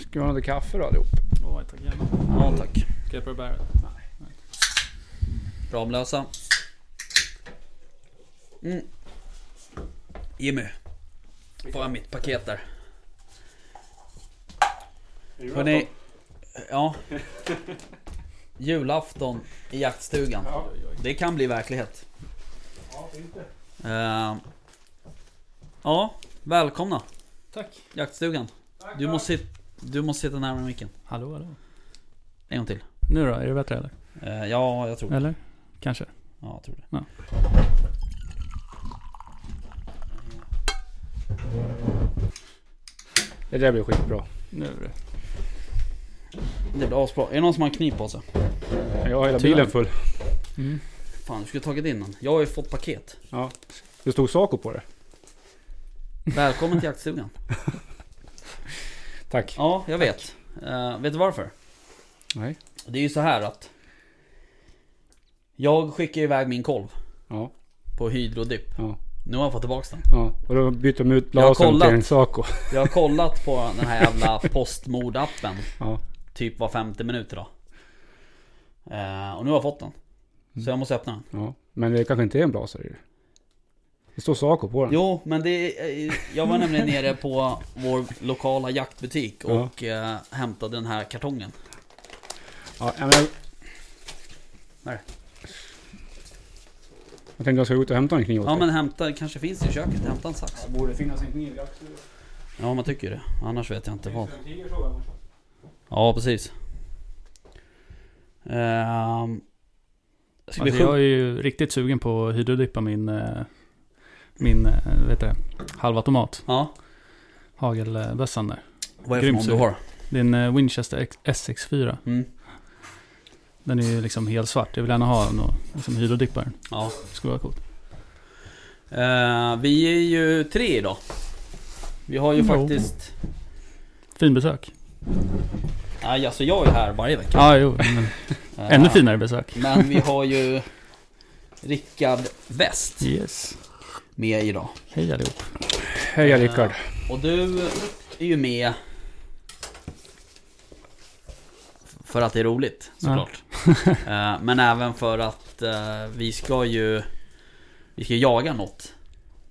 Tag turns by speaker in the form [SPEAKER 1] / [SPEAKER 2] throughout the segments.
[SPEAKER 1] Ska vi ha lite kaffe då allihop?
[SPEAKER 2] Åh, tack gärna.
[SPEAKER 1] Ja tack.
[SPEAKER 2] Ska jag prova bäret?
[SPEAKER 1] Ramlösa. alltså. Mm. Jimmy. Får mitt paket där. Hörrni. Ja. Julafton i jaktstugan. Det kan bli verklighet. Eh, ja, välkomna
[SPEAKER 2] Tack.
[SPEAKER 1] jaktstugan. Du måste, sit- du måste sitta närmare micken.
[SPEAKER 2] Hallå, hallå.
[SPEAKER 1] En gång till.
[SPEAKER 2] Nu då, är det bättre eller?
[SPEAKER 1] Eh, ja, jag tror det.
[SPEAKER 2] Eller? Kanske.
[SPEAKER 1] Ja, jag tror det.
[SPEAKER 2] Ja.
[SPEAKER 3] Det där blir skitbra.
[SPEAKER 2] Nu är det.
[SPEAKER 1] Det blir asbra. Är det någon som har en kniv på sig?
[SPEAKER 3] Jag har hela
[SPEAKER 2] Tyvärr.
[SPEAKER 3] bilen full.
[SPEAKER 2] Mm.
[SPEAKER 1] Fan, du skulle tagit in den. Jag har ju fått paket.
[SPEAKER 3] Ja. Det stod Saco på det.
[SPEAKER 1] Välkommen till jaktstugan.
[SPEAKER 3] Tack.
[SPEAKER 1] Ja, jag vet. Eh, vet du varför?
[SPEAKER 3] Nej.
[SPEAKER 1] Det är ju så här att jag skickar iväg min kolv
[SPEAKER 3] Ja.
[SPEAKER 1] på hydrodipp.
[SPEAKER 3] Ja.
[SPEAKER 1] Nu har jag fått tillbaka den.
[SPEAKER 3] ja. Och då bytte de ut
[SPEAKER 1] Jag har
[SPEAKER 3] lasern
[SPEAKER 1] kollat.
[SPEAKER 3] till en Saco.
[SPEAKER 1] Jag har kollat på den här jävla postmordappen
[SPEAKER 3] Ja.
[SPEAKER 1] typ var 50 minuter då. Eh, och nu har jag fått den. Så jag måste öppna den.
[SPEAKER 3] Ja. Men det kanske inte är en blasare ju. Det står Saco på den.
[SPEAKER 1] Jo, men det... eh, Jag var nämligen nere på vår lokala jaktbutik och eh, hämtade den här kartongen.
[SPEAKER 3] Ja, ja, men jag...
[SPEAKER 1] Där.
[SPEAKER 3] Jag tänkte jag ska gå ut och hämta en kniv åt
[SPEAKER 1] Ja
[SPEAKER 3] dig.
[SPEAKER 1] men hämta, kanske finns i köket, hämta en sax.
[SPEAKER 3] Det borde finnas en kniv i axeln.
[SPEAKER 1] Ja man tycker ju det, annars vet jag inte vad.
[SPEAKER 3] en tigersåg annars.
[SPEAKER 1] Ja precis. Ehm, jag ska bli
[SPEAKER 2] Alltså, jag är
[SPEAKER 1] sjuk.
[SPEAKER 2] ju riktigt sugen på att hydrodippa min, eh, min eh, vet du det, halvautomat.
[SPEAKER 1] Ja,
[SPEAKER 2] Hagelbössan där.
[SPEAKER 1] vad är det för
[SPEAKER 2] Grymt
[SPEAKER 1] någon du
[SPEAKER 2] sug.
[SPEAKER 1] har?
[SPEAKER 2] Det är en eh, Winchester X- SX4.
[SPEAKER 1] Mm.
[SPEAKER 2] Den är ju liksom helt svart. Jag vill gärna ha den och liksom hydrodippa den.
[SPEAKER 1] Ja.
[SPEAKER 2] Det skulle vara coolt.
[SPEAKER 1] Ehm, vi är ju tre idag. Vi har ju
[SPEAKER 2] Jo.
[SPEAKER 1] faktiskt...
[SPEAKER 2] Fin besök.
[SPEAKER 1] Nej alltså jag är här varje vecka.
[SPEAKER 2] Ja, ah, jo. Men
[SPEAKER 1] Ehm,
[SPEAKER 2] ännu finare besök.
[SPEAKER 1] Men vi har ju Rickard West
[SPEAKER 2] Yes.
[SPEAKER 1] med idag.
[SPEAKER 2] Hej allihop.
[SPEAKER 3] Hej Rickard.
[SPEAKER 1] Och du är ju med... För att det är roligt såklart. Eh, Men även för att eh, vi ska ju... Vi ska jaga något.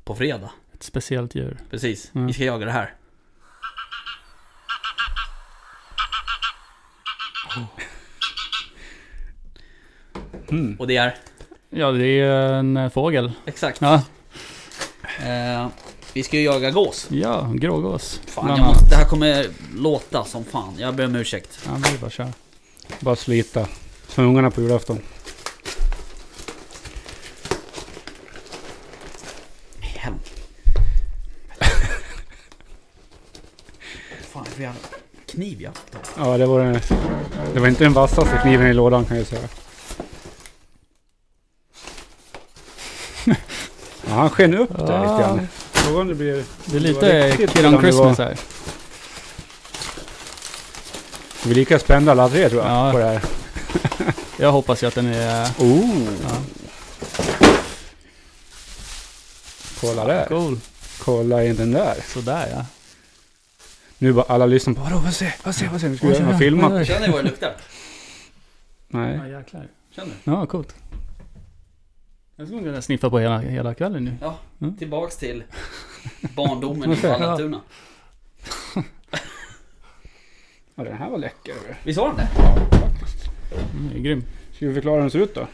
[SPEAKER 1] På fredag.
[SPEAKER 2] Ett speciellt djur.
[SPEAKER 1] Precis.
[SPEAKER 2] Mm.
[SPEAKER 1] Vi ska jaga det här.
[SPEAKER 2] Oh.
[SPEAKER 3] Mm.
[SPEAKER 1] Och det är...
[SPEAKER 2] Ja, det är en eh, fågel.
[SPEAKER 1] Exakt.
[SPEAKER 2] Ja,
[SPEAKER 1] Eh, vi ska ju jaga gås.
[SPEAKER 2] ja en grågås.
[SPEAKER 1] Fan,
[SPEAKER 2] Bland
[SPEAKER 1] jag
[SPEAKER 2] annat.
[SPEAKER 1] måste, det här kommer låta som fan. Jag ber om ursäkt.
[SPEAKER 2] Ja, men det är bara att köra.
[SPEAKER 3] Bara slita. Som ungarna på julafton.
[SPEAKER 1] Hem. fan, vi har kniv jag haft då.
[SPEAKER 3] Ja, det var den... Det var inte den vassaste kniven i lådan kan jag säga. Ja, han sken upp där lite
[SPEAKER 2] Ja.
[SPEAKER 3] grann. Frågan om det blir...
[SPEAKER 2] Det är
[SPEAKER 3] Det var
[SPEAKER 2] lite
[SPEAKER 3] riktigt
[SPEAKER 2] Kid
[SPEAKER 3] illa
[SPEAKER 2] on
[SPEAKER 3] om det
[SPEAKER 2] Christmas här.
[SPEAKER 3] Vi är lika spända alla tre tror jag
[SPEAKER 2] Ja.
[SPEAKER 3] på det här.
[SPEAKER 2] Jag hoppas ju att den är
[SPEAKER 3] Oh!
[SPEAKER 2] Ja.
[SPEAKER 3] Kolla där.
[SPEAKER 2] cool.
[SPEAKER 3] Kolla in den där.
[SPEAKER 2] Sådär ja.
[SPEAKER 3] Nu bara alla lyssnar på vadå, vad ser, vad ser, vad ser. Nu ska vi
[SPEAKER 2] Oj, oj,
[SPEAKER 3] ha
[SPEAKER 2] oj, oj,
[SPEAKER 3] filmat.
[SPEAKER 2] oj.
[SPEAKER 1] Känner ni vad det luktar?
[SPEAKER 3] Nej.
[SPEAKER 2] Ja jäklar.
[SPEAKER 1] Känner du?
[SPEAKER 2] Ja coolt. Jag skulle kunna sniffa på hela, hela kvällen nu.
[SPEAKER 1] Ja,
[SPEAKER 2] Mm.
[SPEAKER 1] tillbaks till barndomen i
[SPEAKER 2] Okej, ja.
[SPEAKER 1] Vallentuna.
[SPEAKER 3] Ja, den här var läcker.
[SPEAKER 1] Visst var den det?
[SPEAKER 2] Mm, det är grym.
[SPEAKER 3] Ska vi förklara hur den ser ut då?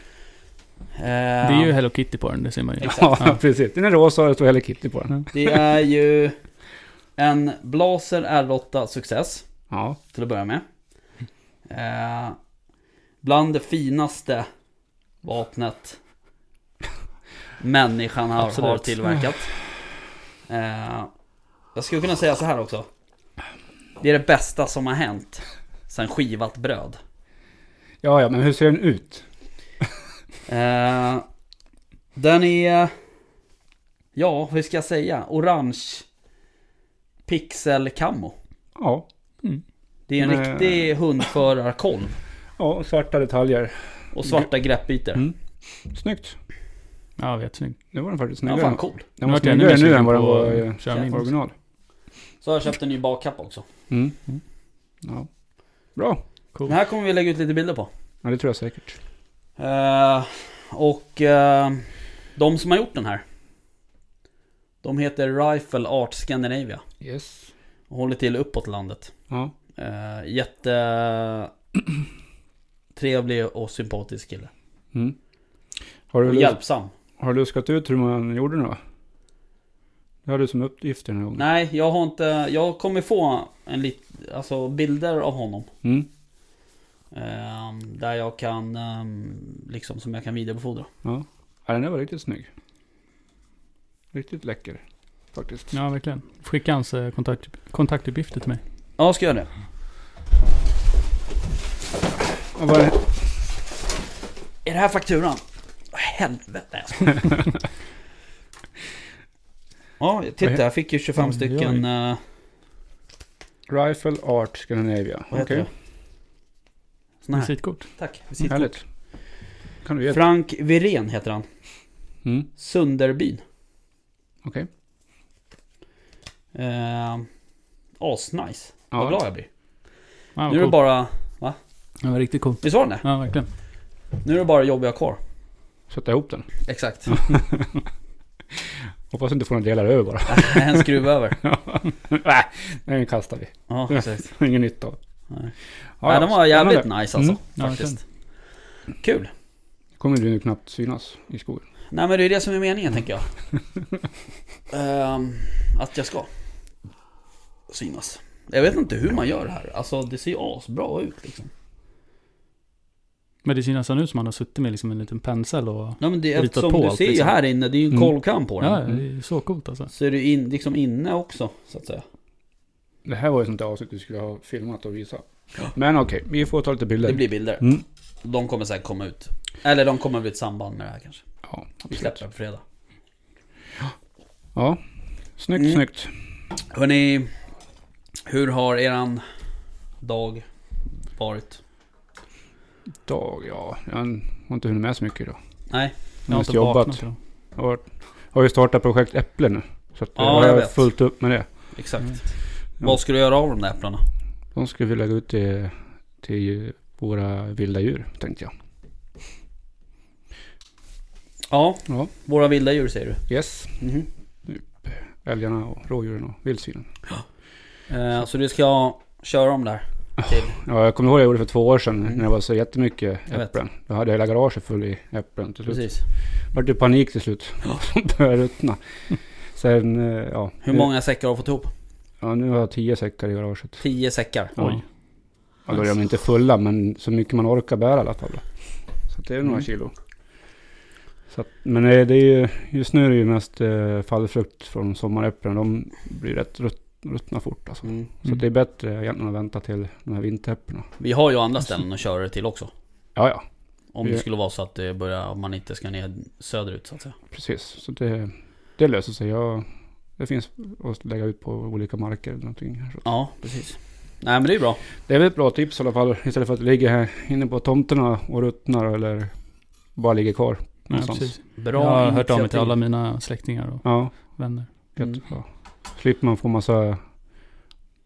[SPEAKER 2] Det är ju Hello Kitty på den, det ser man ju.
[SPEAKER 1] Exakt.
[SPEAKER 3] Ja, Mm. precis. Den är rosa och det står Hello Kitty på den.
[SPEAKER 1] Det är ju en Blaser R8 Success
[SPEAKER 3] Ja.
[SPEAKER 1] till att börja med. Eh, bland det finaste vapnet människan har, har
[SPEAKER 2] Absolut.
[SPEAKER 1] tillverkat. Eh, jag skulle kunna säga så här också. Det är det bästa som har hänt sen skivat bröd.
[SPEAKER 3] Ja, ja, men hur ser den ut?
[SPEAKER 1] Eh, den är... Ja, hur ska jag säga? Orange pixelkammo.
[SPEAKER 3] Ja.
[SPEAKER 1] Det är en
[SPEAKER 3] Nej.
[SPEAKER 1] riktig hundförarkolv.
[SPEAKER 3] Ja, och svarta detaljer.
[SPEAKER 1] Och svarta greppytor.
[SPEAKER 3] Mm. Snyggt.
[SPEAKER 2] Ja, vet snygg.
[SPEAKER 3] Det var den faktiskt
[SPEAKER 1] Ja,
[SPEAKER 3] snyggare.
[SPEAKER 1] fan cool.
[SPEAKER 3] den var snyggare nu än vad den var
[SPEAKER 2] på
[SPEAKER 3] i
[SPEAKER 2] att köra min.
[SPEAKER 3] original.
[SPEAKER 1] Så har jag köpt en ny bakkappa också.
[SPEAKER 3] Mm. Mm. Ja. Bra.
[SPEAKER 1] Den här kommer vi lägga ut lite bilder på.
[SPEAKER 3] Ja, det tror jag säkert.
[SPEAKER 1] Eh, och eh, de som har gjort den här. De heter Rifle Art Scandinavia.
[SPEAKER 3] Yes.
[SPEAKER 1] Och håller till uppåt landet.
[SPEAKER 3] Ja.
[SPEAKER 1] Eh, jätte... Trevlig och sympatisk kille.
[SPEAKER 3] Mm. Har,
[SPEAKER 1] Och
[SPEAKER 3] du,
[SPEAKER 1] hjälpsam.
[SPEAKER 3] har du luskat ut hur man gjorde den då? Det har du som uppgift den här gången.
[SPEAKER 1] Nej, jag har inte... Jag kommer få en lit, alltså bilder av honom.
[SPEAKER 3] Mm.
[SPEAKER 1] Eh, där jag kan... Eh, liksom som jag kan vidarebefordra.
[SPEAKER 3] Ja. ja, den där var riktigt snygg. Riktigt läcker. Faktiskt.
[SPEAKER 2] Ja, verkligen. Skicka hans eh, kontakt, kontaktuppgifter till mig.
[SPEAKER 1] Ja, ska jag göra det.
[SPEAKER 3] Och vad är-
[SPEAKER 1] Är det här fakturan? Åh, Helvete. jag skojar. ja, titta. Jag fick ju 25
[SPEAKER 2] Oj, oj.
[SPEAKER 1] stycken... eh,
[SPEAKER 3] Rifle Art Scandinavia.
[SPEAKER 1] vad heter
[SPEAKER 3] Okej.
[SPEAKER 1] det? Såna här.
[SPEAKER 2] Visitkort.
[SPEAKER 1] Tack. Visitkort.
[SPEAKER 3] Härligt. Kan du ge?
[SPEAKER 1] Frank Virén heter han.
[SPEAKER 3] Mm.
[SPEAKER 1] Sunderbyn.
[SPEAKER 3] Okej.
[SPEAKER 1] Eh, Asnice. Vad glad
[SPEAKER 3] Ja.
[SPEAKER 1] jag blir.
[SPEAKER 2] Ja,
[SPEAKER 1] Nu är
[SPEAKER 2] cool.
[SPEAKER 1] det bara...
[SPEAKER 2] Den var riktigt cool.
[SPEAKER 1] Visst var den det?
[SPEAKER 2] Ja, verkligen.
[SPEAKER 1] Nu är det bara jobb jag har kvar.
[SPEAKER 3] Sätta ihop den.
[SPEAKER 1] Exakt.
[SPEAKER 3] Hoppas du inte får några delar över bara.
[SPEAKER 1] en skruv över.
[SPEAKER 3] Nej, den kastar vi.
[SPEAKER 1] Ja, exakt.
[SPEAKER 3] Ingen nytta av.
[SPEAKER 1] Nej.
[SPEAKER 3] Ja,
[SPEAKER 1] Nej, den var jävligt
[SPEAKER 3] spännande.
[SPEAKER 1] nice alltså.
[SPEAKER 3] Mm.
[SPEAKER 2] Ja,
[SPEAKER 1] Faktiskt. Kul.
[SPEAKER 3] Kommer du nu knappt synas i skogen.
[SPEAKER 1] Nej men det är det som är meningen tänker jag. Ehm, att jag ska synas. Jag vet inte hur man gör det här. Alltså det ser ju asbra ut liksom.
[SPEAKER 2] Men det ser nästan ut som han har suttit med liksom en liten pensel och...
[SPEAKER 1] Nej men det,
[SPEAKER 2] Ritat
[SPEAKER 1] eftersom
[SPEAKER 2] på
[SPEAKER 1] du
[SPEAKER 2] allt,
[SPEAKER 1] ser ju
[SPEAKER 2] liksom.
[SPEAKER 1] här inne, det är ju en
[SPEAKER 3] Mm.
[SPEAKER 1] kollkam på den.
[SPEAKER 2] Ja, det är så coolt alltså.
[SPEAKER 1] Så är det in, liksom inne också så att säga.
[SPEAKER 3] Det här var ju sånt där avsnitt du skulle ha filmat och visat. Men okej, vi får ta lite bilder.
[SPEAKER 1] Det blir bilder.
[SPEAKER 3] Mm.
[SPEAKER 1] De kommer säkert komma ut. Eller de kommer bli ett samband med det här kanske.
[SPEAKER 3] Ja,
[SPEAKER 1] Vi
[SPEAKER 3] absolut.
[SPEAKER 1] släpper det på fredag.
[SPEAKER 3] Ja, snyggt,
[SPEAKER 1] Mm.
[SPEAKER 3] snyggt.
[SPEAKER 1] Hörrni, hur har eran dag varit?
[SPEAKER 3] Dag, ja. Jag har inte hunnit med så mycket idag.
[SPEAKER 1] Nej,
[SPEAKER 2] Jag har
[SPEAKER 3] mest
[SPEAKER 2] inte
[SPEAKER 3] jobbat.
[SPEAKER 2] vaknat idag.
[SPEAKER 3] Jag har, har ju startat projekt Äpple nu. Så att
[SPEAKER 1] Ja,
[SPEAKER 3] jag har
[SPEAKER 1] jag vet.
[SPEAKER 3] fullt upp med det.
[SPEAKER 1] exakt.
[SPEAKER 2] Mm.
[SPEAKER 1] Vad ska du göra av de där äpplena?
[SPEAKER 3] De ska vi lägga ut till, till våra vilda djur, tänkte jag.
[SPEAKER 1] Ja,
[SPEAKER 3] Ja,
[SPEAKER 1] våra vilda djur säger du.
[SPEAKER 3] yes.
[SPEAKER 1] Mhm.
[SPEAKER 3] Älgarna och rådjuren och vildsvinen.
[SPEAKER 1] Eh, så du ska köra dem där? Till.
[SPEAKER 3] Ja, jag kommer ihåg jag gjorde det för två år sedan
[SPEAKER 1] Mm.
[SPEAKER 3] när det var så jättemycket
[SPEAKER 1] Jag vet.
[SPEAKER 3] äpplen. Då hade jag hela garaget full i äpplen till slut.
[SPEAKER 1] Precis.
[SPEAKER 3] Det vart ju panik till slut. De började ruttna. Sen, eh, ja.
[SPEAKER 1] Hur
[SPEAKER 3] nu-
[SPEAKER 1] många säckar har du fått ihop?
[SPEAKER 3] Ja, nu har jag tio säckar i garaget.
[SPEAKER 1] Tio säckar.
[SPEAKER 3] Oj. Ja, då är de inte fulla, men så mycket man orkar bära i alla fall. Då. Så att det är några
[SPEAKER 1] Mm.
[SPEAKER 3] kilo. Så att, men eh, det är ju, just nu är det ju mest eh, fallfrukt från sommaräpplen. De blir rätt rutt, ruttna fort alltså.
[SPEAKER 1] Mm.
[SPEAKER 3] Så att det är bättre egentligen att vänta till de här vinteräpplena.
[SPEAKER 1] Vi har ju andra ställen att köra det till också.
[SPEAKER 3] Ja, ja,
[SPEAKER 1] Om
[SPEAKER 3] Ja.
[SPEAKER 1] det skulle vara så att det börjar, om man inte ska ner söderut så att säga.
[SPEAKER 3] precis. Så det, det löser sig. Jag, det finns att lägga ut på olika marker eller någonting. här. Så
[SPEAKER 1] Ja, precis. Nej men det är bra.
[SPEAKER 3] Det är väl ett bra tips i alla fall. Istället för att det ligger här inne på tomterna och ruttnar eller bara ligger kvar
[SPEAKER 2] Ja,
[SPEAKER 3] någonstans.
[SPEAKER 2] precis.
[SPEAKER 1] Bra
[SPEAKER 2] Jag har hört av mig
[SPEAKER 1] initiativ.
[SPEAKER 2] till alla mina släktingar och
[SPEAKER 3] Ja,
[SPEAKER 2] vänner.
[SPEAKER 1] Mm.
[SPEAKER 3] jättebra. Slipper man få massa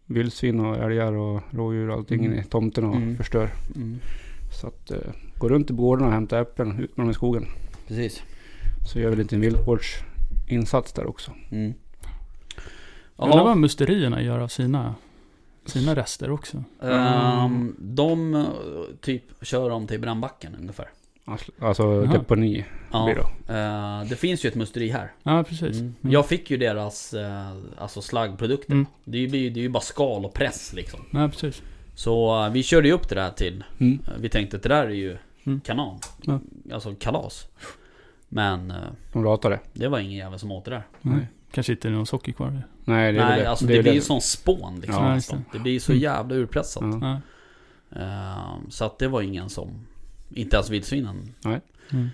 [SPEAKER 3] vildsvin och älgar och rådjur och allting
[SPEAKER 2] Mm.
[SPEAKER 3] inne i tomterna och
[SPEAKER 1] Mm.
[SPEAKER 3] förstör.
[SPEAKER 1] Mm.
[SPEAKER 3] Så att eh, gå runt i gårdarna och hämta äpplen ut med dem i skogen.
[SPEAKER 1] Precis.
[SPEAKER 3] Så gör vi lite viltvårdsinsats där också.
[SPEAKER 1] Mm.
[SPEAKER 2] Jag undrar
[SPEAKER 1] Jaha.
[SPEAKER 2] vad musterierna gör av sina, sina rester också.
[SPEAKER 1] Ehm, de eh, typ kör om till brandbacken ungefär.
[SPEAKER 3] Alltså- Alltså
[SPEAKER 2] Jaha.
[SPEAKER 3] deponi blir
[SPEAKER 1] Ja,
[SPEAKER 3] det.
[SPEAKER 1] eh, det finns ju ett musteri här.
[SPEAKER 2] Ja, precis.
[SPEAKER 1] Mm.
[SPEAKER 2] Mm.
[SPEAKER 1] Jag fick ju deras eh, alltså slaggprodukter.
[SPEAKER 2] Mm.
[SPEAKER 1] Det, är ju, det är ju bara skal och press liksom.
[SPEAKER 2] Ja, precis.
[SPEAKER 1] Så eh, vi körde ju upp det där till.
[SPEAKER 3] Mm.
[SPEAKER 1] eh, Vi tänkte att det där är ju
[SPEAKER 2] Mm.
[SPEAKER 1] kanon.
[SPEAKER 2] Ja.
[SPEAKER 1] Alltså kalas. Men eh,
[SPEAKER 3] De ratar det.
[SPEAKER 1] det var ingen jävel som åt det där.
[SPEAKER 3] Nej.
[SPEAKER 2] Kanske inte är någon socker kvar. i.
[SPEAKER 3] Nej, det är väl
[SPEAKER 1] Nej,
[SPEAKER 3] det.
[SPEAKER 1] alltså
[SPEAKER 3] det,
[SPEAKER 1] det,
[SPEAKER 3] är väl
[SPEAKER 1] blir ju
[SPEAKER 3] det.
[SPEAKER 1] sån spån liksom.
[SPEAKER 2] Ja,
[SPEAKER 1] nästan.
[SPEAKER 2] just
[SPEAKER 1] det. blir så
[SPEAKER 2] Mm.
[SPEAKER 1] jävla urpressat.
[SPEAKER 3] Ja.
[SPEAKER 2] Ja.
[SPEAKER 1] Ehm, så att det var ingen som... Inte ens vildsvinen.
[SPEAKER 2] Mm.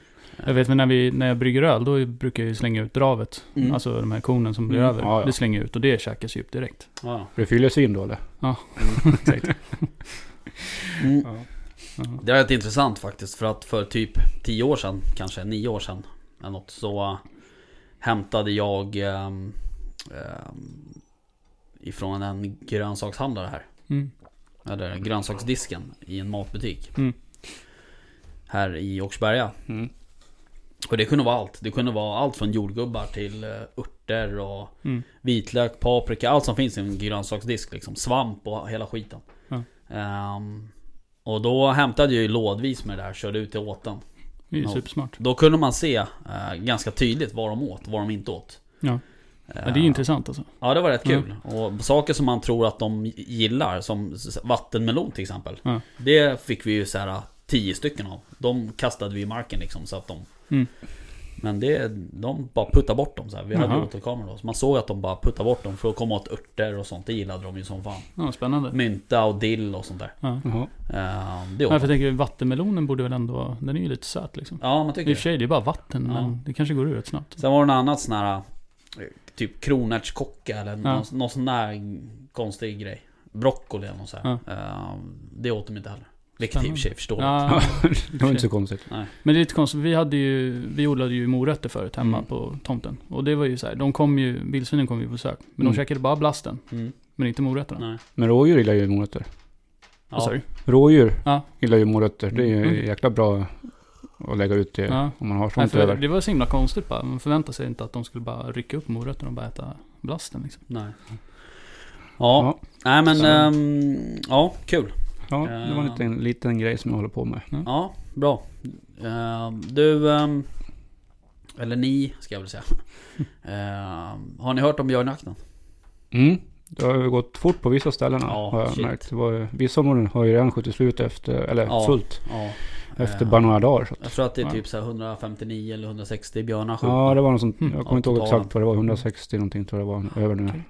[SPEAKER 2] Jag vet men när, vi, när jag brygger öl, då brukar jag ju slänga ut dravet.
[SPEAKER 1] Mm.
[SPEAKER 2] Alltså de här kornen som blir
[SPEAKER 1] Mm.
[SPEAKER 2] över.
[SPEAKER 3] Ja, ja.
[SPEAKER 2] Det slänger jag ut och det käkas ju upp direkt.
[SPEAKER 1] Ja.
[SPEAKER 3] Blir det fyllesvin då eller?
[SPEAKER 1] Mm.
[SPEAKER 3] Ja.
[SPEAKER 2] Ja.
[SPEAKER 1] Det är rätt intressant faktiskt för att för typ 10 år sedan, kanske 9 år sedan eller något, så eh, hämtade jag ehm, ehm, ifrån en grönsakshandlare här.
[SPEAKER 2] Mm.
[SPEAKER 1] Eller grönsaksdisken i en matbutik.
[SPEAKER 2] Mm.
[SPEAKER 1] Här i Åkersberga.
[SPEAKER 3] Mm.
[SPEAKER 1] Och det kunde vara allt. Det kunde vara allt från jordgubbar till eh, örter och
[SPEAKER 2] Mm.
[SPEAKER 1] vitlök, paprika. Allt som finns i en grönsaksdisk. Liksom. Svamp och hela skiten.
[SPEAKER 2] Ja.
[SPEAKER 1] Ehm, och då hämtade jag ju lådvis med det där. Körde ut till åten.
[SPEAKER 2] Det är ju
[SPEAKER 1] Ja.
[SPEAKER 2] supersmart.
[SPEAKER 1] Då kunde man se eh, ganska tydligt vad de åt, vad de inte åt.
[SPEAKER 2] Ja.
[SPEAKER 1] Eh,
[SPEAKER 2] Ja, det är ju intressant alltså.
[SPEAKER 1] Ja, det var rätt kul. Och saker som man tror att de gillar, som s- vattenmelon till exempel.
[SPEAKER 2] Ja.
[SPEAKER 1] Det fick vi ju så här tio stycken av. De kastade vi i marken liksom så att de...
[SPEAKER 2] Mm.
[SPEAKER 1] Men det, de bara puttade bort dem så här. Vi hade
[SPEAKER 2] Jaha.
[SPEAKER 1] återkamera då. Så man såg att de bara puttade bort dem för att komma åt örter och sånt. Det gillade de ju som fan.
[SPEAKER 2] Ja, spännande.
[SPEAKER 1] Mynta och dill och sånt där.
[SPEAKER 2] Ja.
[SPEAKER 3] Jaha.
[SPEAKER 1] Eh, det
[SPEAKER 2] Ja,
[SPEAKER 1] åt
[SPEAKER 2] för jag
[SPEAKER 1] de.
[SPEAKER 2] tänker vattenmelonen borde väl ändå, den är ju lite söt liksom.
[SPEAKER 1] Ja, man
[SPEAKER 2] I och
[SPEAKER 1] tycker
[SPEAKER 2] för
[SPEAKER 1] det.
[SPEAKER 2] sig, det är bara vatten,
[SPEAKER 1] Ja.
[SPEAKER 2] men det kanske går ur rätt snabbt.
[SPEAKER 1] Sen var det något annat sån här... eh, Typ kronärtskocka eller någon, någon sån där konstig grej. Broccoli eller något så här. Eh, det åt de inte heller. Vilket i och för sig förstår jag.
[SPEAKER 2] Ja,
[SPEAKER 3] Det var inte så konstigt.
[SPEAKER 2] men det är lite konstigt, vi, hade ju, vi odlade ju morötter förut hemma
[SPEAKER 1] Mm.
[SPEAKER 2] på tomten. Och det var ju så här, de kom ju, vildsvinen kom ju på besök. Men
[SPEAKER 3] Mm.
[SPEAKER 2] de käkade bara blasten,
[SPEAKER 1] Mm.
[SPEAKER 2] men inte morötterna.
[SPEAKER 1] Nej.
[SPEAKER 3] Men rådjur gillar ju morötter.
[SPEAKER 2] Vad sa
[SPEAKER 1] Ja.
[SPEAKER 2] du?
[SPEAKER 3] Rådjur
[SPEAKER 2] Ja.
[SPEAKER 3] gillar ju morötter. Det är ju
[SPEAKER 2] Mm.
[SPEAKER 3] jäkla bra att lägga ut det
[SPEAKER 2] Ja.
[SPEAKER 3] om man har
[SPEAKER 2] Nej,
[SPEAKER 3] sånt
[SPEAKER 2] för
[SPEAKER 3] över.
[SPEAKER 2] det var så himla konstigt bara. Man förväntade sig inte att de skulle bara rycka upp morötterna och bara äta blasten liksom.
[SPEAKER 1] Nej. Ja.
[SPEAKER 3] Ja.
[SPEAKER 1] Nej men,
[SPEAKER 3] Så.
[SPEAKER 1] ehm, ja kul.
[SPEAKER 3] Ja, det var en liten, liten grej som jag håller på med.
[SPEAKER 1] Eh. Ja, bra. Ehm, du, ehm, eller ni ska jag väl säga. Ehm, har ni hört om björnjakten?
[SPEAKER 3] Mm. Det har ju gått fort på vissa ställen
[SPEAKER 1] Ja,
[SPEAKER 3] har jag
[SPEAKER 1] shit.
[SPEAKER 3] märkt. Det var, ju- vissa områden har ju redan skjutit slut efter, eller
[SPEAKER 1] Ja.
[SPEAKER 3] fullt,
[SPEAKER 1] Ja.
[SPEAKER 3] efter
[SPEAKER 1] Ehm,
[SPEAKER 3] bara några dagar. Så att,
[SPEAKER 1] Jag tror att det är
[SPEAKER 2] Ja.
[SPEAKER 1] typ så här 159 eller 160 björnar skjutna.
[SPEAKER 3] ja, det var något sånt.
[SPEAKER 2] Mm.
[SPEAKER 3] Jag
[SPEAKER 1] Ja, Mm.
[SPEAKER 3] kommer inte ihåg
[SPEAKER 1] totalen.
[SPEAKER 3] exakt vad det var. 160 någonting tror jag det var över nu.
[SPEAKER 2] Okej.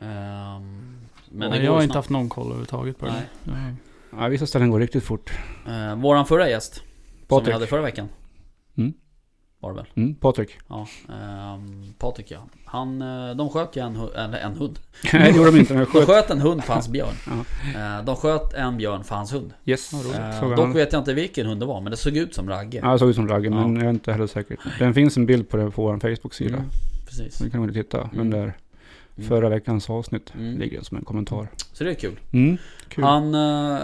[SPEAKER 1] Ehm, men
[SPEAKER 2] Men Nej,
[SPEAKER 1] det går
[SPEAKER 2] jag har
[SPEAKER 1] ju
[SPEAKER 2] inte
[SPEAKER 1] snabbt.
[SPEAKER 2] haft någon koll överhuvudtaget på det.
[SPEAKER 1] Nej.
[SPEAKER 2] Ja.
[SPEAKER 3] Ja, vissa ställen går riktigt fort.
[SPEAKER 1] Eh, våran förra gäst. Som vi
[SPEAKER 3] Patrik.
[SPEAKER 1] hade förra veckan.
[SPEAKER 3] Mm.
[SPEAKER 1] Var det väl?
[SPEAKER 3] Mm, Patrik.
[SPEAKER 1] Ja. ehm, Patrik ja. Han, eh, de sköt ju en, hu- eller en hund.
[SPEAKER 3] Nej, det gjorde de inte. De
[SPEAKER 1] De
[SPEAKER 3] sköt.
[SPEAKER 1] sköt en hund för hans björn. Eh, De sköt en björn för hans hund.
[SPEAKER 3] Yes.
[SPEAKER 2] Ja, roligt.
[SPEAKER 1] Eh,
[SPEAKER 3] Såg
[SPEAKER 1] Dock
[SPEAKER 3] han.
[SPEAKER 1] vet jag inte vilken hund det var, men det såg ut som Ragge.
[SPEAKER 3] Ja, det såg ut som Ragge,
[SPEAKER 1] Ja.
[SPEAKER 3] men jag är inte heller säker. Det finns en bild på det på vår Facebook-sida.
[SPEAKER 1] Mm, precis.
[SPEAKER 3] Så ni kan väl titta
[SPEAKER 1] Mm.
[SPEAKER 3] under
[SPEAKER 1] Mm.
[SPEAKER 3] förra veckans avsnitt.
[SPEAKER 1] Mm.
[SPEAKER 3] Ligger det som en kommentar.
[SPEAKER 1] Så det är kul.
[SPEAKER 3] Mm, kul.
[SPEAKER 1] Han... eh,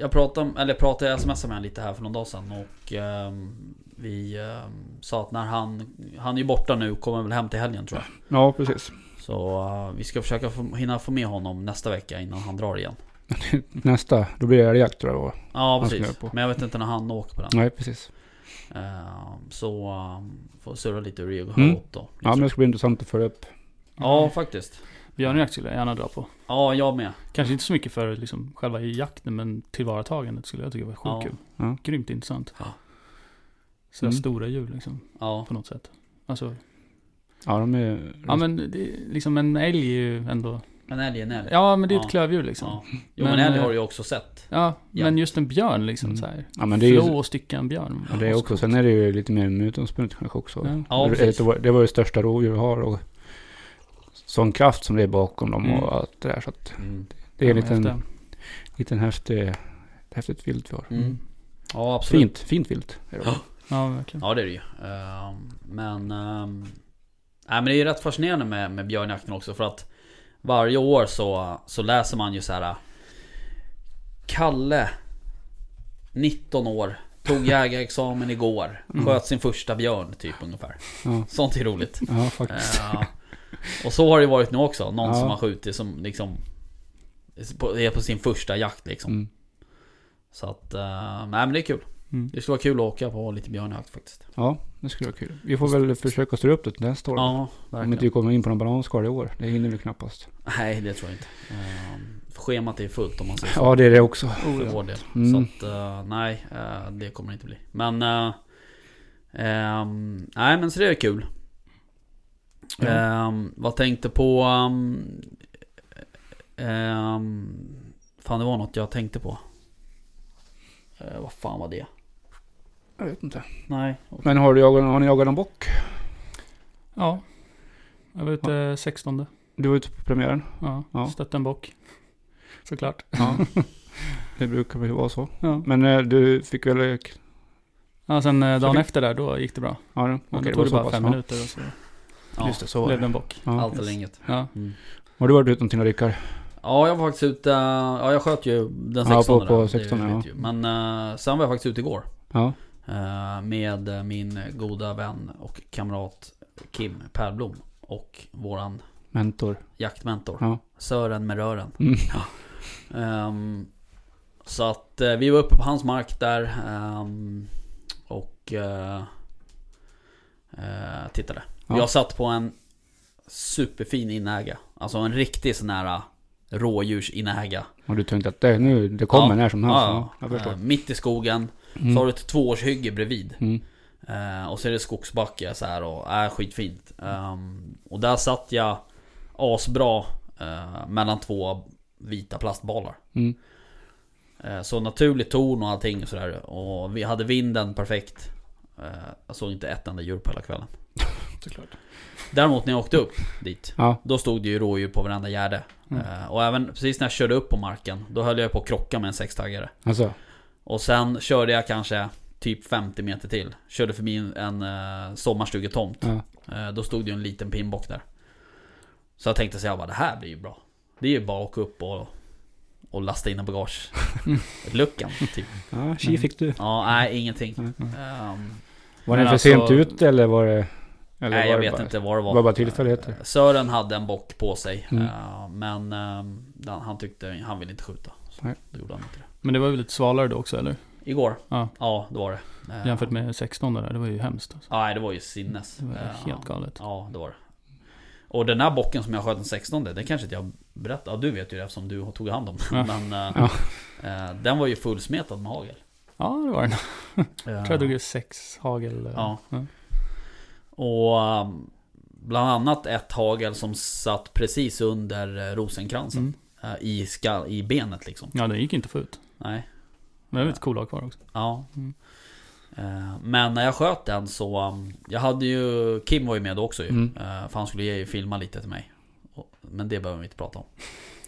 [SPEAKER 1] Jag pratade, eller pratade, jag smsade med honom lite här för någon dag sedan och ehm, vi ehm, sa att när han... Han är ju borta nu, kommer väl hem till helgen tror jag.
[SPEAKER 3] Ja, precis.
[SPEAKER 1] Så eh, vi ska försöka få, hinna få med honom nästa vecka innan han drar igen.
[SPEAKER 3] Nästa, då blir det älgjakt tror jag det var.
[SPEAKER 1] Ja
[SPEAKER 3] Han ska
[SPEAKER 1] precis.
[SPEAKER 3] göra på.
[SPEAKER 1] Men jag vet inte när han åker på den.
[SPEAKER 3] Nej, precis.
[SPEAKER 1] Ehm, Så eh, får surra lite ur eget
[SPEAKER 3] Mm.
[SPEAKER 1] mm. då.
[SPEAKER 3] Ja, men det ska bli intressant att följa upp.
[SPEAKER 1] ja faktiskt.
[SPEAKER 2] Björnjakt skulle jag gärna dra på.
[SPEAKER 1] Ja jag med.
[SPEAKER 2] Kanske inte så mycket för liksom själva jakten, men tillvaratagandet skulle jag tycka var
[SPEAKER 1] Ja.
[SPEAKER 2] sjukt kul.
[SPEAKER 3] Ja.
[SPEAKER 2] Grymt intressant.
[SPEAKER 1] Ja.
[SPEAKER 2] Sådär
[SPEAKER 3] Mm.
[SPEAKER 2] stora djur liksom,
[SPEAKER 1] Ja.
[SPEAKER 2] på något sätt. Alltså,
[SPEAKER 3] Ja, de är...
[SPEAKER 2] ja men det, är liksom en älg är ju ändå...
[SPEAKER 1] En älg är en älg.
[SPEAKER 2] Ja men det är ett
[SPEAKER 1] Ja.
[SPEAKER 2] klövdjur liksom. Ja,
[SPEAKER 1] Ja. Jo men,
[SPEAKER 2] Men,
[SPEAKER 1] älg
[SPEAKER 2] eh,
[SPEAKER 1] har du ju också sett.
[SPEAKER 2] men just en björn liksom
[SPEAKER 3] Mm.
[SPEAKER 2] så här.
[SPEAKER 3] Ja, men det är ju...
[SPEAKER 2] Flå och stycka en björn.
[SPEAKER 3] Ja, det är också. Sen är det ju lite mer med utgångspunkt kanske också.
[SPEAKER 2] Ja.
[SPEAKER 1] Ja,
[SPEAKER 3] det,
[SPEAKER 1] precis.
[SPEAKER 3] det, var, det var ju största rovdjur vi har och sån kraft som det är bakom dem
[SPEAKER 2] Mm.
[SPEAKER 3] och allt det där. Så att
[SPEAKER 1] Mm.
[SPEAKER 3] det är en
[SPEAKER 2] Ja,
[SPEAKER 3] liten,
[SPEAKER 2] häftigt.
[SPEAKER 3] liten häftig, ett häftigt vilt vi har.
[SPEAKER 1] Mm. Ja absolut.
[SPEAKER 3] Fint, fint vilt. är det.
[SPEAKER 1] Ja.
[SPEAKER 2] Ja, verkligen.
[SPEAKER 1] Ja det är det ju. Ehm, Men... ehm, Nej men det är ju rätt fascinerande med, med björnjakten också för att Varje år så, så läser man ju så här. äh, Kalle 19 år Tog jägarexamen igår Sköt sin första björn typ ungefär
[SPEAKER 3] Ja.
[SPEAKER 1] Sånt är roligt
[SPEAKER 3] Ja, faktiskt.
[SPEAKER 1] Eh, Och så har det varit nu också Någon
[SPEAKER 3] Ja.
[SPEAKER 1] som har skjutit som liksom på- Är på sin första jakt liksom
[SPEAKER 3] Mm.
[SPEAKER 1] Så att, eh, nej men det är kul
[SPEAKER 2] Mm.
[SPEAKER 1] Det skulle vara kul att åka på lite björnjakt faktiskt
[SPEAKER 3] Ja, det skulle vara kul. Vi får väl försöka styra upp det till nästa år.
[SPEAKER 1] Ja,
[SPEAKER 3] Om
[SPEAKER 1] verkligen
[SPEAKER 3] inte vi kommer in på någon bananskal i år. Det hinner vi knappast.
[SPEAKER 1] Nej, det tror jag inte. Ehm, schemat är fullt om man säger så.
[SPEAKER 3] Ja, det är det också.
[SPEAKER 1] för vår del.
[SPEAKER 3] Mm.
[SPEAKER 1] Så att, eh, nej, eh, det kommer det inte bli. Men... eh, ehm, nej, men så det är kul.
[SPEAKER 3] Ja.
[SPEAKER 1] Ehm, vad tänkte på... ehm, ehm, fan, det var något jag tänkte på. Eh, vad fan var det?
[SPEAKER 3] Jag vet inte.
[SPEAKER 1] Nej.
[SPEAKER 3] Men har, du jagat, har ni jagat någon bock?
[SPEAKER 2] Ja. Jag var ute eh, 16.
[SPEAKER 3] Du var ute på premiären.
[SPEAKER 2] Ja.
[SPEAKER 3] Ja.
[SPEAKER 2] Stötte en bock. Såklart.
[SPEAKER 3] Ja. det brukar väl vara så.
[SPEAKER 2] Ja.
[SPEAKER 3] Men eh, du fick väl
[SPEAKER 2] Ja, sen eh,
[SPEAKER 3] Så
[SPEAKER 2] dagen
[SPEAKER 3] det-
[SPEAKER 2] efter där, då gick det bra.
[SPEAKER 3] Ja, okej,
[SPEAKER 2] Men
[SPEAKER 3] det
[SPEAKER 2] då
[SPEAKER 3] var
[SPEAKER 2] tog det
[SPEAKER 3] så
[SPEAKER 2] bara
[SPEAKER 3] pass,
[SPEAKER 2] fem
[SPEAKER 3] ja.
[SPEAKER 2] minuter och så
[SPEAKER 1] Ja.
[SPEAKER 3] Just det, så var
[SPEAKER 2] Blev
[SPEAKER 3] det.
[SPEAKER 2] det en bock.
[SPEAKER 3] Ja.
[SPEAKER 1] Allt eller inget.
[SPEAKER 2] Ja.
[SPEAKER 1] Mm.
[SPEAKER 3] Har du varit ute någonting då Rickard?
[SPEAKER 1] Ja, jag var faktiskt ute, eh, ja jag sköt ju den
[SPEAKER 3] Ja, på-
[SPEAKER 1] 16 där.
[SPEAKER 3] på
[SPEAKER 1] Det
[SPEAKER 3] 16,
[SPEAKER 1] vet
[SPEAKER 3] ja.
[SPEAKER 1] ju. Men eh, sen var jag faktiskt ute igår.
[SPEAKER 3] Ja.
[SPEAKER 1] eh, med min goda vän och kamrat Kim Perblom. Och våran
[SPEAKER 3] Mentor.
[SPEAKER 1] jaktmentor.
[SPEAKER 3] Ja.
[SPEAKER 1] Sören med rören.
[SPEAKER 3] Mm.
[SPEAKER 1] Ja. Ehm, så att eh, vi var uppe på hans mark där. ehm, och eh, eh, tittade.
[SPEAKER 3] Ja.
[SPEAKER 1] Jag satt på en superfin inäga. Alltså en riktig sån här rådjursinäga.
[SPEAKER 3] Och du tänkte att det, nu, det kommer
[SPEAKER 1] Ja.
[SPEAKER 3] när som helst?
[SPEAKER 1] Ja,
[SPEAKER 3] Ja, jag förstår.
[SPEAKER 1] eh, mitt i skogen.
[SPEAKER 3] Mm.
[SPEAKER 1] Så har du ett tvåårshygge bredvid.
[SPEAKER 3] Mm.
[SPEAKER 1] Eh, och så är det skogsbacke så här och är skitfint. Ehm, och där satt jag asbra eh, mellan två vita plastbalar.
[SPEAKER 3] Mm.
[SPEAKER 1] Eh, så naturlig ton och allting och sådär. Och vi hade vinden perfekt. Eh, jag såg inte ett enda djur på hela kvällen.
[SPEAKER 3] Såklart.
[SPEAKER 1] Däremot när jag åkte upp dit.
[SPEAKER 3] Ja.
[SPEAKER 1] Då stod det ju rådjur på varenda gärde.
[SPEAKER 2] Mm.
[SPEAKER 1] Eh, och även precis när jag körde upp på marken. Då höll jag på att krocka med en sextaggare.
[SPEAKER 3] Alltså.
[SPEAKER 1] Och sen körde jag kanske typ 50 meter till. Körde förbi en, en eh, sommarstugetomt.
[SPEAKER 3] Ja.
[SPEAKER 1] Eh, då stod det ju en liten pinbock där. Så jag tänkte så jag bara, det här blir ju bra. Det är ju bara att åka upp och, och lasta in en bagage. Luckan, typ.
[SPEAKER 3] Ja, tji fick du.
[SPEAKER 1] Ja, nej, ingenting.
[SPEAKER 3] Nej.
[SPEAKER 1] Ehm,
[SPEAKER 3] Mm. Var
[SPEAKER 2] Men
[SPEAKER 3] ni för
[SPEAKER 2] alltså-
[SPEAKER 3] sent ute eller var det... Eller
[SPEAKER 1] nej,
[SPEAKER 3] var det
[SPEAKER 1] jag vet
[SPEAKER 3] bara-
[SPEAKER 1] inte vad det var.
[SPEAKER 3] Det var bara tillfälligheter.
[SPEAKER 1] Eh, Sören hade en bock på sig.
[SPEAKER 3] Mm.
[SPEAKER 1] eh, men ehm, den- han tyckte, han ville inte skjuta. Så
[SPEAKER 3] Nej.
[SPEAKER 1] då gjorde han inte det.
[SPEAKER 2] Men det var ju lite svalare då också eller?
[SPEAKER 1] Igår?
[SPEAKER 2] Ja.
[SPEAKER 1] Ja, det var det. Eh,
[SPEAKER 2] Jämfört med 16 där, det var ju hemskt. Alltså.
[SPEAKER 1] Nej, det var ju sinnes.
[SPEAKER 2] Det var
[SPEAKER 1] Eh,
[SPEAKER 2] helt galet.
[SPEAKER 1] Ja, det var det. Och den här bocken som jag sköt den 16 det kanske inte jag berättade. Ja, du vet ju det eftersom du tog hand om den.
[SPEAKER 2] Ja.
[SPEAKER 1] Men eh,
[SPEAKER 3] Ja.
[SPEAKER 1] eh, den var ju fullsmetad med hagel.
[SPEAKER 2] Ja, det var den.
[SPEAKER 1] Eh,
[SPEAKER 2] Jag tror jag drog i sex hagel. eh,
[SPEAKER 1] Ja. Mm.
[SPEAKER 2] ja.
[SPEAKER 1] och eh, bland annat ett hagel som satt precis under eh, rosenkransen.
[SPEAKER 2] Mm.
[SPEAKER 1] Eh, I, skall, I benet liksom.
[SPEAKER 2] Ja, den gick inte att få ut.
[SPEAKER 1] Nej.
[SPEAKER 2] Men det var lite coola kvar också.
[SPEAKER 1] Ja.
[SPEAKER 2] Mm.
[SPEAKER 1] Eh, Men när jag sköt den så... um, Jag hade ju... Kim var ju med då också ju.
[SPEAKER 3] Mm.
[SPEAKER 1] Eh, För han skulle ju filma lite till mig. Och- Men det behöver vi inte prata om.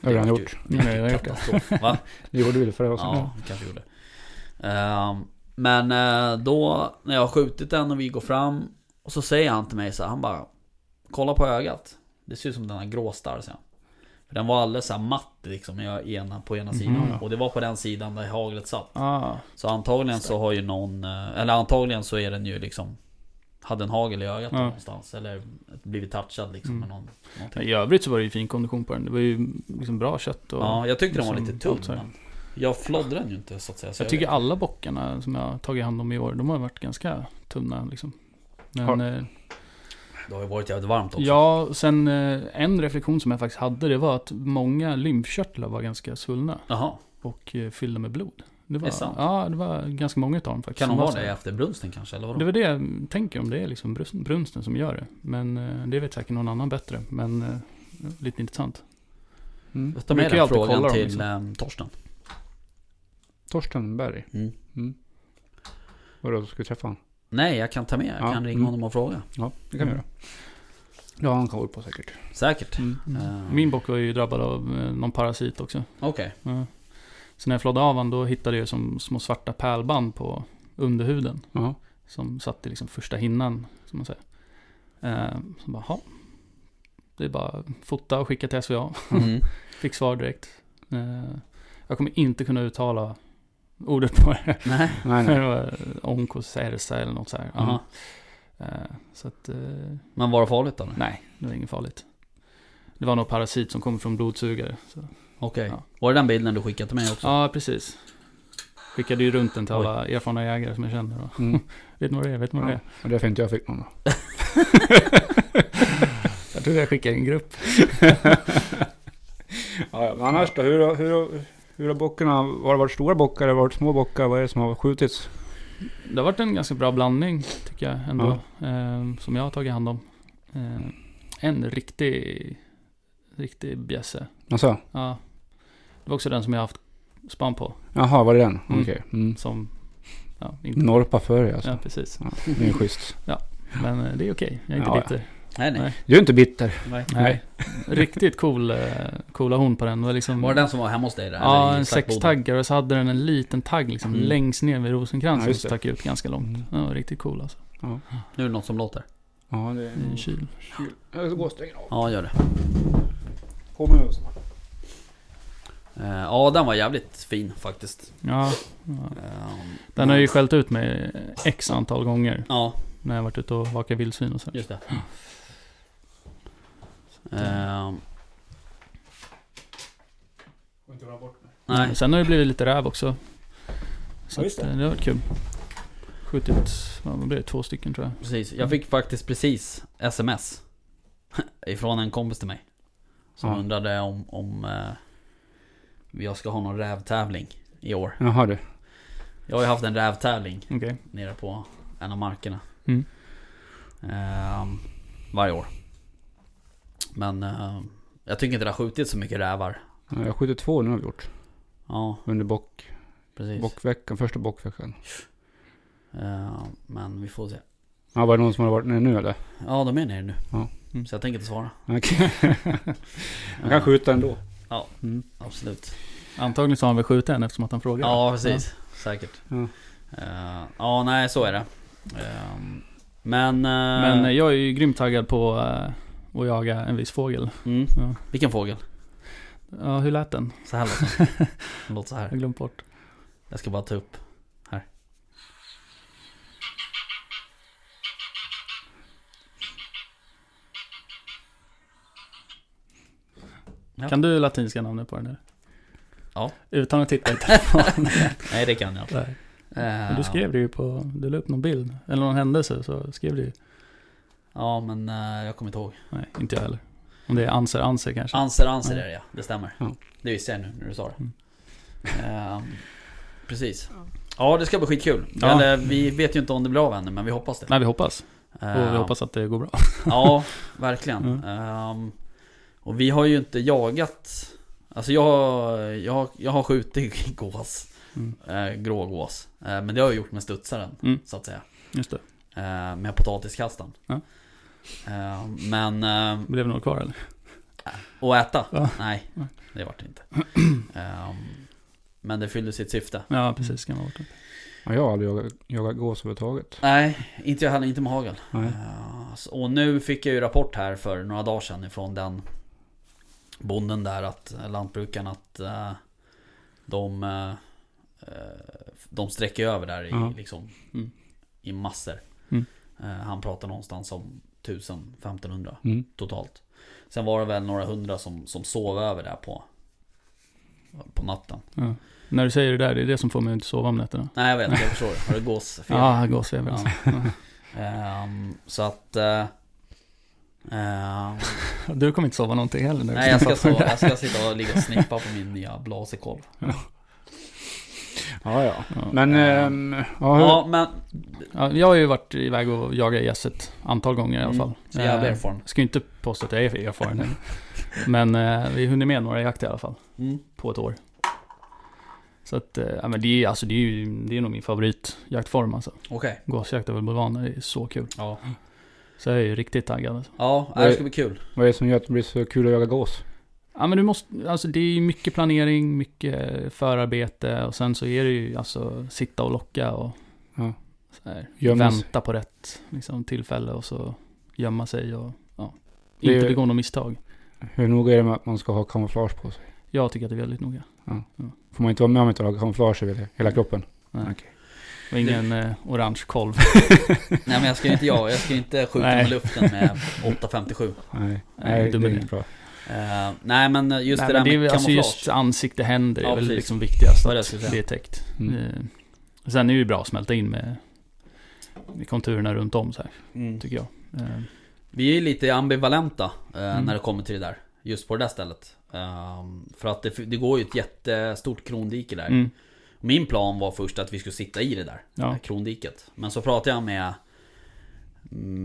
[SPEAKER 3] Det har han
[SPEAKER 1] vart ju-
[SPEAKER 3] gjort.
[SPEAKER 1] det vart ju
[SPEAKER 2] Nej, jag har gjort det.
[SPEAKER 1] katastrof. Va?
[SPEAKER 3] Det gjorde vi det förra året.
[SPEAKER 1] Ja, kanske gjorde. Ehm, Men eh, då när jag har skjutit den och vi går fram och så säger han till mig så här, han bara Kolla på ögat. Det ser ut som den har gråstarr sen. För den var alldeles så här matt liksom i ena, på ena sidan.
[SPEAKER 2] Mhm.
[SPEAKER 1] Och det var på den sidan där haglet satt.
[SPEAKER 2] Ah,
[SPEAKER 1] Så antagligen så har ju någon, eh, eller antagligen så är den ju liksom Hade en hagel i ögat
[SPEAKER 2] Ja.
[SPEAKER 1] någonstans. Eller blivit touchad liksom
[SPEAKER 2] Mm.
[SPEAKER 1] med någon, någonting.
[SPEAKER 2] I övrigt så var det ju fin kondition på den. Det var ju liksom bra kött och...
[SPEAKER 1] Ja, jag tyckte den var
[SPEAKER 2] liksom
[SPEAKER 1] lite tunn.
[SPEAKER 2] allt så här.
[SPEAKER 1] Men jag floddrade den ju inte så att säga. Så
[SPEAKER 2] Jag tycker alla bockarna som jag har tagit hand om i år, de har varit ganska tunna liksom. Men,
[SPEAKER 3] Har-
[SPEAKER 2] eh,
[SPEAKER 1] Det har ju varit jävligt varmt också.
[SPEAKER 2] ja, sen eh, en reflektion som jag faktiskt hade, det var att många lymfkörtlar var ganska svullna
[SPEAKER 1] Jaha,
[SPEAKER 2] och eh, fyllda med blod. Det var,
[SPEAKER 1] Är det sant?
[SPEAKER 2] Ja, det var ganska många utav dem faktiskt.
[SPEAKER 1] kan
[SPEAKER 2] som
[SPEAKER 1] de
[SPEAKER 2] var
[SPEAKER 1] vara
[SPEAKER 2] så
[SPEAKER 1] det
[SPEAKER 2] här.
[SPEAKER 1] efter brunsten kanske? Eller vadå?
[SPEAKER 2] Det var det jag tänker om det är liksom brunsten, brunsten som gör det. Men eh, det vet säkert någon annan bättre. Men eh, lite intressant.
[SPEAKER 3] Mm.
[SPEAKER 1] Ta med
[SPEAKER 2] brukar ju
[SPEAKER 1] den
[SPEAKER 2] alltid
[SPEAKER 1] frågan
[SPEAKER 2] kolla dem,
[SPEAKER 1] till
[SPEAKER 2] liksom.
[SPEAKER 1] ehm, Torsten.
[SPEAKER 3] Torsten Berg.
[SPEAKER 1] Mm.
[SPEAKER 3] Vadå, ska vi träffa honom?
[SPEAKER 1] Nej, jag kan ta med. Jag
[SPEAKER 3] Ja,
[SPEAKER 1] kan ringa
[SPEAKER 3] mm.
[SPEAKER 1] honom och fråga.
[SPEAKER 3] Ja, det kan vi göra. Det har han koll på säkert.
[SPEAKER 1] Säkert.
[SPEAKER 3] Eh.
[SPEAKER 1] Ehm,
[SPEAKER 2] Mm. Min bock var ju drabbad av eh, någon parasit också.
[SPEAKER 1] Okej.
[SPEAKER 2] Ja. Så när jag flådde av honom då hittade jag som små svarta pärlband på underhuden.
[SPEAKER 3] Ja.
[SPEAKER 2] Som satt i liksom första hinnan, som man säger. Eh, så bara, "Ha." Det är bara fota och skicka till SVA.
[SPEAKER 1] Mm.
[SPEAKER 2] Fick svar direkt. Eh, jag kommer inte kunna uttala ordet på det.
[SPEAKER 1] Nej.
[SPEAKER 3] Nej, nej.
[SPEAKER 2] det var onkosersa eller något så här.
[SPEAKER 1] Aha.
[SPEAKER 2] Eh, så att, eh,
[SPEAKER 1] Men var det farligt då? Okej.
[SPEAKER 2] nej, det var inget farligt. Det var någon parasit som kom från blodsugare. Så. Ja.
[SPEAKER 1] Var det den bilden du skickade till mig också?
[SPEAKER 2] Ja, precis. Skickade ju runt den till
[SPEAKER 1] Oj.
[SPEAKER 2] alla erfarna jägare som jag känner. Och,
[SPEAKER 3] Mm.
[SPEAKER 2] vet ni vad det är? Vet ni vad det
[SPEAKER 3] Ja.
[SPEAKER 2] är?
[SPEAKER 3] Och därför inte jag fick någon då.
[SPEAKER 2] Jag tror jag skickade en grupp.
[SPEAKER 3] Ja, ja, men annars då? Hur, har- hur, har- hur har bockarna, har det varit stora bockar eller har det varit små bockar? Vad är det som har skjutits?
[SPEAKER 2] Det har varit en ganska bra blandning, tycker jag ändå. Eh, som jag har tagit hand om. Eh, en riktig, riktig bjässe.
[SPEAKER 3] Alltså,
[SPEAKER 2] Ja. Det var också den som jag har haft span på.
[SPEAKER 3] jaha, var det den?
[SPEAKER 2] Mm.
[SPEAKER 3] Okej. Mm.
[SPEAKER 2] Som, ja, inte.
[SPEAKER 3] Norpa före alltså.
[SPEAKER 2] Ja, precis.
[SPEAKER 3] Ja. Det är ju schysst.
[SPEAKER 2] Men eh, det är okej. Jag är inte
[SPEAKER 3] Ja, ja.
[SPEAKER 2] bitter.
[SPEAKER 1] Nej, nej.
[SPEAKER 3] Du är inte bitter.
[SPEAKER 1] nej.
[SPEAKER 2] Nej. Riktigt cool, eh, coola horn på den. Det var liksom...
[SPEAKER 1] Var det den som var hemma hos dig? Där,
[SPEAKER 2] Ja,
[SPEAKER 1] Eller i
[SPEAKER 2] en
[SPEAKER 1] slaktboden?
[SPEAKER 2] sextaggare och så hade den en liten tagg liksom
[SPEAKER 1] Mm.
[SPEAKER 2] längst ner vid
[SPEAKER 3] Ja,
[SPEAKER 2] rosenkransen
[SPEAKER 3] just
[SPEAKER 2] som
[SPEAKER 3] det.
[SPEAKER 2] stack ut ganska långt.
[SPEAKER 3] Mm.
[SPEAKER 2] Den var riktigt cool alltså.
[SPEAKER 1] Nu är det något som låter.
[SPEAKER 3] Ja, det är
[SPEAKER 1] Mm.
[SPEAKER 2] i en kyl.
[SPEAKER 3] kyl. Jag ska gå och stänga av.
[SPEAKER 1] Ja, gör det.
[SPEAKER 3] Kommer jag snart.
[SPEAKER 1] Eh, Ja, den var jävligt fin faktiskt.
[SPEAKER 2] Ja, ja.
[SPEAKER 1] Ehm,
[SPEAKER 2] Den har ju skällt ut mig x antal gånger
[SPEAKER 1] Ja,
[SPEAKER 2] när jag varit ute och vakat vildsvin och så.
[SPEAKER 1] just det. Ehm,
[SPEAKER 3] Får inte glömma bort mig.
[SPEAKER 1] nej,
[SPEAKER 2] Sen har det blivit lite räv också.
[SPEAKER 3] Ja,
[SPEAKER 2] Så att,
[SPEAKER 3] just
[SPEAKER 2] eh,
[SPEAKER 3] det.
[SPEAKER 2] det har varit kul. Skjutit, vad blir det, två stycken tror jag.
[SPEAKER 1] precis. Jag fick faktiskt precis sms. Ifrån en kompis till mig. Som
[SPEAKER 3] Ja.
[SPEAKER 1] undrade om, om eh, jag ska ha någon rävtävling i år.
[SPEAKER 3] Jaha du.
[SPEAKER 1] Jag har ju haft en rävtävling
[SPEAKER 2] Okej.
[SPEAKER 1] nere på en av markerna.
[SPEAKER 2] Mm.
[SPEAKER 1] Ehm, varje år. Men eh, jag tycker inte det har skjutits så mycket rävar.
[SPEAKER 3] Ja, Jag har skjutit två nu har vi gjort.
[SPEAKER 1] Ja,
[SPEAKER 3] Under bock,
[SPEAKER 1] precis.
[SPEAKER 3] bockveckan, första bockveckan.
[SPEAKER 1] Ehm, men vi får se.
[SPEAKER 3] Ja, var det någon som har varit nere nu eller?
[SPEAKER 1] Ja, de är nere nu.
[SPEAKER 3] Ja.
[SPEAKER 2] Mm.
[SPEAKER 1] Så jag tänker inte svara.
[SPEAKER 3] Okej. Man kan
[SPEAKER 1] Eh,
[SPEAKER 3] skjuta ändå.
[SPEAKER 1] Ehm, Absolut.
[SPEAKER 2] Antagligen så har han väl skjutit en eftersom att han frågade.
[SPEAKER 1] Ja, precis. Säkert.
[SPEAKER 3] Ja.
[SPEAKER 1] Ehm, ja, nej så är det. Ehm, men... eh,
[SPEAKER 2] Men eh, jag är ju grymt taggad på eh, att jaga en viss fågel.
[SPEAKER 1] mm.
[SPEAKER 2] Ja.
[SPEAKER 1] Vilken fågel?
[SPEAKER 2] Ja, hur lät den?
[SPEAKER 1] Så här låter den. den. låter så
[SPEAKER 2] Jag
[SPEAKER 1] här.
[SPEAKER 2] har glömt bort.
[SPEAKER 1] Jag ska bara ta upp. Ja.
[SPEAKER 2] Kan du latinska namnet på den eller?
[SPEAKER 1] Ja.
[SPEAKER 2] Utan att titta i telefonen.
[SPEAKER 1] Nej, det kan jag inte.
[SPEAKER 2] Nej. Men
[SPEAKER 1] Ehm,
[SPEAKER 2] du skrev det ju på, du la upp någon bild. Eller någon händelse så skrev du ju.
[SPEAKER 1] Ja, men eh, jag kommer inte ihåg.
[SPEAKER 2] Nej, inte jag heller. Om det är anser anser kanske.
[SPEAKER 1] Anser, anser
[SPEAKER 2] Ja.
[SPEAKER 1] är det ja. Det stämmer.
[SPEAKER 3] Ja.
[SPEAKER 1] Det visste jag nu när du sa det.
[SPEAKER 2] Mm.
[SPEAKER 1] Ehm, precis. Ja, det ska bli skitkul.
[SPEAKER 2] Ja.
[SPEAKER 1] Eller vi vet ju inte om det blir av ännu, men vi hoppas det.
[SPEAKER 2] Nej, vi hoppas. Och
[SPEAKER 1] Ehm,
[SPEAKER 2] vi hoppas att det går bra.
[SPEAKER 1] Ja, verkligen.
[SPEAKER 2] Mm.
[SPEAKER 1] Ehm, och vi har ju inte jagat... Alltså jag, har- jag, har- jag har skjutit gås.
[SPEAKER 2] Mm.
[SPEAKER 1] Eh, grå gås. Eh, men det har jag gjort med studsaren,
[SPEAKER 2] Mm.
[SPEAKER 1] så att säga.
[SPEAKER 2] Just det.
[SPEAKER 1] Eh, med potatiskastan.
[SPEAKER 2] Ja.
[SPEAKER 1] Ehm, men... ehm,
[SPEAKER 2] Blev det något kvar eller?
[SPEAKER 1] Och äta?
[SPEAKER 2] Ja.
[SPEAKER 1] Nej,
[SPEAKER 2] Nej.
[SPEAKER 1] det vart det inte. Ehm, men det fyllde sitt syfte.
[SPEAKER 2] Ja, precis. Kan ha varit det.
[SPEAKER 3] Ja, jag har aldrig jagat, jagat gås överhuvudtaget.
[SPEAKER 1] Nej, inte jag heller, inte med hagel.
[SPEAKER 3] Nej.
[SPEAKER 1] Ehm, så- och nu fick jag ju rapport här för några dagar sedan ifrån den bonden där, att lantbrukaren, att eh, de, eh, eh, de sträcker över där i,
[SPEAKER 3] Ja.
[SPEAKER 1] liksom,
[SPEAKER 2] Mm.
[SPEAKER 1] i massor.
[SPEAKER 2] Mm.
[SPEAKER 1] Eh, han pratar någonstans om 1000-1500
[SPEAKER 3] Mm.
[SPEAKER 1] totalt. Sen var det väl några hundra som, som sov över där på, på natten.
[SPEAKER 2] Ja. När du säger det där, det är det som får mig att inte sova om nätterna.
[SPEAKER 1] Nej jag vet, jag förstår. Har det gåsfel?
[SPEAKER 2] Ja, gåsfeber alltså.
[SPEAKER 1] Ehm, så att... eh, ehm,
[SPEAKER 2] Du kommer inte sova någonting heller nu.
[SPEAKER 1] nej jag ska, sova, jag ska sitta och ligga och snippa på min nya blasekolv.
[SPEAKER 3] Ja, ja.
[SPEAKER 2] Ja.
[SPEAKER 3] Men, ehm, ja, hur,
[SPEAKER 1] Ja men,
[SPEAKER 2] Ja, jag har ju varit iväg och jagat gässet antal gånger i alla
[SPEAKER 1] Mm.
[SPEAKER 2] fall.
[SPEAKER 1] så jävla
[SPEAKER 2] Eh,
[SPEAKER 1] erfaren.
[SPEAKER 2] Jag ska ju inte påstå att jag är erfaren än. Men eh, vi har hunnit med några jakter i alla fall.
[SPEAKER 1] Mm.
[SPEAKER 2] På ett år. Så att, eh, ja, men det är, alltså, det är ju det är nog min favoritjaktform alltså.
[SPEAKER 1] Okej.
[SPEAKER 2] Gåsjakt över bulvaner är så kul.
[SPEAKER 1] Ja,
[SPEAKER 2] Så jag är ju riktigt taggad alltså.
[SPEAKER 1] ja det här ska bli kul.
[SPEAKER 3] vad är det som gör att det blir så kul att jaga gås?
[SPEAKER 2] Ja men du måste, alltså det är ju mycket planering, mycket förarbete och sen så är det ju alltså sitta och locka och
[SPEAKER 3] Ja.
[SPEAKER 2] så här,
[SPEAKER 3] Gömma sig.
[SPEAKER 2] vänta på rätt liksom, tillfälle och så gömma sig och ja,
[SPEAKER 3] Det är-
[SPEAKER 2] inte begå något misstag.
[SPEAKER 3] Hur noga är det med att man ska ha kamouflage på sig?
[SPEAKER 2] Jag tycker att det är väldigt noga.
[SPEAKER 3] Får man inte vara med om man inte har kamouflage över hela kroppen?
[SPEAKER 2] Och ingen eh, orange kolv.
[SPEAKER 1] Nej men jag ska ju inte, jag, jag ska ju inte skjuta
[SPEAKER 2] Nej.
[SPEAKER 1] med luften med 857.
[SPEAKER 3] Nej,
[SPEAKER 2] Nej,
[SPEAKER 3] nej det
[SPEAKER 2] dum
[SPEAKER 3] är
[SPEAKER 2] idé.
[SPEAKER 3] inte bra.
[SPEAKER 1] Ehm, nej men just
[SPEAKER 2] Nej,
[SPEAKER 1] det där
[SPEAKER 2] men det är,
[SPEAKER 1] med
[SPEAKER 2] väl- alltså
[SPEAKER 1] kamouflage.
[SPEAKER 2] just ansikte, händer
[SPEAKER 1] Ja,
[SPEAKER 2] är väl
[SPEAKER 1] precis.
[SPEAKER 2] liksom viktigast.
[SPEAKER 1] Det var det jag
[SPEAKER 2] Att
[SPEAKER 1] skulle säga.
[SPEAKER 2] det är täckt.
[SPEAKER 3] Mm.
[SPEAKER 2] Eh, Sen är det ju bra att smälta in med, med konturerna runt om så här,
[SPEAKER 1] Mm.
[SPEAKER 2] tycker jag. Eh,
[SPEAKER 1] Vi är ju lite ambivalenta eh,
[SPEAKER 2] Mm.
[SPEAKER 1] när det kommer till det där. Just på det där stället. Ehm, för att det, det går ju ett jättestort krondike där.
[SPEAKER 2] Mm.
[SPEAKER 1] Min plan var först att vi skulle sitta i det där
[SPEAKER 2] Ja.
[SPEAKER 1] eh, krondiket. Men så pratade jag med,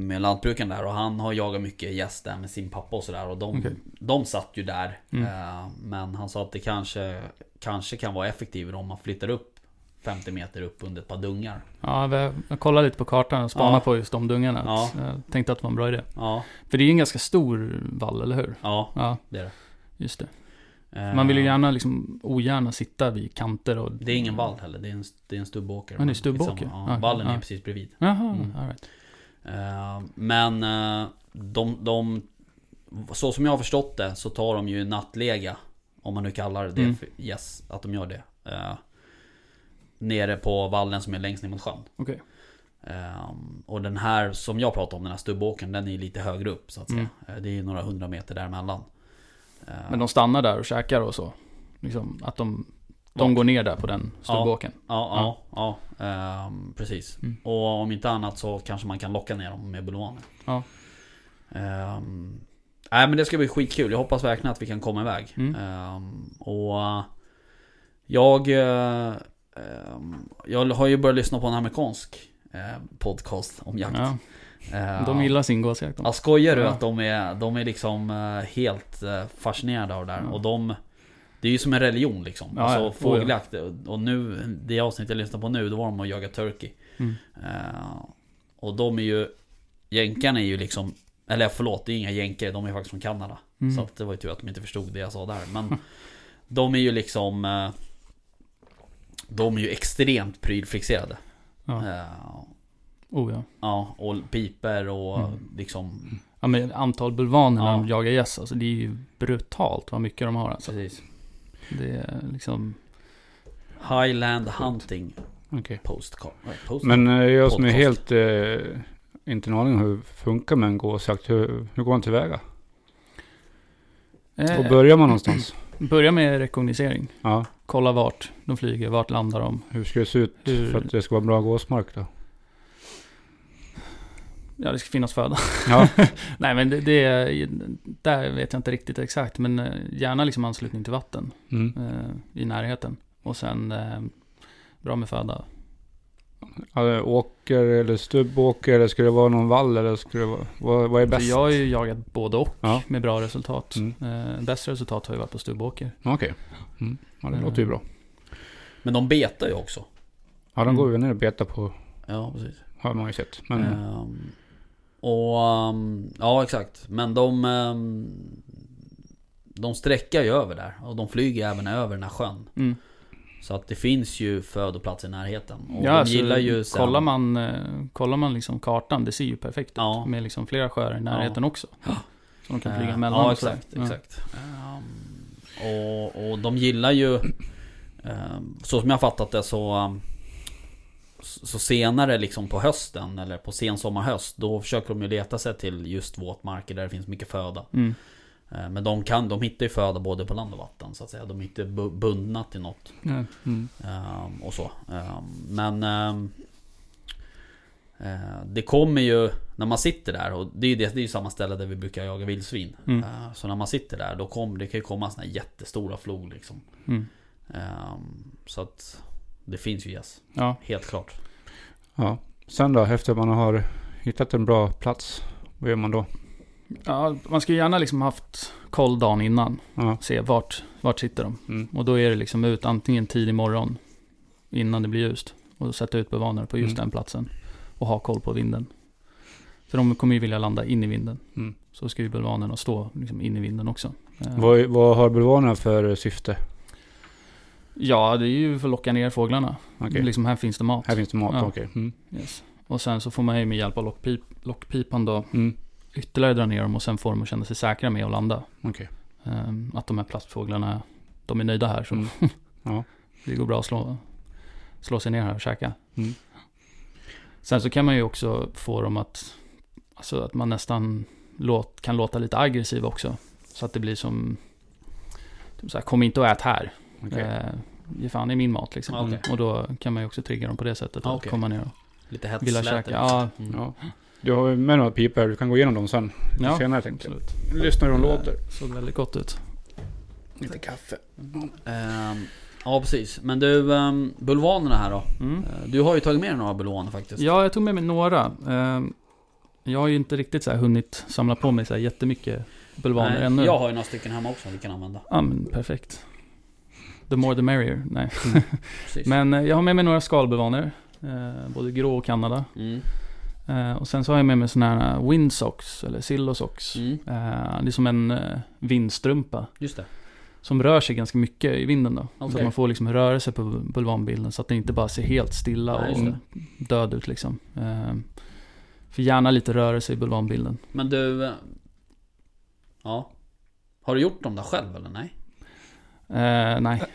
[SPEAKER 1] med lantbrukaren där och han har jagat mycket gäss där med sin pappa och sådär. Och de,
[SPEAKER 2] Okej.
[SPEAKER 1] de satt ju där.
[SPEAKER 2] Mm.
[SPEAKER 1] eh, Men han sa att det kanske, kanske kan vara effektivare om man flyttar upp 50 meter upp under ett par dungar.
[SPEAKER 2] Ja, vi- jag kollade lite på kartan och spanade
[SPEAKER 1] Ja.
[SPEAKER 2] på just de dungarna.
[SPEAKER 1] Ja.
[SPEAKER 2] Jag tänkte att det var en bra idé.
[SPEAKER 1] Ja,
[SPEAKER 2] För det är ju en ganska stor vall, eller hur?
[SPEAKER 1] ja
[SPEAKER 2] Ja,
[SPEAKER 1] det är det.
[SPEAKER 2] just det.
[SPEAKER 1] Eh,
[SPEAKER 2] Man vill ju gärna, liksom, ogärna sitta vid kanter och...
[SPEAKER 1] Det är ingen vall heller, det är en, det är en stubbåker.
[SPEAKER 2] Ja, det är en stubbåker.
[SPEAKER 1] Skitsamma, Ja,
[SPEAKER 2] Okej,
[SPEAKER 1] vallen är
[SPEAKER 2] ja.
[SPEAKER 1] precis bredvid.
[SPEAKER 2] Jaha,
[SPEAKER 1] Mm.
[SPEAKER 2] all right.
[SPEAKER 1] Eh, Men eh, de, de... Så som jag har förstått det så tar de ju nattlega Om man nu kallar det
[SPEAKER 2] Mm.
[SPEAKER 1] för yes, att de gör det eh, Nere på vallen som är längst ner mot sjön
[SPEAKER 2] Okej.
[SPEAKER 1] Eh, Och den här som jag pratade om, den här stubbåkern, den är ju lite högre upp så att säga Eh, Det är ju några hundra meter däremellan Eh,
[SPEAKER 2] Men de stannar där och käkar och så. Liksom att de, de går ner där på den stubbåken.
[SPEAKER 1] Ja, ja, ja, ehm, precis.
[SPEAKER 2] Mm.
[SPEAKER 1] Och om inte annat så kanske man kan locka ner dem med bulvaner.
[SPEAKER 2] Ja.
[SPEAKER 1] Ehm, nej men det ska bli skitkul. Jag hoppas verkligen att vi kan komma iväg.
[SPEAKER 2] Mm.
[SPEAKER 1] Ehm, och eh, jag, eh, ehm, jag har ju börjat lyssna på en amerikansk eh, podcast om jakt.
[SPEAKER 2] Ja,
[SPEAKER 1] Ehm,
[SPEAKER 2] de gillar sin gåsjakt. de.
[SPEAKER 1] Ja, skojar du
[SPEAKER 2] Ja.
[SPEAKER 1] att de är, de är liksom eh, helt eh, fascinerade av det där?
[SPEAKER 2] Ja.
[SPEAKER 1] Och de... Det är ju som en religion liksom.
[SPEAKER 2] Ja, Oh,
[SPEAKER 1] alltså
[SPEAKER 2] ja.
[SPEAKER 1] fågeljakt. Och nu, det avsnitt jag lyssnar på nu, då var de och jagade turkey.
[SPEAKER 2] Mm.
[SPEAKER 1] Eh, och de är ju... Jänkarna är ju liksom... Eller förlåt, det är inga jänkare, de är faktiskt från Kanada.
[SPEAKER 2] Mm.
[SPEAKER 1] Så att det var ju tur att de inte förstod det jag sa där. Men de är ju liksom... eh, De är ju extremt prylfixerade.
[SPEAKER 2] Ja.
[SPEAKER 1] Eh,
[SPEAKER 2] Oh, ja.
[SPEAKER 1] Ja, och piper och
[SPEAKER 2] Mm.
[SPEAKER 1] liksom...
[SPEAKER 2] ja, men antal bulvaner när
[SPEAKER 1] Ja.
[SPEAKER 2] de jagar gäss, alltså det är ju brutalt vad mycket de har alltså.
[SPEAKER 1] Precis.
[SPEAKER 2] Det är liksom...
[SPEAKER 1] Highland Hunting
[SPEAKER 3] Okej.
[SPEAKER 1] Postcard. Nej, post-
[SPEAKER 3] Men eh, jag som är
[SPEAKER 1] Podcast.
[SPEAKER 3] helt... Eh, inte en aning om hur det funkar med en gåsjakt. Hur, hur går man tillväga?
[SPEAKER 2] Eh,
[SPEAKER 3] Var börjar man någonstans?
[SPEAKER 2] Börja med rekognosering.
[SPEAKER 3] Ja,
[SPEAKER 2] Kolla vart de flyger, vart landar de.
[SPEAKER 3] hur ska det se ut
[SPEAKER 2] Hur-
[SPEAKER 3] för att det ska vara bra gåsmark då?
[SPEAKER 2] Ja, det ska finnas föda.
[SPEAKER 3] Ja.
[SPEAKER 2] Nej, men det, det är, där vet jag inte riktigt exakt, men eh, gärna liksom anslutning till vatten
[SPEAKER 3] Mm.
[SPEAKER 2] eh, i närheten. Och sen eh, bra med föda.
[SPEAKER 3] Alltså, åker eller stubbåker eller ska det vara någon vall eller ska det vara... Vad, vad är
[SPEAKER 2] Så
[SPEAKER 3] bäst?
[SPEAKER 2] jag har ju jagat både och
[SPEAKER 3] Ja.
[SPEAKER 2] med bra resultat.
[SPEAKER 3] Mm.
[SPEAKER 2] Eh, bästa resultat har ju varit på Stubbåker.
[SPEAKER 3] Okej. Mm. Ja, det låter ju bra.
[SPEAKER 1] Men de betar ju också.
[SPEAKER 3] Ja, de
[SPEAKER 2] Mm.
[SPEAKER 3] går ju ner och betar på,
[SPEAKER 1] Ja, precis.
[SPEAKER 3] har man ju sett. Men
[SPEAKER 1] Ehm, och... ehm, ja, exakt. Men de... ehm, de sträckar ju över där. Och de flyger även över den här sjön.
[SPEAKER 2] Mm.
[SPEAKER 1] Så att det finns ju födoplats i närheten. Och
[SPEAKER 2] Ja,
[SPEAKER 1] de
[SPEAKER 2] alltså,
[SPEAKER 1] gillar ju sen...
[SPEAKER 2] kollar man, eh, kollar man liksom kartan, det ser ju perfekt ut.
[SPEAKER 1] Ja.
[SPEAKER 2] Med liksom flera sjöar i närheten också. Så de kan flyga
[SPEAKER 1] Eh,
[SPEAKER 2] mellan
[SPEAKER 1] Ja,
[SPEAKER 2] och sådär.
[SPEAKER 1] exakt. exakt. Ehm, och, och de gillar ju... ehm, så som jag har fattat det så... ehm, s- så senare liksom på hösten eller på sensommarhöst Då försöker de ju leta sig till just våtmarker där det finns mycket föda.
[SPEAKER 2] Ja. Mm.
[SPEAKER 1] Eh, Men de kan, de hittar ju föda både på land och vatten så att säga. De är inte bu- bundna till något.
[SPEAKER 2] Ja. Mm.
[SPEAKER 1] Ehm, och så. Ehm, men ehm, eh, det kommer ju när man sitter där och det är ju, det, det är ju samma ställe där vi brukar jaga vildsvin.
[SPEAKER 2] Mm.
[SPEAKER 1] Eh, så när man sitter där då kommer det kan ju komma såna här jättestora flog liksom.
[SPEAKER 2] Mm.
[SPEAKER 1] Ehm, så att det finns ju gäss,
[SPEAKER 2] ja.
[SPEAKER 1] helt klart.
[SPEAKER 3] ja. Sen då, efter man har hittat en bra plats. Vad gör man då?
[SPEAKER 2] Ja, man ska ju gärna liksom haft koll dagen innan.
[SPEAKER 3] Ja.
[SPEAKER 2] Se vart, vart sitter de.
[SPEAKER 3] Mm.
[SPEAKER 2] Och då är det liksom ut antingen tidig morgon innan det blir ljust. Och sätta ut bevanare på just
[SPEAKER 3] Mm.
[SPEAKER 2] den platsen. Och ha koll på vinden. För de kommer ju vilja landa in i vinden.
[SPEAKER 3] Mm.
[SPEAKER 2] Så ska ju bulvanerna stå liksom in i vinden också. Eh,
[SPEAKER 3] Vad, vad har bulvanerna för syfte?
[SPEAKER 2] Ja, det är ju för att locka ner fåglarna.
[SPEAKER 3] Okej.
[SPEAKER 2] Liksom här finns det mat.
[SPEAKER 3] Här finns det mat,
[SPEAKER 2] Ja.
[SPEAKER 3] okej. Mm.
[SPEAKER 2] Yes. Och sen så får man ju med hjälp av lockpip, lockpipan då
[SPEAKER 3] Mm.
[SPEAKER 2] ytterligare dra ner dem och sen får de att känna sig säkra med att landa.
[SPEAKER 3] Okej.
[SPEAKER 2] Ehm, att de här plastfåglarna, de är nöjda här så
[SPEAKER 3] Mm. Ja.
[SPEAKER 2] det går bra att slå, slå sig ner här och käka.
[SPEAKER 3] Mm.
[SPEAKER 2] Sen så kan man ju också få dem att, alltså att man nästan låt, kan låta lite aggressiv också. Så att det blir som, typ så här, kom inte och ät här.
[SPEAKER 3] Okej.
[SPEAKER 2] Eh, ge fan i min mat liksom.
[SPEAKER 1] Ja, okej.
[SPEAKER 2] Och då kan man ju också trigga dem på det sättet.
[SPEAKER 1] Ja,
[SPEAKER 2] att
[SPEAKER 1] okej.
[SPEAKER 2] komma ner och
[SPEAKER 1] Lite hets
[SPEAKER 2] vilja
[SPEAKER 1] lät det
[SPEAKER 2] käka.
[SPEAKER 1] liksom.
[SPEAKER 2] Ja,
[SPEAKER 1] Mm.
[SPEAKER 3] Ja. Du har ju med några pipor, du kan gå igenom dem sen.
[SPEAKER 2] ja
[SPEAKER 3] senare tänkte jag.
[SPEAKER 2] absolut.
[SPEAKER 3] Lyssna hur de
[SPEAKER 2] Eh,
[SPEAKER 3] låter.
[SPEAKER 2] Såg väldigt gott ut.
[SPEAKER 3] Lite kaffe.
[SPEAKER 1] Ehm, ja precis. Men du, um, bulvanerna här då.
[SPEAKER 2] Mm.
[SPEAKER 1] Eh, Du har ju tagit med dig några bulvaner faktiskt.
[SPEAKER 2] Ja, jag tog med mig några. Ehm, Jag har ju inte riktigt så här hunnit samla på mig så här jättemycket bulvaner
[SPEAKER 1] Nej,
[SPEAKER 2] ännu.
[SPEAKER 1] Jag har ju några stycken hemma också som vi kan använda.
[SPEAKER 2] Ja, men perfekt. The more the merrier. Nej.
[SPEAKER 1] Precis.
[SPEAKER 2] Men eh, jag har med mig några skalbulvaner. eh, Både grå och Kanada.
[SPEAKER 1] Mm.
[SPEAKER 2] Eh, Och sen så har jag med mig sådana här windsocks, eller sillosox.
[SPEAKER 1] Mm.
[SPEAKER 2] Eh, Det är som en eh, vindstrumpa.
[SPEAKER 1] Just det.
[SPEAKER 2] Som rör sig ganska mycket i vinden då. Så
[SPEAKER 1] Okej.
[SPEAKER 2] att man får liksom rörelse på bulvanbilden så att den inte bara ser helt stilla
[SPEAKER 1] Nej, just
[SPEAKER 2] och död ut liksom. Eh, För gärna lite rörelse i bulvanbilden.
[SPEAKER 1] Men du... eh, Ja. Har du gjort dem där själv eller nej?
[SPEAKER 2] Eh, nej,
[SPEAKER 1] Ja,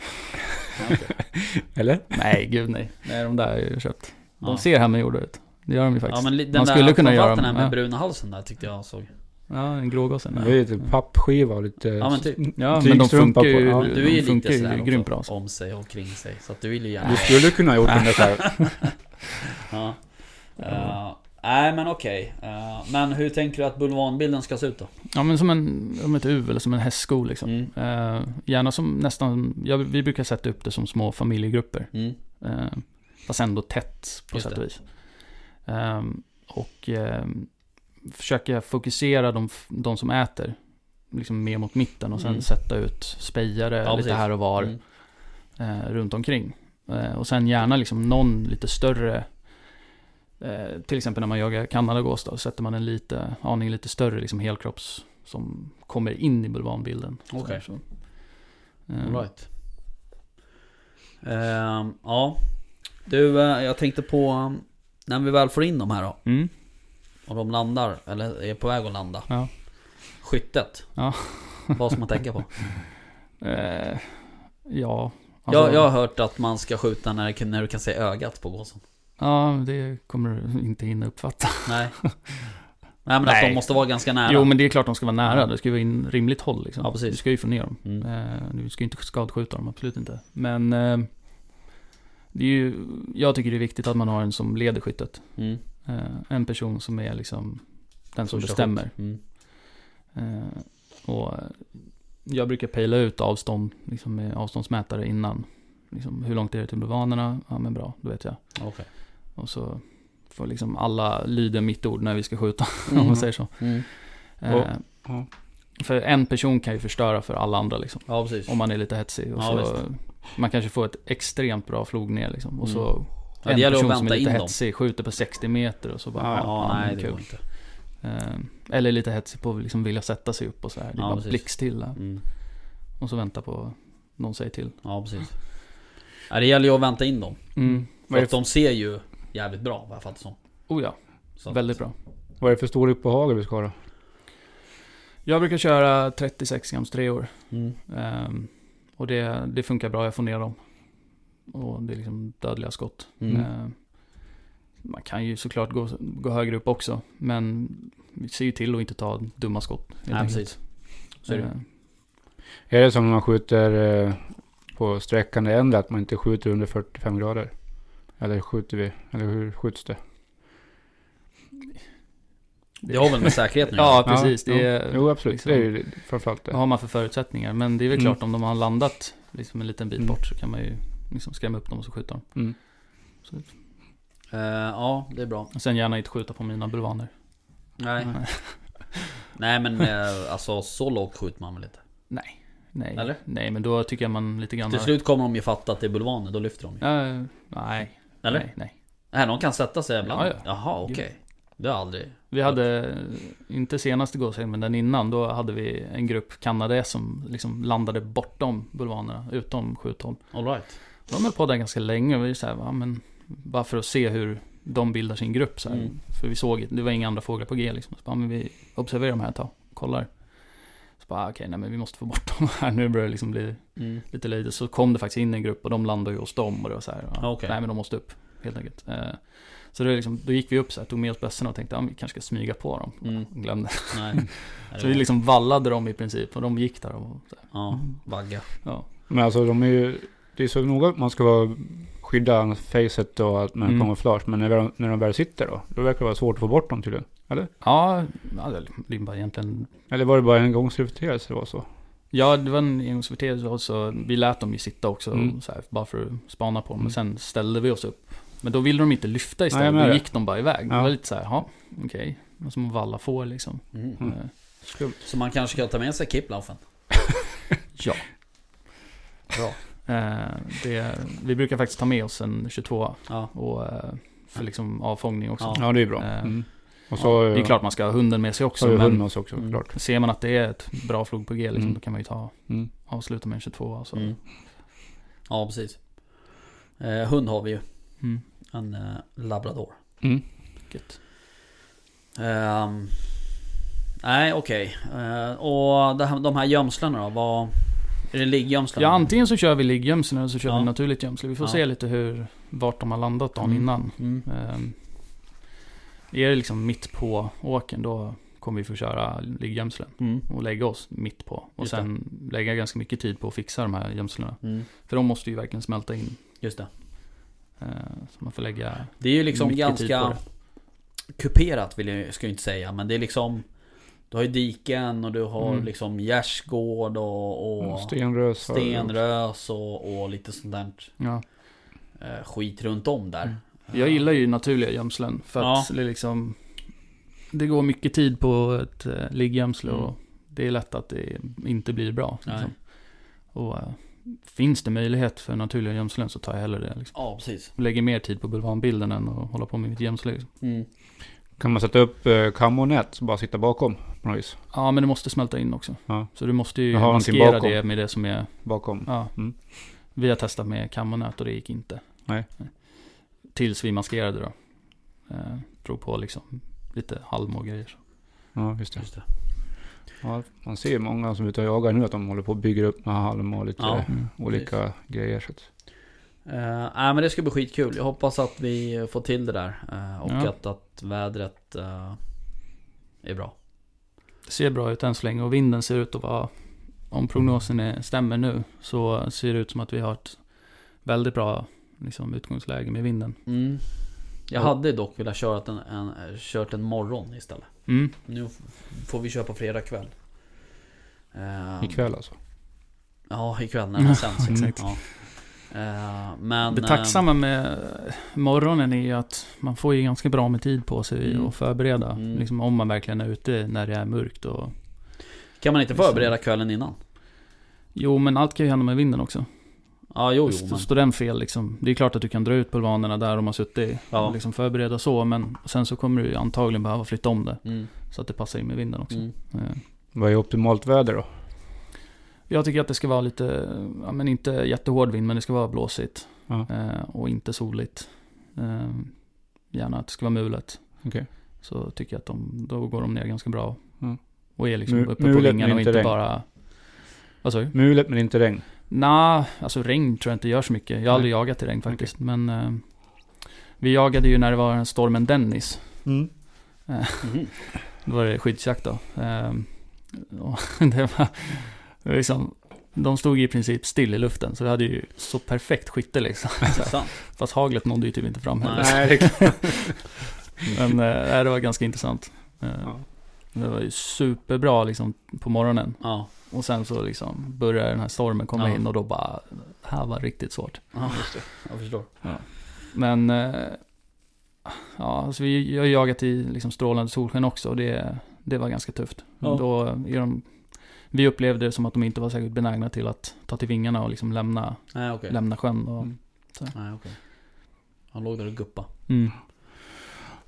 [SPEAKER 1] okej.
[SPEAKER 3] Eller?
[SPEAKER 2] nej gud nej. Nej, de där har jag ju köpt. De
[SPEAKER 1] Ja.
[SPEAKER 2] ser hemmagjorda ut. Det gör de ju
[SPEAKER 1] Ja
[SPEAKER 2] faktiskt.
[SPEAKER 1] men li- den
[SPEAKER 2] Man
[SPEAKER 1] där,
[SPEAKER 2] skulle kunna göra
[SPEAKER 1] den här
[SPEAKER 2] dem,
[SPEAKER 1] med
[SPEAKER 2] ja.
[SPEAKER 1] bruna halsen där tyckte jag såg.
[SPEAKER 2] Ja, en grågosse.
[SPEAKER 3] Det är ju typ pappskiva och lite...
[SPEAKER 1] Ja men typ.
[SPEAKER 2] Ja, men de
[SPEAKER 3] Tygstrumpa
[SPEAKER 2] funkar
[SPEAKER 3] på.
[SPEAKER 2] ju,
[SPEAKER 3] Ja,
[SPEAKER 1] Men du är ju
[SPEAKER 2] de funkar
[SPEAKER 1] lite sådär
[SPEAKER 2] ju
[SPEAKER 1] också,
[SPEAKER 2] grymt bra. Så.
[SPEAKER 1] om sig och kring sig. Så att du vill ju gärna...
[SPEAKER 3] Du skulle kunna ha gjort den där själv.
[SPEAKER 1] Ja. Eh, nej men okej. Eh, men hur tänker du att bulvanbilden ska se ut då?
[SPEAKER 2] Ja, men som, en, som ett U eller som en hästsko liksom.
[SPEAKER 1] Mm.
[SPEAKER 2] Eh, gärna som nästan, ja, vi brukar sätta upp det som små familjegrupper.
[SPEAKER 1] Mm.
[SPEAKER 2] Eh, fast ändå tätt på
[SPEAKER 1] Just
[SPEAKER 2] sätt
[SPEAKER 1] det.
[SPEAKER 2] och vis. Eh, och eh, försöka fokusera de, f- de som äter liksom mer mot mitten och sen
[SPEAKER 1] Mm.
[SPEAKER 2] sätta ut spejare
[SPEAKER 1] Ja,
[SPEAKER 2] lite
[SPEAKER 1] precis.
[SPEAKER 2] här och var
[SPEAKER 1] Mm.
[SPEAKER 2] eh, runt omkring. Eh, och sen gärna liksom någon lite större, eh, till exempel när man jagar kanadagås då, sätter man en lite, aning lite större liksom helkropps som kommer in i bulvanbilden.
[SPEAKER 1] Okej.
[SPEAKER 2] Så, så. Eh,
[SPEAKER 1] Alright. Ehm, ja. Du, eh, jag tänkte på um, när vi väl får in dem här då.
[SPEAKER 2] Mm,
[SPEAKER 1] Och de landar, eller är på väg att landa.
[SPEAKER 2] ja.
[SPEAKER 1] Skyttet.
[SPEAKER 2] Ja. Alltså-
[SPEAKER 1] Vad ska man tänka på?
[SPEAKER 2] Eh, ja. alltså
[SPEAKER 1] jag, jag har hört att man ska skjuta när, det- när du kan se ögat på gåsen.
[SPEAKER 2] Ja, det kommer du inte hinna uppfatta.
[SPEAKER 1] Nej. Nej men att
[SPEAKER 2] Nej.
[SPEAKER 1] de måste vara ganska nära.
[SPEAKER 2] Jo, men det är klart de ska vara nära. Det ska ju vara in rimligt håll liksom.
[SPEAKER 1] Ja, precis.
[SPEAKER 2] Du ska ju få ner dem.
[SPEAKER 1] Mm.
[SPEAKER 2] Eh, Du ska ju inte skadskjuta dem, absolut inte. Men eh, det är ju, jag tycker det är viktigt att man har en som leder skyttet.
[SPEAKER 1] Mm.
[SPEAKER 2] Eh, En person som är liksom den som
[SPEAKER 1] Första
[SPEAKER 2] bestämmer.
[SPEAKER 1] skjut. Mm.
[SPEAKER 2] Eh, Och eh, jag brukar pejla ut avstånd liksom med avståndsmätare innan. Liksom, hur långt är det till bulvanerna? Ja men bra, då vet jag.
[SPEAKER 1] Okej.
[SPEAKER 2] Och så får liksom alla lyda mitt ord när vi ska skjuta, om
[SPEAKER 1] Mm.
[SPEAKER 2] man säger så.
[SPEAKER 1] Mm.
[SPEAKER 2] Eh,
[SPEAKER 3] Och- ja.
[SPEAKER 2] För en person kan ju förstöra för alla andra liksom.
[SPEAKER 1] Ja precis.
[SPEAKER 2] Om man är lite hetsig. Och
[SPEAKER 1] Ja,
[SPEAKER 2] så, man kanske får ett extremt bra flog ner liksom. Och så
[SPEAKER 1] Mm. Ja,
[SPEAKER 2] en
[SPEAKER 1] det gäller att
[SPEAKER 2] person som
[SPEAKER 1] vänta
[SPEAKER 2] är lite
[SPEAKER 1] in dem.
[SPEAKER 2] hetsig skjuter på 60 meter och så bara...
[SPEAKER 1] Ja, nej
[SPEAKER 2] men
[SPEAKER 1] det
[SPEAKER 2] Mm, kul.
[SPEAKER 1] går inte.
[SPEAKER 2] Eh, Eller lite hetsig på att liksom vilja sätta sig upp och så här. Det är
[SPEAKER 1] Ja,
[SPEAKER 2] bara
[SPEAKER 1] precis.
[SPEAKER 2] blixtstilla.
[SPEAKER 1] Mm.
[SPEAKER 2] Och så vänta på någon säger till.
[SPEAKER 1] Ja precis. Ja, det gäller ju att vänta in dem.
[SPEAKER 2] Mm.
[SPEAKER 1] För
[SPEAKER 3] Vad är
[SPEAKER 1] att de ser ju jävligt bra vad jag fattar som.
[SPEAKER 2] Oh ja,
[SPEAKER 1] Så att-
[SPEAKER 2] väldigt bra.
[SPEAKER 3] Vad är det för storlek på hagel vi ska ha då?
[SPEAKER 2] Jag brukar köra 36 grams treor.
[SPEAKER 1] Mm.
[SPEAKER 2] Ehm, och det, det funkar bra, jag får ner dem. Och det är liksom dödliga skott.
[SPEAKER 1] Mm.
[SPEAKER 2] Ehm, man kan ju såklart gå, gå högre upp också, men vi ser ju till att inte ta dumma skott. helt
[SPEAKER 1] Nej,
[SPEAKER 2] enkelt.
[SPEAKER 1] precis. Så är det.
[SPEAKER 2] Ehm,
[SPEAKER 3] Är det som när man skjuter eh, på sträckande ändar, att man inte skjuter under 45 grader? Eller skjuter vi? Eller hur skjuts det?
[SPEAKER 1] Det har väl med säkerheten att
[SPEAKER 2] ja,
[SPEAKER 1] göra?
[SPEAKER 2] precis.
[SPEAKER 3] Ja,
[SPEAKER 2] Det
[SPEAKER 3] ja.
[SPEAKER 2] är,
[SPEAKER 3] Jo, absolut.
[SPEAKER 2] liksom-
[SPEAKER 3] Det är ju framförallt det.
[SPEAKER 2] Vad har man för förutsättningar? Men det är väl
[SPEAKER 3] Mm.
[SPEAKER 2] klart, om de har landat liksom en liten bit
[SPEAKER 3] Mm.
[SPEAKER 2] bort så kan man ju liksom skrämma upp dem och så skjuta dem.
[SPEAKER 3] Mm.
[SPEAKER 1] Eh, ja, det är bra.
[SPEAKER 2] Och sen gärna inte skjuta på mina bulvaner.
[SPEAKER 1] Nej,
[SPEAKER 2] Mm.
[SPEAKER 1] nej men eh, alltså så lågt skjuter man väl inte?
[SPEAKER 2] Nej. Nej.
[SPEAKER 1] Eller?
[SPEAKER 2] Nej, men då tycker jag man lite grann...
[SPEAKER 1] Till
[SPEAKER 2] har-
[SPEAKER 1] slut kommer de ju fatta att det är bulvaner, då lyfter de ju.
[SPEAKER 2] Ja, nej.
[SPEAKER 1] Eller?
[SPEAKER 2] Nej, nej.
[SPEAKER 1] Nej, de kan sätta sig ibland.
[SPEAKER 2] Ja, ja.
[SPEAKER 1] Jaha, okej. Det har jag aldrig...
[SPEAKER 2] Vi hade, inte senaste gåshelgen, men den innan, då hade vi en grupp kanadagäss som liksom landade bortom bulvanerna, utom skjuthåll.
[SPEAKER 1] Alright.
[SPEAKER 2] De höll på där ganska länge, och vi så här, va, men, bara för att se hur de bildar sin grupp. Så här.
[SPEAKER 1] Mm.
[SPEAKER 2] För vi såg, det var inga andra fåglar på G liksom. Så bara, men vi observerar de här ett tag, kollar. Så bara, "Ah, okej, nej men vi måste få bort dem här, nu börjar det liksom bli
[SPEAKER 1] Mm.
[SPEAKER 2] lite löjligt. Så kom det faktiskt in en grupp och de landade ju hos dem och det var så här, ja,
[SPEAKER 1] Okej.
[SPEAKER 2] nej men de måste upp helt enkelt. Eh, Så då, liksom, då gick vi upp så här, tog med oss bössorna och tänkte att vi kanske ska smyga på dem.
[SPEAKER 1] Mm.
[SPEAKER 2] Glömde.
[SPEAKER 1] Nej. Nej, det
[SPEAKER 2] Så
[SPEAKER 1] var-
[SPEAKER 2] vi liksom Mm. vallade dem i princip och de gick där och så här,
[SPEAKER 1] Ja, vagga.
[SPEAKER 2] ja.
[SPEAKER 3] Men alltså de är ju... Det är så noga att man ska vara skydda facet och allt med
[SPEAKER 2] Mm.
[SPEAKER 3] kamouflage. Men när, de- när de väl sitter då? Då verkar det vara svårt att få bort dem tydligen.
[SPEAKER 2] Ja, ja, det är bara egentligen
[SPEAKER 3] Eller var det bara en gångsföreteelse det var så?
[SPEAKER 2] Ja, det var en engångsföreteelse och så vi lät dem ju sitta också
[SPEAKER 3] Mm.
[SPEAKER 2] så här, bara för att spana på dem.
[SPEAKER 3] Mm.
[SPEAKER 2] Men sen ställde vi oss upp. Men då ville de inte lyfta istället,
[SPEAKER 3] jag menar
[SPEAKER 2] då
[SPEAKER 3] det.
[SPEAKER 2] gick de bara iväg.
[SPEAKER 3] Ja.
[SPEAKER 2] Det var lite så här, ja, okej. Det var Som att valla får liksom.
[SPEAKER 1] Mm.
[SPEAKER 3] Mm.
[SPEAKER 2] Eh,
[SPEAKER 1] Så man kanske kan ta med sig kipplaufen?
[SPEAKER 2] Ja. Bra. Eh, det, vi brukar faktiskt ta med oss en 22
[SPEAKER 1] Ja.
[SPEAKER 2] och, eh, för liksom avfångning också.
[SPEAKER 1] Ja.
[SPEAKER 3] Ja, det är bra.
[SPEAKER 2] Eh,
[SPEAKER 3] Mm. Och så
[SPEAKER 2] Ja, det är klart man ska ha hunden med sig också.
[SPEAKER 3] har vi hund
[SPEAKER 2] Men
[SPEAKER 3] med oss också
[SPEAKER 1] Mm.
[SPEAKER 3] klart.
[SPEAKER 2] ser man att det är ett bra flog på G liksom,
[SPEAKER 3] Mm.
[SPEAKER 2] då kan man ju ta,
[SPEAKER 3] Mm.
[SPEAKER 2] avsluta med en 22. Alltså.
[SPEAKER 1] Mm. Ja, precis. Eh, hund har vi ju.
[SPEAKER 2] Mm.
[SPEAKER 1] En eh, labrador.
[SPEAKER 3] Mm.
[SPEAKER 2] Gött.
[SPEAKER 1] Ehm, nej, okej. Eh, och det här, de här gömslena då? Vad... Är det liggömslen?
[SPEAKER 2] Ja, antingen så kör vi ligggömsel eller så kör
[SPEAKER 1] Ja.
[SPEAKER 2] vi naturligt gömsel. Vi får
[SPEAKER 1] Ja.
[SPEAKER 2] se lite hur, vart de har landat dagen
[SPEAKER 1] Mm.
[SPEAKER 2] innan.
[SPEAKER 1] Mm.
[SPEAKER 2] Ehm, är det liksom mitt på åken då kommer vi få köra ligggömslen.
[SPEAKER 1] Mm.
[SPEAKER 2] Och lägga oss mitt på. Och
[SPEAKER 1] Just
[SPEAKER 2] sen lägga ganska mycket tid på att fixa de här gömslena.
[SPEAKER 1] Mm.
[SPEAKER 2] För de måste ju verkligen smälta in.
[SPEAKER 1] Just det.
[SPEAKER 2] Eh, Så man får lägga
[SPEAKER 1] Det är ju liksom
[SPEAKER 2] mycket tid på
[SPEAKER 1] ganska
[SPEAKER 2] det.
[SPEAKER 1] kuperat vill jag, ska jag inte säga. Men det är liksom... Du har ju diken och du har
[SPEAKER 2] Mm.
[SPEAKER 1] liksom gärdsgård och, och
[SPEAKER 3] Stenrös. har-
[SPEAKER 1] stenrös och, och lite sånt där
[SPEAKER 2] Ja.
[SPEAKER 1] eh, skit runt om där.
[SPEAKER 2] Mm. Jag gillar ju naturliga gömslen. För att det är liksom... Det går mycket tid på ett eh, ligggömsle
[SPEAKER 1] Mm.
[SPEAKER 2] och det är lätt att det inte blir bra.
[SPEAKER 1] Nej.
[SPEAKER 2] Liksom. Och eh, finns det möjlighet för naturliga gömslen så tar jag hellre det. Liksom.
[SPEAKER 1] Ja, precis.
[SPEAKER 2] Lägger mer tid på bulvanbilden än att hålla på med mitt gömsle. Liksom.
[SPEAKER 1] Mm.
[SPEAKER 3] Kan man sätta upp eh, kammonät och bara sitta bakom på något vis?
[SPEAKER 2] Ja, men det måste smälta in också.
[SPEAKER 3] Ja.
[SPEAKER 2] Så du måste ju
[SPEAKER 3] Jag har någonting
[SPEAKER 2] maskera
[SPEAKER 3] bakom.
[SPEAKER 2] det med det som är...
[SPEAKER 3] Bakom?
[SPEAKER 2] Ja.
[SPEAKER 3] Mm.
[SPEAKER 2] Vi har testat med kammonät och det gick inte.
[SPEAKER 3] Nej.
[SPEAKER 2] Tills vi maskerade då. Eh, drog på liksom lite halm och grejer.
[SPEAKER 3] Ja, just det.
[SPEAKER 1] Just det.
[SPEAKER 3] Ja, man ser ju många som är ute och jagar nu att de håller på och bygger upp med halm och lite
[SPEAKER 1] Ja,
[SPEAKER 2] Mm.
[SPEAKER 3] olika grejer. Så att,
[SPEAKER 1] Eh, nej men det ska bli skitkul. Jag hoppas att vi får till det där. eh, och
[SPEAKER 2] Ja.
[SPEAKER 1] att, att vädret eh, är bra.
[SPEAKER 2] Det ser bra ut än så länge och vinden ser ut att vara, om prognosen är, stämmer nu, så ser det ut som att vi har ett väldigt bra liksom, utgångsläge med vinden.
[SPEAKER 1] Mm. Jag
[SPEAKER 2] Ja.
[SPEAKER 1] hade dock velat köra en, en, kört en morgon istället.
[SPEAKER 2] Mm.
[SPEAKER 1] Nu f- får vi köra på fredag kväll. Eh,
[SPEAKER 3] ikväll alltså.
[SPEAKER 1] Ja, ikväll när den sänds.
[SPEAKER 3] Exakt.
[SPEAKER 1] ja. Eh, men...
[SPEAKER 2] det tacksamma med morgonen är ju att man får ju ganska bra med tid på sig
[SPEAKER 1] Mm.
[SPEAKER 2] att förbereda.
[SPEAKER 1] Mm.
[SPEAKER 2] Liksom, om man verkligen är ute när det är mörkt. Och,
[SPEAKER 1] eh, Kan man inte
[SPEAKER 2] Liksom.
[SPEAKER 1] förbereda kvällen innan?
[SPEAKER 2] jo, men allt kan ju hända med vinden också.
[SPEAKER 1] Ja, jo, jo
[SPEAKER 2] St-
[SPEAKER 1] men...
[SPEAKER 2] Står den fel liksom. Det är klart att du kan dra ut bulvanerna där de har suttit.
[SPEAKER 1] Ja.
[SPEAKER 2] Och liksom förbereda så, men sen så kommer du ju antagligen behöva flytta om det.
[SPEAKER 1] Mm,
[SPEAKER 2] Så att det passar in med vinden också.
[SPEAKER 1] mm.
[SPEAKER 2] Eh,
[SPEAKER 3] Vad är optimalt väder då?
[SPEAKER 2] Jag tycker att det ska vara lite, ja men inte jättehård vind, men det ska vara blåsigt.
[SPEAKER 3] Ja.
[SPEAKER 2] Eh, och inte soligt. Eh, gärna att det ska vara mulet.
[SPEAKER 3] Okej.
[SPEAKER 2] Så tycker jag att de, då går de ner ganska bra.
[SPEAKER 3] Mm.
[SPEAKER 2] Och är liksom
[SPEAKER 3] Mu-
[SPEAKER 2] uppe på
[SPEAKER 3] mulet, men
[SPEAKER 2] vingarna och
[SPEAKER 3] inte
[SPEAKER 2] inte
[SPEAKER 3] regn.
[SPEAKER 2] bara... Vad sa du?
[SPEAKER 3] Mulet men inte regn.
[SPEAKER 2] Nej, alltså regn tror jag inte gör så mycket. Jag har
[SPEAKER 3] Nej.
[SPEAKER 2] aldrig jagat i regn faktiskt. Men eh, vi jagade ju när det var stormen Dennis.
[SPEAKER 1] Mhm.
[SPEAKER 2] Då var det skyddsjakt då. Ehm, och det var det var liksom, de stod i princip still i luften, så vi hade ju så perfekt skytte liksom.
[SPEAKER 1] Intressant.
[SPEAKER 2] Fast haglet nådde ju typ inte fram heller.
[SPEAKER 3] Nej, det är klart.
[SPEAKER 2] Men eh, nej, det var ganska intressant. Eh,
[SPEAKER 3] Ja.
[SPEAKER 2] Det var ju superbra liksom på morgonen.
[SPEAKER 1] Ja.
[SPEAKER 2] Och sen så liksom började den här stormen komma
[SPEAKER 1] Ja.
[SPEAKER 2] in och då bara, det här var riktigt svårt.
[SPEAKER 1] ja, jag förstår.
[SPEAKER 2] Men, eh, ja, alltså vi, jag har jagat i liksom strålande solsken också och det, det var ganska tufft.
[SPEAKER 1] Ja.
[SPEAKER 2] Då är de, vi upplevde det som att de inte var särskilt benägna till att ta till vingarna och liksom lämna,
[SPEAKER 1] Nej, okej.
[SPEAKER 2] lämna sjön. Och,
[SPEAKER 3] Mm.
[SPEAKER 1] Nej, okej. Han låg där och guppa.
[SPEAKER 2] mm.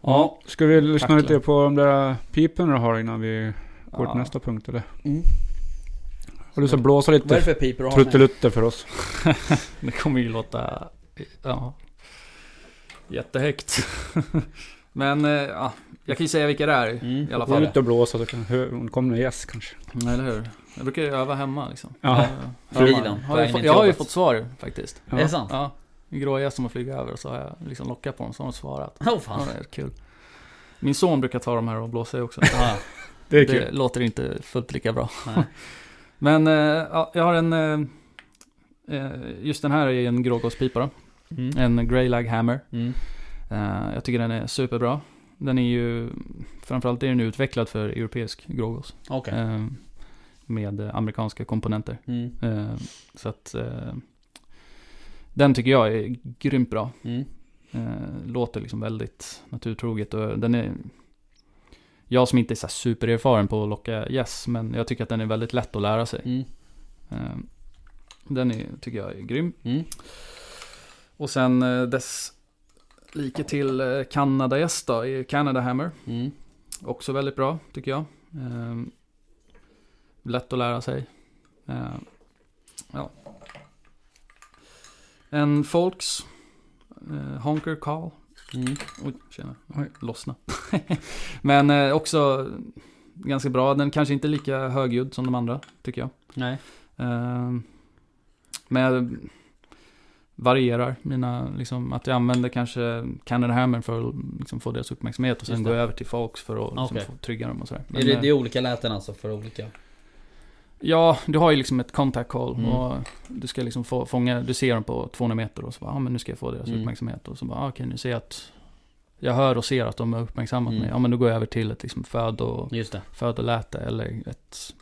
[SPEAKER 3] Ja, ska vi lyssna
[SPEAKER 2] Tacklar.
[SPEAKER 3] lite på de där piporna du har innan vi går
[SPEAKER 2] Ja.
[SPEAKER 3] till nästa punkt eller?
[SPEAKER 1] Mm.
[SPEAKER 3] Har du så blåsa
[SPEAKER 1] Vad är det
[SPEAKER 3] lite
[SPEAKER 1] för pipor du har? med?
[SPEAKER 3] truttelutter för oss?
[SPEAKER 2] Det kommer ju låta ja, jättehögt. Men eh, ja, jag kan ju säga vilka det är
[SPEAKER 1] Mm.
[SPEAKER 2] i alla
[SPEAKER 3] Gå
[SPEAKER 2] fall.
[SPEAKER 3] ut och blåsa så kan hö- hon kommer en gäss kanske.
[SPEAKER 2] Eller hur? Jag brukar ju öva hemma liksom.
[SPEAKER 3] Ja.
[SPEAKER 2] Jag, har ju
[SPEAKER 1] Bilen, på vägen
[SPEAKER 2] fått-
[SPEAKER 1] till
[SPEAKER 2] jag har ju
[SPEAKER 1] jobbet.
[SPEAKER 2] fått svar faktiskt.
[SPEAKER 1] Är det sant?
[SPEAKER 2] Ja, en grågäss som har flugit över och så har jag liksom lockat på dem så har de svarat.
[SPEAKER 1] Åh
[SPEAKER 2] Ja,
[SPEAKER 1] Oh, fan.
[SPEAKER 2] det är kul. Min son brukar ta de här och blåsa i också.
[SPEAKER 1] Ja,
[SPEAKER 3] Det är
[SPEAKER 2] Det,
[SPEAKER 3] kul.
[SPEAKER 2] låter inte fullt lika bra.
[SPEAKER 1] Nej.
[SPEAKER 2] Men eh, ja, jag har en... eh, eh, Just den här är en grågåspipa då.
[SPEAKER 1] Mm.
[SPEAKER 2] En Grey Lag Hammer.
[SPEAKER 1] Mm.
[SPEAKER 2] Eh, Jag tycker den är superbra. Den är ju, framförallt är den utvecklad för europeisk grågås.
[SPEAKER 1] Okej.
[SPEAKER 2] eh, Med eh, amerikanska komponenter.
[SPEAKER 1] Mm.
[SPEAKER 2] Eh, Så att eh, den tycker jag är grymt bra.
[SPEAKER 1] Mm.
[SPEAKER 2] Eh, Låter liksom väldigt naturtroget och den är jag som inte är så här supererfaren på att locka gäss, men jag tycker att den är väldigt lätt att lära sig.
[SPEAKER 1] Mm.
[SPEAKER 2] Eh, Den är, tycker jag är grym.
[SPEAKER 1] Mm.
[SPEAKER 2] Och sen eh, dess like till eh, Kanadagäst då, är Canada Hammer.
[SPEAKER 1] Mm.
[SPEAKER 2] Också väldigt bra, tycker jag. Ehm, lätt att lära sig. Ehm, ja. En Folks, eh, Honker Call,
[SPEAKER 1] Mm.
[SPEAKER 2] Oj, tjena.
[SPEAKER 3] Oj.
[SPEAKER 2] Lossna. Men eh, också ganska bra. Den kanske inte är lika högljudd som de andra, tycker jag.
[SPEAKER 1] Nej.
[SPEAKER 2] Eh, men jag varierar mina, liksom att jag använder kanske Canon Hammer för att liksom, få deras uppmärksamhet och sen
[SPEAKER 1] Just det.
[SPEAKER 2] går jag över till Fox för att liksom,
[SPEAKER 1] Okej.
[SPEAKER 2] få trygga dem och sådär. Men,
[SPEAKER 1] Är det,
[SPEAKER 2] eh,
[SPEAKER 1] det är olika läten alltså för olika?
[SPEAKER 2] Ja, du har ju liksom ett contact call
[SPEAKER 1] Mm.
[SPEAKER 2] och du ska liksom få, fånga, du ser dem på 200 meter och så bara, ja men nu ska jag få deras
[SPEAKER 1] Mm.
[SPEAKER 2] uppmärksamhet och så bara, ah, okej nu ser jag att jag hör och ser att de har uppmärksammat
[SPEAKER 1] Mm.
[SPEAKER 2] mig. Ja men då går jag över till ett liksom födo,
[SPEAKER 1] Just det.
[SPEAKER 2] födoläte eller ett,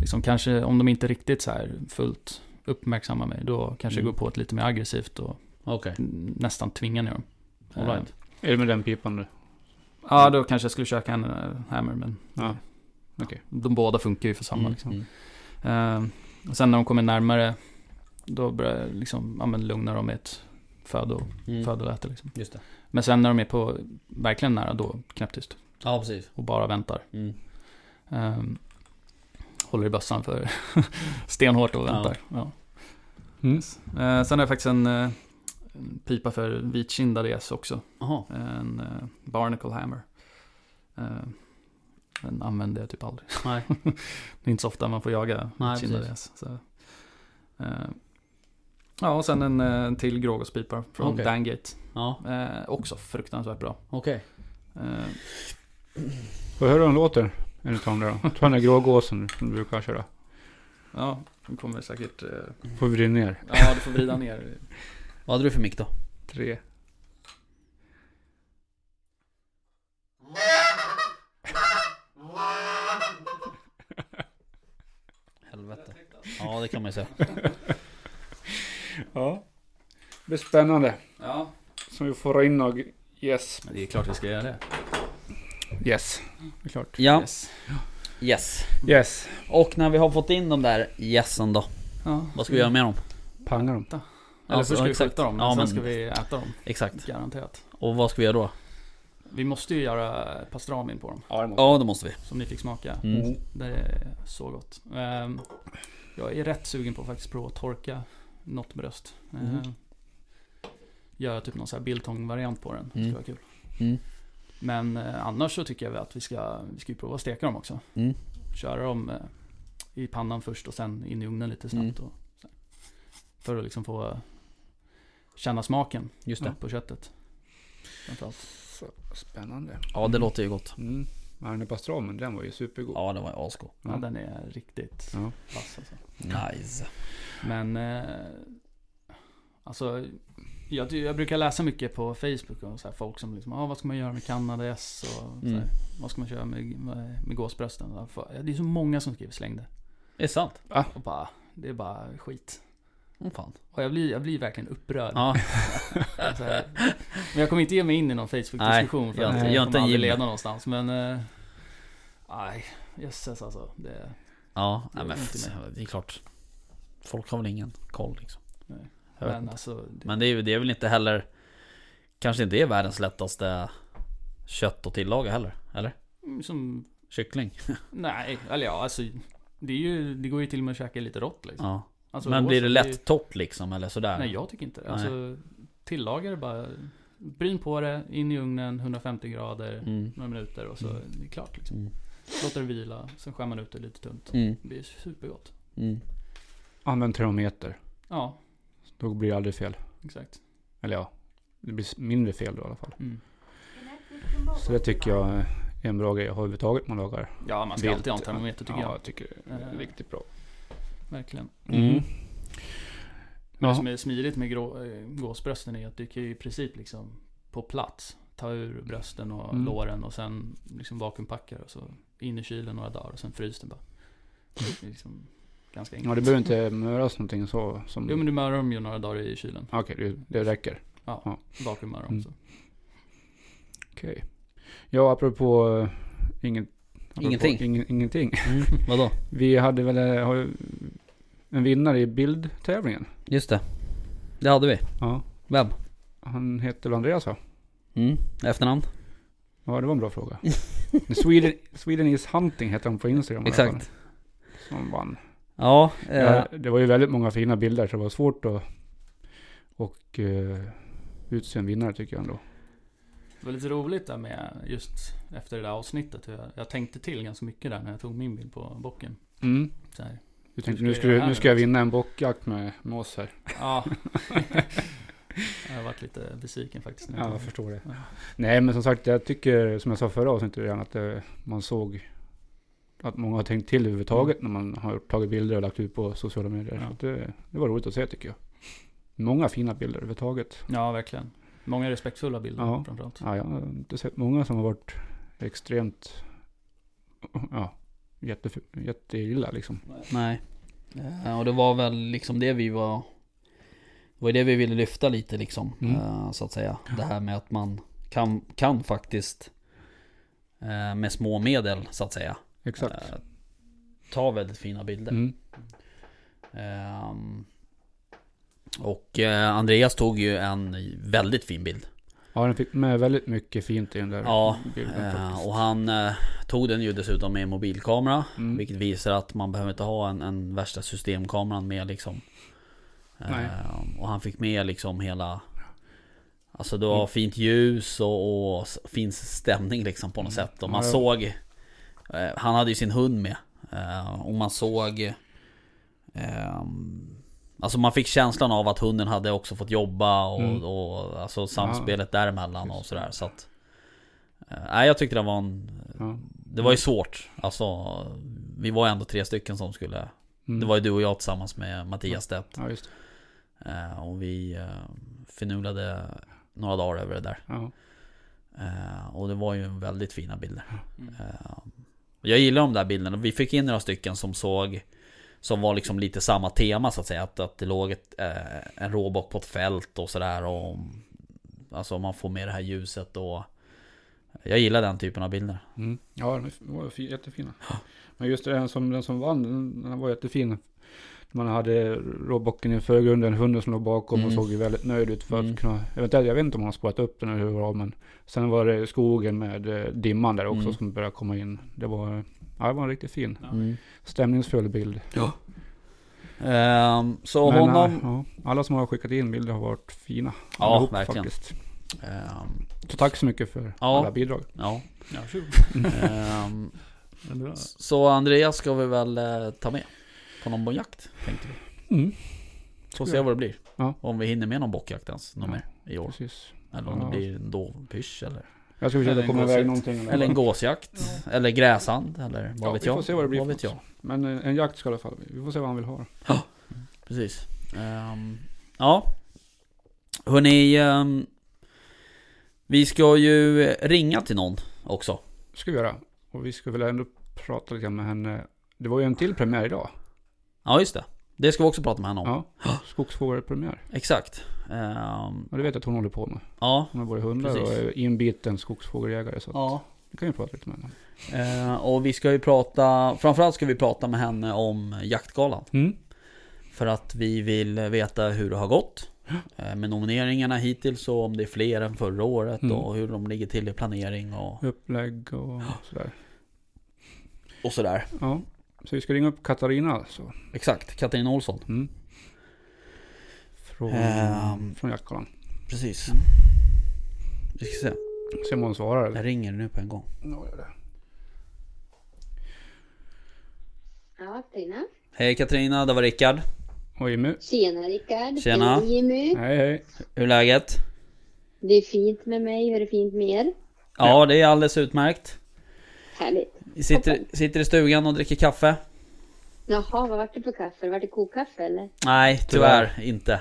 [SPEAKER 2] liksom kanske om de inte riktigt så här fullt uppmärksammar mig, då kanske
[SPEAKER 1] Mm.
[SPEAKER 2] jag går på ett lite mer aggressivt och
[SPEAKER 1] Okej.
[SPEAKER 2] nästan tvingar ner dem.
[SPEAKER 1] All right.
[SPEAKER 2] Eh,
[SPEAKER 3] Är det med den pipan nu?
[SPEAKER 2] Ja, då kanske jag skulle köra en eh, hammer men
[SPEAKER 3] Ja. Okej.
[SPEAKER 2] de båda funkar ju för samma liksom.
[SPEAKER 1] Mm.
[SPEAKER 2] Eh, och sen när de kommer närmare, då börjar jag liksom, ja, men lugna dem med ett födo,
[SPEAKER 1] Mm.
[SPEAKER 2] födoläte. Liksom.
[SPEAKER 1] Just det.
[SPEAKER 2] Men sen när de är på verkligen nära, då knäpptyst.
[SPEAKER 1] Ja, precis.
[SPEAKER 2] Och bara väntar.
[SPEAKER 1] Mm.
[SPEAKER 2] Eh, håller i bössan för stenhårt och väntar. Ja.
[SPEAKER 3] Mm.
[SPEAKER 2] Eh, sen har jag faktiskt en, eh, en pipa för vitkindade gäss också.
[SPEAKER 1] Jaha.
[SPEAKER 2] En eh, barnacle hammer. Eh, den använder jag typ aldrig.
[SPEAKER 1] Nej.
[SPEAKER 2] Det är inte så ofta man får jaga
[SPEAKER 1] Nej,
[SPEAKER 2] kindade
[SPEAKER 1] precis.
[SPEAKER 2] gäss. så. Eh, Ja, och sen en, eh, en till grågåspipa från
[SPEAKER 1] Okej.
[SPEAKER 2] Dangate.
[SPEAKER 1] Ja,
[SPEAKER 2] Eh, också fruktansvärt bra.
[SPEAKER 1] okej.
[SPEAKER 2] Eh,
[SPEAKER 3] Får jag höra hur den låter? En utav dem där då. Ta den där grågåsen som du brukar köra.
[SPEAKER 2] ja, den kommer säkert... Eh,
[SPEAKER 3] Får vi vrida ner.
[SPEAKER 2] ja, du får vrida ner.
[SPEAKER 1] Vad hade du för mick då?
[SPEAKER 3] Tre.
[SPEAKER 1] Helvete. Ja, det kan man ju säga.
[SPEAKER 3] Ja. Det blir spännande.
[SPEAKER 2] Ja,
[SPEAKER 3] Som vi får dra in och yes.
[SPEAKER 2] det är klart vi ska göra det.
[SPEAKER 3] Yes. Det är klart.
[SPEAKER 1] Ja,
[SPEAKER 2] Yes.
[SPEAKER 1] yes.
[SPEAKER 3] Yes.
[SPEAKER 1] Och när vi har fått in de där yesen då,
[SPEAKER 2] Ja.
[SPEAKER 1] vad ska vi göra med dem?
[SPEAKER 3] Pangar dem.
[SPEAKER 2] Mm. Eller först ska vi
[SPEAKER 1] exakt.
[SPEAKER 2] skjuta dem,
[SPEAKER 1] Ja,
[SPEAKER 2] sen
[SPEAKER 1] men-
[SPEAKER 2] ska vi äta dem.
[SPEAKER 1] Exakt.
[SPEAKER 2] Garanterat.
[SPEAKER 1] Och vad ska vi göra då?
[SPEAKER 2] Vi måste ju göra pastramin på dem,
[SPEAKER 3] Ja, det måste
[SPEAKER 1] Ja, det måste vi.
[SPEAKER 2] som ni fick smaka.
[SPEAKER 1] Mm.
[SPEAKER 2] Det är så gott. Ehm, jag är rätt sugen på att faktiskt prova att torka något bröst. Ehm,
[SPEAKER 1] Mhm.
[SPEAKER 2] Göra typ någon så här biltong-variant på den. Det
[SPEAKER 1] Mm.
[SPEAKER 2] skulle vara kul.
[SPEAKER 1] Mm.
[SPEAKER 2] Men eh, annars så tycker jag väl att vi ska, vi ska ju prova att steka dem också.
[SPEAKER 1] Mm.
[SPEAKER 2] Köra dem eh, i pannan först och sen in i ugnen lite snabbt.
[SPEAKER 1] Mm.
[SPEAKER 2] Och, så här. för att liksom få eh, känna smaken
[SPEAKER 1] Just det.
[SPEAKER 2] på köttet. Framförallt.
[SPEAKER 3] Så spännande.
[SPEAKER 1] Ja, det låter ju gott.
[SPEAKER 3] Mm. Men den där pastramen, den var ju supergod.
[SPEAKER 1] Ja, det var ju asgod.
[SPEAKER 2] Ja,
[SPEAKER 3] Ja.
[SPEAKER 2] den är riktigt
[SPEAKER 3] Ja.
[SPEAKER 2] vass alltså.
[SPEAKER 1] Mm. Nice.
[SPEAKER 2] Men eh, alltså, jag, jag brukar läsa mycket på Facebook och så här, folk som liksom, ah, vad ska man göra med kanadagäss och så
[SPEAKER 1] Mm.
[SPEAKER 2] här, vad ska man köra med, med, med gåsbrösten? Och för- Det är så många som skriver släng det.
[SPEAKER 1] Det är sant.
[SPEAKER 2] Och bara, det är bara skit.
[SPEAKER 1] Åh fan.
[SPEAKER 2] Och jag blir, jag blir verkligen upprörd.
[SPEAKER 1] Ja,
[SPEAKER 2] Så här. Men jag kommer inte ge mig in i någon Facebook-diskussion för
[SPEAKER 1] gör
[SPEAKER 2] att
[SPEAKER 3] inte-
[SPEAKER 2] det
[SPEAKER 1] gör
[SPEAKER 2] kommer
[SPEAKER 1] inte
[SPEAKER 2] aldrig
[SPEAKER 1] en Jimmy.
[SPEAKER 2] leda någonstans. Men, eh, nej, jösses alltså. Det,
[SPEAKER 1] ja
[SPEAKER 2] Det
[SPEAKER 1] nej, men
[SPEAKER 2] är inte
[SPEAKER 1] f- det är klart. Folk har väl ingen koll liksom.
[SPEAKER 2] Nej.
[SPEAKER 1] Jag vet
[SPEAKER 2] men
[SPEAKER 1] inte.
[SPEAKER 2] alltså, det,
[SPEAKER 1] Men det är, ju- det är väl inte heller... Kanske inte är världens lättaste kött att tillaga heller. Eller?
[SPEAKER 2] som,
[SPEAKER 1] Kyckling.
[SPEAKER 2] nej, eller ja, alltså. Det, är ju, det går ju till och med att käka lite rått liksom.
[SPEAKER 1] Ja.
[SPEAKER 2] Alltså,
[SPEAKER 1] men
[SPEAKER 2] då
[SPEAKER 1] blir
[SPEAKER 2] så
[SPEAKER 1] det
[SPEAKER 2] är ju-
[SPEAKER 1] lätt torrt liksom eller sådär?
[SPEAKER 2] Nej jag tycker inte det. Alltså, tillaga det bara. Bryn på det, in i ugnen, 150 grader,
[SPEAKER 1] Mm.
[SPEAKER 2] några minuter och så
[SPEAKER 1] Mm.
[SPEAKER 2] är det klart. Liksom.
[SPEAKER 1] Mm.
[SPEAKER 2] Låter det vila, sen skär man ut det lite tunt.
[SPEAKER 1] Mm.
[SPEAKER 2] Det är supergott.
[SPEAKER 1] Mm.
[SPEAKER 3] Använd termometer.
[SPEAKER 2] Ja,
[SPEAKER 3] Då blir det aldrig fel.
[SPEAKER 2] exakt.
[SPEAKER 3] Eller ja, det blir mindre fel då i alla fall.
[SPEAKER 2] Mm.
[SPEAKER 3] Så det tycker jag är en bra grej att ha överhuvudtaget man lagar.
[SPEAKER 2] Ja, man ska
[SPEAKER 3] vilt.
[SPEAKER 2] alltid ha en termometer tycker
[SPEAKER 3] ja,
[SPEAKER 2] jag.
[SPEAKER 3] jag tycker det
[SPEAKER 2] Eh.
[SPEAKER 3] är riktigt bra.
[SPEAKER 2] Verkligen.
[SPEAKER 3] Mm.
[SPEAKER 2] Men
[SPEAKER 3] Ja.
[SPEAKER 2] det som är smidigt med grå, eh, gåsbrösten är att du kan ju i princip liksom på plats ta ur brösten och
[SPEAKER 3] Mm.
[SPEAKER 2] låren och sen liksom vakuumpacka det och så in i kylen några dagar och sen fryser den bara. Det är liksom ganska enkelt.
[SPEAKER 3] Ja, det behöver inte möras någonting så. Som...
[SPEAKER 2] Jo men du mörar dem ju några dagar i kylen.
[SPEAKER 3] Okej, det, det räcker.
[SPEAKER 2] Vakuummörar dem
[SPEAKER 3] Mm.
[SPEAKER 2] så.
[SPEAKER 3] Okej. Ja, apropå eh, inget, apropå
[SPEAKER 1] Ingenting.
[SPEAKER 3] ingen- ingenting.
[SPEAKER 1] Mm. Vadå?
[SPEAKER 3] Vi hade väl eh, har ju en vinnare i bildtävlingen.
[SPEAKER 1] Just det. Det hade vi.
[SPEAKER 3] Ja,
[SPEAKER 1] Vem?
[SPEAKER 3] han heter väl Andreas va?
[SPEAKER 1] Mm. Efternamn?
[SPEAKER 3] Ja, det var en bra fråga. Sweden, Sweden is hunting heter han på Instagram. i alla fall,
[SPEAKER 1] Exakt.
[SPEAKER 3] Som vann.
[SPEAKER 1] Ja, eh,
[SPEAKER 3] Ja, det var ju väldigt många fina bilder så det var svårt att och, eh, utse en vinnare tycker jag ändå.
[SPEAKER 2] Det var lite roligt där med just efter det där avsnittet. Hur jag, jag tänkte till ganska mycket där när jag tog min bild på bocken.
[SPEAKER 3] Mm.
[SPEAKER 2] Så här.
[SPEAKER 3] Du tänkte
[SPEAKER 2] Nu
[SPEAKER 3] nu
[SPEAKER 2] ska
[SPEAKER 3] ska,
[SPEAKER 2] jag göra
[SPEAKER 3] du,
[SPEAKER 2] det
[SPEAKER 3] nu ska jag
[SPEAKER 2] här.
[SPEAKER 3] vinna en bockjakt med, med oss här.
[SPEAKER 2] Ja. jag har varit lite besviken faktiskt. Nu.
[SPEAKER 3] Ja, jag förstår det.
[SPEAKER 2] Ja.
[SPEAKER 3] Nej, men som sagt, jag tycker som jag sa förra avsnittet redan att eh, man såg att många har tänkt till överhuvudtaget när man har tagit bilder och lagt ut på sociala medier.
[SPEAKER 2] Ja.
[SPEAKER 3] Så att det, det var roligt att se tycker jag. Många fina bilder överhuvudtaget.
[SPEAKER 2] ja, verkligen. Många respektfulla bilder
[SPEAKER 3] Ja.
[SPEAKER 2] framförallt.
[SPEAKER 3] Ja, jag har inte sett många som har varit extremt, ja, jätte, jätteilla liksom.
[SPEAKER 1] Nej. Eh, Och det var väl liksom det vi var... Det var det vi ville lyfta lite liksom.
[SPEAKER 3] Mm.
[SPEAKER 1] eh, Så att säga. Det här med att man kan, kan faktiskt eh, med små medel så att säga.
[SPEAKER 3] Exakt.
[SPEAKER 1] eh, Ta väldigt fina bilder.
[SPEAKER 3] Mm.
[SPEAKER 1] Ehm, och eh, Andreas tog ju en väldigt fin bild.
[SPEAKER 3] Ja, den fick med väldigt mycket fint i den där
[SPEAKER 1] Ja,
[SPEAKER 3] bilden faktiskt.
[SPEAKER 1] Eh, och han eh, tog den ju dessutom med mobilkamera.
[SPEAKER 3] Mm.
[SPEAKER 1] Vilket visar att man behöver inte ha en, en värsta systemkameran med liksom. Eh,
[SPEAKER 3] Nej.
[SPEAKER 1] och han fick med liksom hela Alltså det var
[SPEAKER 3] Mm.
[SPEAKER 1] fint ljus och, och s- fin stämning liksom på något sätt. Och man
[SPEAKER 3] Mm. Ja, ja.
[SPEAKER 1] såg eh, Han hade ju sin hund med. Eh, och man såg ehm, Alltså man fick känslan av att hunden hade också fått jobba och,
[SPEAKER 3] Mm.
[SPEAKER 1] och alltså samspelet däremellan och sådär. Så att, eh, nej jag tyckte det var en
[SPEAKER 3] Ja.
[SPEAKER 1] det var ju svårt. Alltså, vi var ändå tre stycken som skulle...
[SPEAKER 3] Mm.
[SPEAKER 1] Det var ju du och jag tillsammans med Mattias Stedt.
[SPEAKER 3] Ja, just det.
[SPEAKER 1] Eh, och vi eh, finurlade några dagar över det där.
[SPEAKER 3] Ja.
[SPEAKER 1] Eh, och det var ju väldigt fina bilder.
[SPEAKER 2] Mm.
[SPEAKER 1] Eh, jag gillar de där bilderna. Vi fick in några stycken som såg... Som var liksom lite samma tema så att säga. Att, att det låg ett, eh, en råbock på ett fält och sådär. och- Alltså man får med det här ljuset och... Jag gillar den typen av bilder.
[SPEAKER 3] Mm. Ja, de var fi- jättefina. Men just den som, den som vann, den, den var jättefin. Man hade råbocken i förgrunden, hunden som låg bakom och
[SPEAKER 1] Mm.
[SPEAKER 3] såg ju väldigt nöjd ut för att
[SPEAKER 1] Mm.
[SPEAKER 3] kunna, eventuellt, jag vet inte om han har spårat upp den eller hur det var, men sen var det skogen med eh, dimman där också
[SPEAKER 1] Mm.
[SPEAKER 3] som började komma in. Det var, ja, det var en riktigt fin,
[SPEAKER 2] Ja.
[SPEAKER 1] Mm.
[SPEAKER 3] stämningsfull bild.
[SPEAKER 1] Ehm, så
[SPEAKER 3] Men,
[SPEAKER 1] honom...
[SPEAKER 3] eh, ja, alla som har skickat in bilder har varit fina.
[SPEAKER 1] Ja,
[SPEAKER 3] allihop
[SPEAKER 1] verkligen.
[SPEAKER 3] Faktiskt.
[SPEAKER 1] Ehm,
[SPEAKER 3] Så tack så mycket för
[SPEAKER 1] Ja.
[SPEAKER 3] alla bidrag.
[SPEAKER 1] ja.
[SPEAKER 2] Ja, varsågod.
[SPEAKER 1] Ehm,
[SPEAKER 2] Det är bra.
[SPEAKER 1] så Andreas ska vi väl eh, ta med på någon bockjakt, tänkte vi.
[SPEAKER 3] Mm.
[SPEAKER 1] Får se vad det blir.
[SPEAKER 3] Ja.
[SPEAKER 1] Om vi hinner med någon bockjakt ens, någon
[SPEAKER 3] Ja.
[SPEAKER 1] mer i år.
[SPEAKER 3] Precis.
[SPEAKER 1] Eller om det
[SPEAKER 3] Ja.
[SPEAKER 1] blir en dovpysch eller,
[SPEAKER 3] Jag ska
[SPEAKER 2] Eller
[SPEAKER 3] försöka
[SPEAKER 2] en
[SPEAKER 3] komma
[SPEAKER 2] gåsjakt.
[SPEAKER 3] iväg någonting.
[SPEAKER 1] eller en gåsjakt. Eller gräsand, eller vad
[SPEAKER 3] Ja,
[SPEAKER 1] vet
[SPEAKER 3] vi
[SPEAKER 1] jag.
[SPEAKER 3] får se vad det blir för
[SPEAKER 1] vet jag.
[SPEAKER 3] Men eh, en jakt ska i alla fall. Vi får se vad han vill ha.
[SPEAKER 1] Precis. Ehm, ja. Hörni, ehm, vi ska ju ringa till någon också.
[SPEAKER 3] ska vi göra. Och vi ska väl ändå prata lite grann med henne. Det var ju en till premiär idag.
[SPEAKER 1] Ja, just det. Det ska vi också prata med henne om.
[SPEAKER 3] Ja. Skogsfågelpremiär.
[SPEAKER 1] Exakt. Ehm,
[SPEAKER 3] Och det vet jag att hon håller på med.
[SPEAKER 1] ja.
[SPEAKER 3] Hon har både hundar
[SPEAKER 1] Precis.
[SPEAKER 3] och är inbiten skogsfågeljägare. Så
[SPEAKER 1] ja.
[SPEAKER 3] det kan vi prata lite med henne.
[SPEAKER 1] Eh, och vi ska ju prata, framförallt ska vi prata med henne om Jaktgalan.
[SPEAKER 3] Mm.
[SPEAKER 1] För att vi vill veta hur det har gått. Eh, med nomineringarna hittills och om det är fler än förra året
[SPEAKER 3] Mm.
[SPEAKER 1] och hur de ligger till i planering och,
[SPEAKER 3] Upplägg och sådär.
[SPEAKER 1] och sådär.
[SPEAKER 3] Ja. Så vi ska ringa upp Katarina alltså.
[SPEAKER 1] Exakt, Katarina Olsson.
[SPEAKER 3] Mm. Från,
[SPEAKER 1] Ehm.
[SPEAKER 3] från jaktgalan.
[SPEAKER 1] Precis. Vi ska se.
[SPEAKER 3] Se om hon svarar. Eller?
[SPEAKER 1] Jag ringer nu på en gång.
[SPEAKER 3] Ja, gör det.
[SPEAKER 4] Ja, Tina.
[SPEAKER 1] Hej Katarina, det var Rickard.
[SPEAKER 3] Och Jimmy.
[SPEAKER 4] Tjena Rickard.
[SPEAKER 1] Tjena.
[SPEAKER 4] Hej Jimmy.
[SPEAKER 3] Hej hej.
[SPEAKER 1] Hur är läget?
[SPEAKER 4] Det är fint med mig. Hur är det fint med er?
[SPEAKER 1] Ja, det är alldeles utmärkt.
[SPEAKER 4] Härligt.
[SPEAKER 1] Vi sitter, sitter i stugan och dricker kaffe.
[SPEAKER 4] Jaha, vad vart det för kaffe? Vart det kokkaffe eller?
[SPEAKER 1] Nej, tyvärr, inte.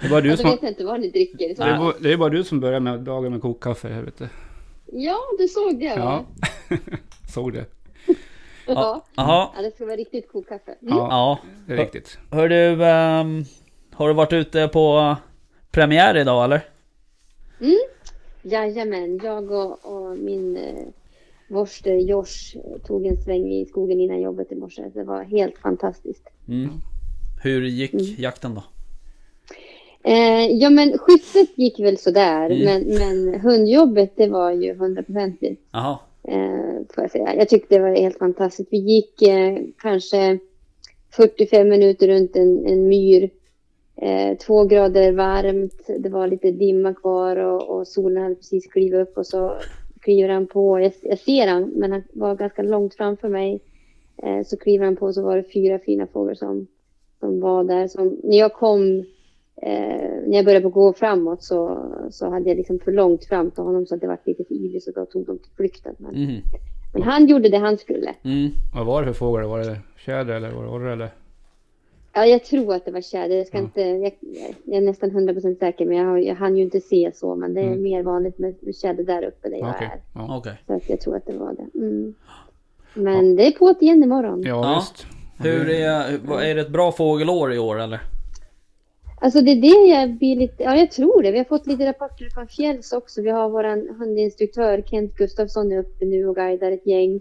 [SPEAKER 3] Det är bara du
[SPEAKER 4] Jag
[SPEAKER 3] som,
[SPEAKER 4] vet inte vad ni dricker. Så-
[SPEAKER 3] Alltså, det är bara, det är bara du som börjar med dagen med kokkaffe. Jag vet det.
[SPEAKER 4] Ja, du såg det
[SPEAKER 3] Ja.
[SPEAKER 4] va?
[SPEAKER 3] Såg det.
[SPEAKER 4] Mm. Ja.
[SPEAKER 1] Jaha,
[SPEAKER 4] ja, det ska vara riktigt kokkaffe. Mm.
[SPEAKER 3] Ja,
[SPEAKER 1] ja.
[SPEAKER 3] det är riktigt.
[SPEAKER 1] Hör du, ehm, har du varit ute på premiär idag eller?
[SPEAKER 4] Jajamän, jag och, och min eh, vorste Josh eh, tog en sväng i skogen innan jobbet i morse. Det var helt fantastiskt.
[SPEAKER 1] Mm. Hur gick jakten då?
[SPEAKER 4] Eh, ja, men skyttet gick väl sådär,
[SPEAKER 1] Mm.
[SPEAKER 4] men, men hundjobbet det var ju hundraprocentigt.
[SPEAKER 1] Jaha,
[SPEAKER 4] Eh, får jag, säga. jag tyckte det var helt fantastiskt. Vi gick eh, kanske 45 minuter runt en, en myr eh, två grader varmt, det var lite dimma kvar och, och solen hade precis klivit upp och så kliver han på. Jag, jag ser han, men han var ganska långt framför mig. Eh, så kliver han på och så var det fyra fina fåglar som, som var där. Som, när jag kom, eh, när jag började gå framåt så, så hade jag liksom för långt fram till honom så att det var lite för ivrigt så då tog de till flykten. Men,
[SPEAKER 1] Mm.
[SPEAKER 4] men han gjorde det han skulle.
[SPEAKER 1] Mm.
[SPEAKER 3] Vad var det för fåglar? Var det tjäder eller var det orre eller?
[SPEAKER 4] Ja, jag tror att det var tjäder. Jag, ska
[SPEAKER 3] Ja.
[SPEAKER 4] inte, jag, jag är nästan 100% säker, men jag, har, jag hann ju inte se så. Men det är
[SPEAKER 3] Mm.
[SPEAKER 4] mer vanligt med, med tjäder där uppe där jag
[SPEAKER 3] Okej.
[SPEAKER 4] är.
[SPEAKER 3] Ja.
[SPEAKER 1] Okej.
[SPEAKER 4] Så att jag tror att det var det. Mm. Men det är på ett igen imorgon.
[SPEAKER 3] ja,
[SPEAKER 1] Ja.
[SPEAKER 3] visst.
[SPEAKER 1] Hur är, hur- vad- är det ett bra fågelår i år eller?
[SPEAKER 4] Alltså det är det jag blir lite, ja jag tror det. Vi har fått lite rapporter från Fjälls också. Vi har vår hundinstruktör Kent Gustafsson är uppe nu och guidar ett gäng.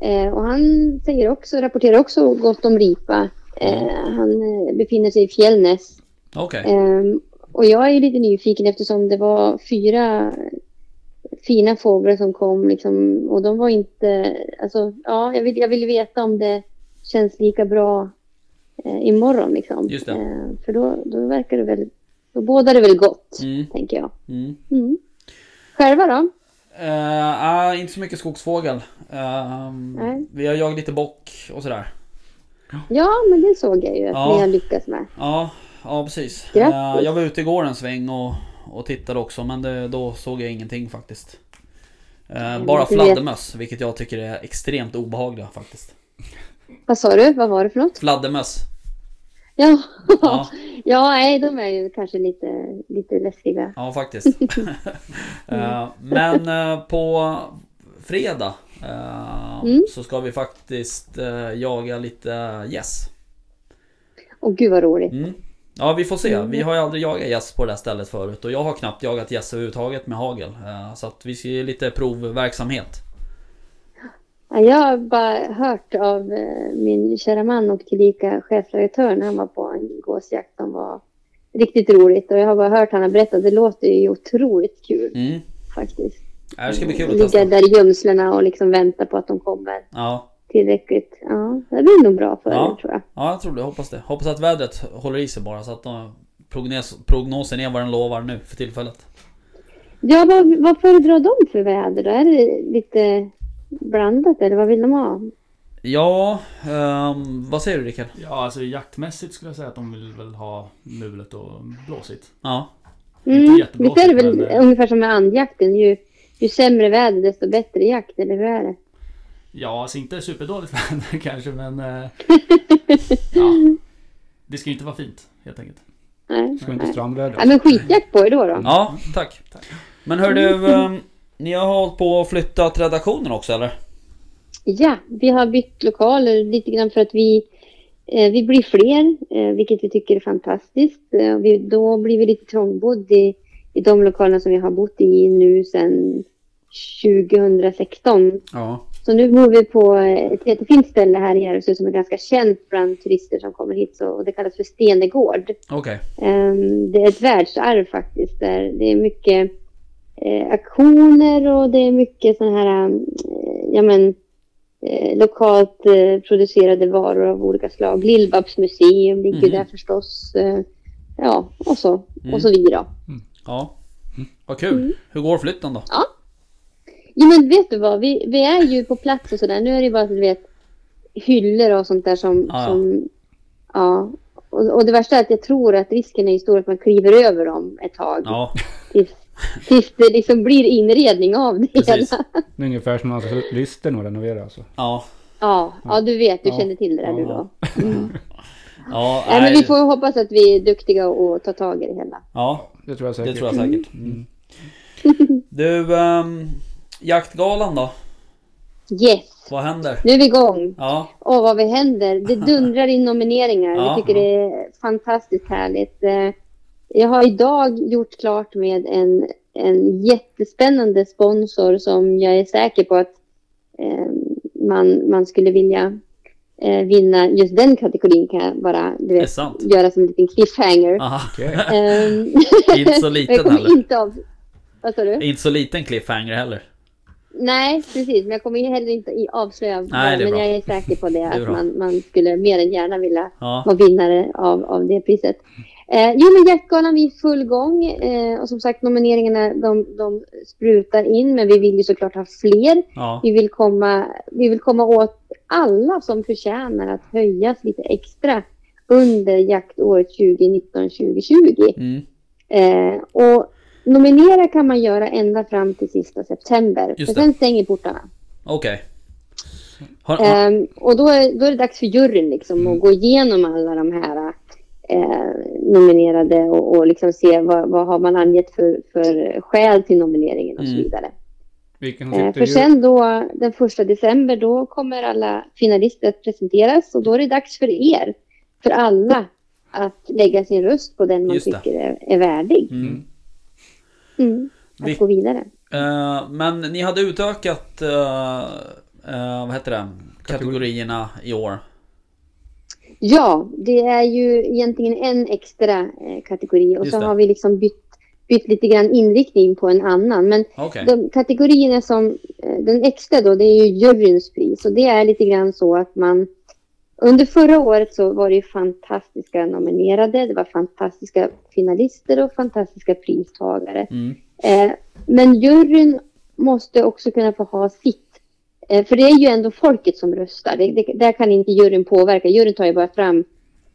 [SPEAKER 4] Eh, och han säger också, rapporterar också gott om ripa. Eh, han eh, befinner sig i Fjällnäs.
[SPEAKER 1] Okej.
[SPEAKER 4] Ehm, och jag är ju lite nyfiken eftersom det var fyra fina fåglar som kom liksom, och de var inte, alltså ja, jag vill, jag vill veta om det känns lika bra eh, imorgon liksom.
[SPEAKER 1] Just det.
[SPEAKER 4] Ehm, för då, då verkar det väl, då bådar det väl gott,
[SPEAKER 1] Mm.
[SPEAKER 4] tänker jag.
[SPEAKER 1] Mm.
[SPEAKER 4] Mm. Själva då?
[SPEAKER 1] Eh, ah, inte så mycket skogsfågel. Eh,
[SPEAKER 4] Nej.
[SPEAKER 1] vi har jagat lite bock och sådär.
[SPEAKER 4] Ja, men det såg jag ju att
[SPEAKER 1] Ja.
[SPEAKER 4] ni har lyckats med.
[SPEAKER 1] Ja, ja precis.
[SPEAKER 4] Grattis.
[SPEAKER 1] Eh, jag var ute igår en sväng och, och tittade också men det, då såg jag ingenting faktiskt. Eh,
[SPEAKER 4] men
[SPEAKER 1] bara
[SPEAKER 4] du vet-
[SPEAKER 1] fladdermöss, vilket jag tycker är extremt obehagliga faktiskt.
[SPEAKER 4] Vad sa du? Vad var det för något?
[SPEAKER 1] Fladdermöss.
[SPEAKER 4] Ja,
[SPEAKER 1] Ja.
[SPEAKER 4] ja. ja nej, de är ju kanske lite, lite läskiga.
[SPEAKER 1] Ja, faktiskt. Eh, Men eh, på fredag eh,
[SPEAKER 4] Mm.
[SPEAKER 1] så ska vi faktiskt eh, jaga lite gäss.
[SPEAKER 4] Och gud vad roligt.
[SPEAKER 1] Mm. Ja, vi får
[SPEAKER 4] Mm.
[SPEAKER 1] se. Vi har ju aldrig jagat gäss på det här stället förut och jag har knappt jagat gäss överhuvudtaget med hagel. Eh, Så att vi ska ge lite provverksamhet.
[SPEAKER 4] Ja, Jag har bara hört av eh, min kära man och tillika chefredaktör när han var på en gåsjakt som var riktigt roligt. Och jag har bara hört han har berättat. Det låter ju otroligt kul
[SPEAKER 1] Mm.
[SPEAKER 4] faktiskt.
[SPEAKER 1] Ja, Det ska bli kul att
[SPEAKER 4] Ligga
[SPEAKER 1] testa.
[SPEAKER 4] där i gömslena och liksom vänta på att de kommer
[SPEAKER 1] Ja,
[SPEAKER 4] tillräckligt. Ja, det blir nog bra för
[SPEAKER 1] Ja.
[SPEAKER 4] er tror jag.
[SPEAKER 1] ja jag tror det. Hoppas det. Hoppas att vädret håller i sig bara så att eh, prognos, prognosen är vad den lovar nu för tillfället.
[SPEAKER 4] Ja, vad, vad föredrar de för väder då? Är det lite blandat eller vad vill de ha?
[SPEAKER 1] Ja, ehm, vad säger du Rickard?
[SPEAKER 2] Ja, alltså jaktmässigt skulle jag säga att de vill väl ha mulet och blåsigt.
[SPEAKER 1] Ja,
[SPEAKER 4] Mm.
[SPEAKER 2] jättebra,
[SPEAKER 4] Visst är det väl
[SPEAKER 2] men, eh,
[SPEAKER 4] ungefär som med andjakten? Ju, ju sämre väder desto bättre jakt, eller hur är det?
[SPEAKER 2] Ja, alltså inte superdåligt väder kanske, men... eh, ja. Det ska ju inte vara fint, helt enkelt.
[SPEAKER 4] Nej.
[SPEAKER 3] Ska vi inte strandväder?
[SPEAKER 4] Ja, men skitjakt på er då. då.
[SPEAKER 1] Ja, tack. Men hör du, ehm, ni har hållit på att flytta till redaktionen också eller?
[SPEAKER 4] Ja, vi har bytt lokaler lite grann för att vi, eh, vi blir fler, eh, vilket vi tycker är fantastiskt. Eh, vi, då blir vi lite trångbodd i, i de lokalerna som vi har bott i nu sedan 2016.
[SPEAKER 1] Ja.
[SPEAKER 4] Så nu bor vi på eh, ett jättefint ställe här i Järvsö som är ganska känt bland turister som kommer hit. Så, och det kallas för Stenegård.
[SPEAKER 1] Okej.
[SPEAKER 4] Ehm, Det är ett världsarv faktiskt. Där det är mycket eh, aktioner och det är mycket sådana här eh, ja, men, eh, lokalt eh, producerade varor av olika slag. Lill-Babs museum ligger ju
[SPEAKER 1] Mhm.
[SPEAKER 4] där förstås. Eh, ja, och så,
[SPEAKER 1] Mm.
[SPEAKER 4] och så vidare.
[SPEAKER 1] Ja. Vad kul.
[SPEAKER 4] Mm.
[SPEAKER 1] Hur går flytten då?
[SPEAKER 4] Ja, men vet du vad, vi, vi är ju på plats och sådär. Nu är det ju bara du vet, hyllor och sånt där som...
[SPEAKER 1] Ja, ja.
[SPEAKER 4] som ja. Och, och det värsta är att jag tror att risken är ju stor att man kliver över dem ett tag.
[SPEAKER 1] Ja,
[SPEAKER 4] Tills, tills det liksom blir inredning av det
[SPEAKER 1] precis.
[SPEAKER 4] hela.
[SPEAKER 3] Det är ungefär som alltså att listen och renovera alltså.
[SPEAKER 1] Ja.
[SPEAKER 4] Ja, ja, du vet, du
[SPEAKER 3] Ja.
[SPEAKER 4] känner till det där
[SPEAKER 3] Ja.
[SPEAKER 4] du då.
[SPEAKER 1] Ja,
[SPEAKER 4] Nej, men
[SPEAKER 1] nej.
[SPEAKER 4] vi får hoppas att vi är duktiga och tar tag i det hela.
[SPEAKER 1] ja
[SPEAKER 3] Det tror jag säkert.
[SPEAKER 1] det tror jag säkert. Mm. Du, ehm, jaktgalan då?
[SPEAKER 4] Yes,
[SPEAKER 1] Vad händer?
[SPEAKER 4] nu är vi igång.
[SPEAKER 1] Ja,
[SPEAKER 4] Åh, vad vi händer. Det dundrar in nomineringar.
[SPEAKER 1] Ja.
[SPEAKER 4] Jag tycker det är fantastiskt härligt. Eh, Jag har idag gjort klart med en, en jättespännande sponsor som jag är säker på att eh, man, man skulle vilja eh, vinna just den kategorin kan jag bara du
[SPEAKER 1] det är
[SPEAKER 4] vet,
[SPEAKER 1] sant.
[SPEAKER 4] göra som en liten cliffhanger.
[SPEAKER 1] Aha.
[SPEAKER 3] Okej.
[SPEAKER 4] Ehm,
[SPEAKER 1] Inte så
[SPEAKER 4] men jag
[SPEAKER 1] liten
[SPEAKER 4] kommer
[SPEAKER 1] heller.
[SPEAKER 4] inte av... Vad sa du?
[SPEAKER 1] Inte så liten cliffhanger heller.
[SPEAKER 4] Nej, precis. Men jag kommer ju heller inte i- avslöja.
[SPEAKER 1] Nej, det är
[SPEAKER 4] men
[SPEAKER 1] bra.
[SPEAKER 4] jag är säker på det.
[SPEAKER 1] är
[SPEAKER 4] att
[SPEAKER 1] bra.
[SPEAKER 4] man, man skulle mer än gärna vilja
[SPEAKER 1] Ja,
[SPEAKER 4] vara vinnare av, av det priset. Eh, jo, men Jaktgalan vi är i full gång eh, och som sagt nomineringarna de, de sprutar in men vi vill ju såklart ha fler.
[SPEAKER 1] Ja,
[SPEAKER 4] Vi vill, komma, vi vill komma åt alla som förtjänar att höjas lite extra under jaktåret 2019-2020.
[SPEAKER 1] mm,
[SPEAKER 4] Eh, och nominera kan man göra ända fram till sista september.
[SPEAKER 1] Just
[SPEAKER 4] Men
[SPEAKER 1] det.
[SPEAKER 4] sen stänger portarna.
[SPEAKER 1] okej. Har, har,
[SPEAKER 4] Ehm, och då är, då är det dags för juryn liksom
[SPEAKER 1] Mm.
[SPEAKER 4] att gå igenom alla de här eh, nominerade och, och liksom se vad, vad har man angett för, för skäl till nomineringen och så
[SPEAKER 1] Mm.
[SPEAKER 4] vidare.
[SPEAKER 3] Vilken
[SPEAKER 4] Eh,
[SPEAKER 3] sitter
[SPEAKER 4] för
[SPEAKER 3] i
[SPEAKER 4] sen då den första december då kommer alla finalister att presenteras och då är det dags för er, för alla, att lägga sin röst på den man
[SPEAKER 1] Just det.
[SPEAKER 4] tycker är, är värdig.
[SPEAKER 1] mm.
[SPEAKER 4] Mm. Att
[SPEAKER 1] Vi-
[SPEAKER 4] gå vidare.
[SPEAKER 1] Eh, men ni hade utökat, eh, eh, vad heter det, kategorierna i år.
[SPEAKER 4] Ja, det är ju egentligen en extra eh, kategori och
[SPEAKER 1] Just
[SPEAKER 4] så
[SPEAKER 1] det.
[SPEAKER 4] har vi liksom bytt, bytt lite grann inriktning på en annan. Men
[SPEAKER 1] Okej,
[SPEAKER 4] de kategorierna som, eh, den extra då, det är ju juryns pris och det är lite grann så att man under förra året så var det ju fantastiska nominerade, det var fantastiska finalister och fantastiska pristagare.
[SPEAKER 1] mm,
[SPEAKER 4] Eh, men juryn måste också kunna få ha sitt. Eh, för det är ju ändå folket som röstar. Det, det, där kan inte juryn påverka. Juryn tar ju bara fram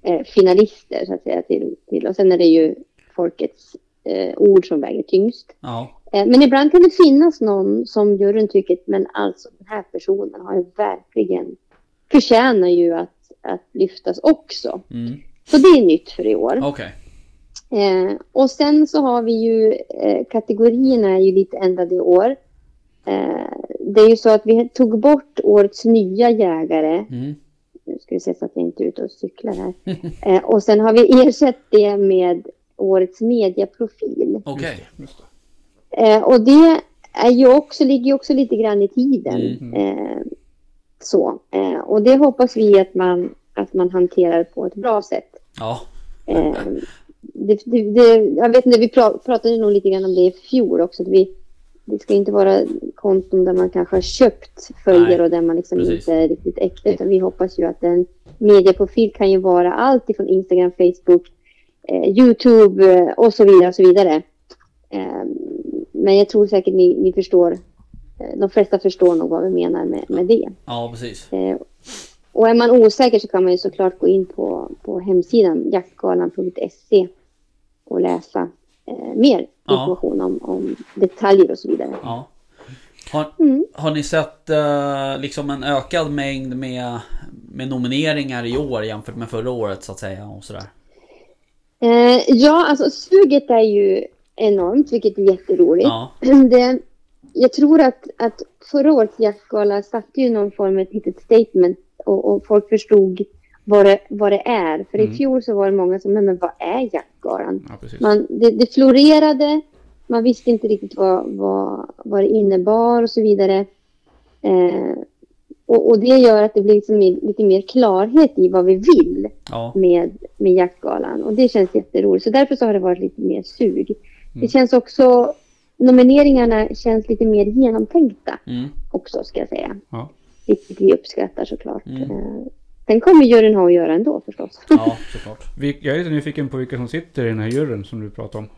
[SPEAKER 4] eh, finalister så att säga till, till. Och sen är det ju folkets eh, ord som väger tyngst.
[SPEAKER 1] ja,
[SPEAKER 4] Eh, men ibland kan det finnas någon som juryn tycker, men alltså den här personen har ju verkligen förtjänar ju att, att lyftas också.
[SPEAKER 1] mm,
[SPEAKER 4] Så det är nytt för i år.
[SPEAKER 1] okej.
[SPEAKER 4] Eh, och sen så har vi ju eh, kategorierna är ju lite ändrade i år. Eh, det är ju så att vi tog bort årets nya jägare.
[SPEAKER 1] Mm,
[SPEAKER 4] Nu ska vi se så att jag inte är ute och cyklar här. Eh, och sen har vi ersatt det med årets mediaprofil.
[SPEAKER 1] okej.
[SPEAKER 4] Eh, och det är ju också, ligger ju också lite grann i tiden.
[SPEAKER 3] Mm.
[SPEAKER 4] Eh, så. Eh, och det hoppas vi att man, att man hanterar på ett bra sätt.
[SPEAKER 1] Ja,
[SPEAKER 4] Eh, det, det, det, jag vet inte, vi pra- pratade nog lite grann om det i fjol också. Att vi, det ska inte vara konton där man kanske har köpt följare
[SPEAKER 1] Nej,
[SPEAKER 4] och där man liksom
[SPEAKER 1] precis.
[SPEAKER 4] inte är riktigt äkta. Utan vi hoppas ju att en medieprofil kan ju vara allt ifrån Instagram, Facebook, eh, YouTube eh, och så vidare. Och så vidare. Eh, men jag tror säkert ni, ni förstår. eh, De flesta förstår nog vad vi menar med, med det.
[SPEAKER 1] ja precis.
[SPEAKER 4] Eh, Och är man osäker så kan man ju såklart gå in på, på hemsidan jaktgalan.se och läsa eh, mer
[SPEAKER 1] Ja.
[SPEAKER 4] information om, om detaljer och så vidare.
[SPEAKER 1] Ja. Har,
[SPEAKER 4] Mm.
[SPEAKER 1] har ni sett eh, liksom en ökad mängd med, med nomineringar i år jämfört med förra året så att säga och sådär?
[SPEAKER 4] Eh, ja, alltså suget är ju enormt, vilket är jätteroligt.
[SPEAKER 1] Ja,
[SPEAKER 4] Det, jag tror att, att förra årets jaktgala satte ju någon form av ett litet statement och, och folk förstod vad det, vad det är. För
[SPEAKER 3] Mm.
[SPEAKER 4] i fjol så var det många som, "Nej, men vad är jaktgalan?
[SPEAKER 3] Ja, precis.
[SPEAKER 4] man, det, det florerade. Man visste inte riktigt vad, vad, vad det innebar och så vidare. Eh, och, och det gör att det blir liksom mer- lite mer klarhet i vad vi vill
[SPEAKER 1] ja,
[SPEAKER 4] med, med jaktgalan. Och det känns jätteroligt. Så därför så har det varit lite mer sug.
[SPEAKER 3] Mm.
[SPEAKER 4] Det känns också... Nomineringarna känns lite mer genomtänkta
[SPEAKER 1] mm,
[SPEAKER 4] också, ska jag säga.
[SPEAKER 3] Ja.
[SPEAKER 4] Vilket vi uppskattar såklart.
[SPEAKER 1] Mm.
[SPEAKER 4] Eh, sen kommer juryn ha att göra ändå förstås.
[SPEAKER 1] ja såklart.
[SPEAKER 3] Vil- Jag är lite nyfiken på vilka som sitter i den här juryn som du pratade om.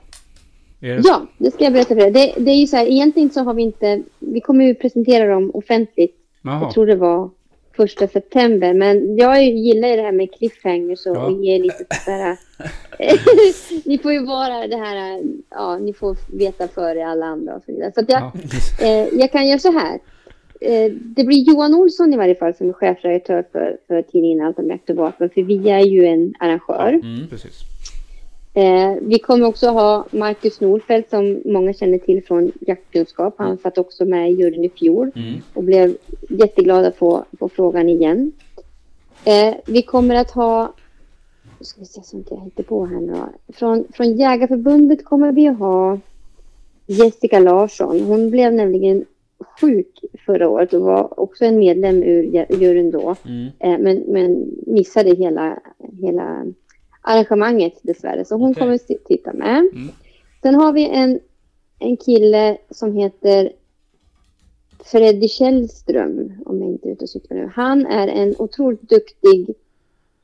[SPEAKER 3] Är det...
[SPEAKER 4] Ja, det ska jag berätta för er. Det, det är ju så här, egentligen så har vi inte, vi kommer ju presentera dem offentligt.
[SPEAKER 3] Jaha.
[SPEAKER 4] Jag tror det var första september, men jag gillar ju det här med cliffhangers och,
[SPEAKER 3] Ja.
[SPEAKER 4] och ge lite sådär. ni får ju vara det här, ja, ni får veta före alla andra och så vidare. Så att jag,
[SPEAKER 3] Ja.
[SPEAKER 4] eh, jag kan göra så här. Eh, det blir Johan Olsson i varje fall som är chefredaktör för, för tidningen Allt om jakt och vapen, för vi är ju en arrangör.
[SPEAKER 1] Mm,
[SPEAKER 3] Precis.
[SPEAKER 4] Eh, vi kommer också ha Marcus Norfeldt som många känner till från jaktkunskap. Han satt också med i juryn i fjol
[SPEAKER 1] mm,
[SPEAKER 4] och blev jätteglad att få, få frågan igen. Eh, vi kommer att ha, nu ska vi se så inte jag hittar på här nu då. Från, från Jägarförbundet kommer vi att ha Jessica Larsson. Hon blev nämligen sjuk förra året och var också en medlem ur jä- juryn då.
[SPEAKER 1] mm,
[SPEAKER 4] Eh, men, men missade hela, hela arrangemanget dessvärre. Så hon
[SPEAKER 1] Okej. Mm.
[SPEAKER 4] kommer si- sitta med. Sen har vi en, en kille som heter Freddy Källström, om jag inte är ute och cyklar nu. Han är en otroligt duktig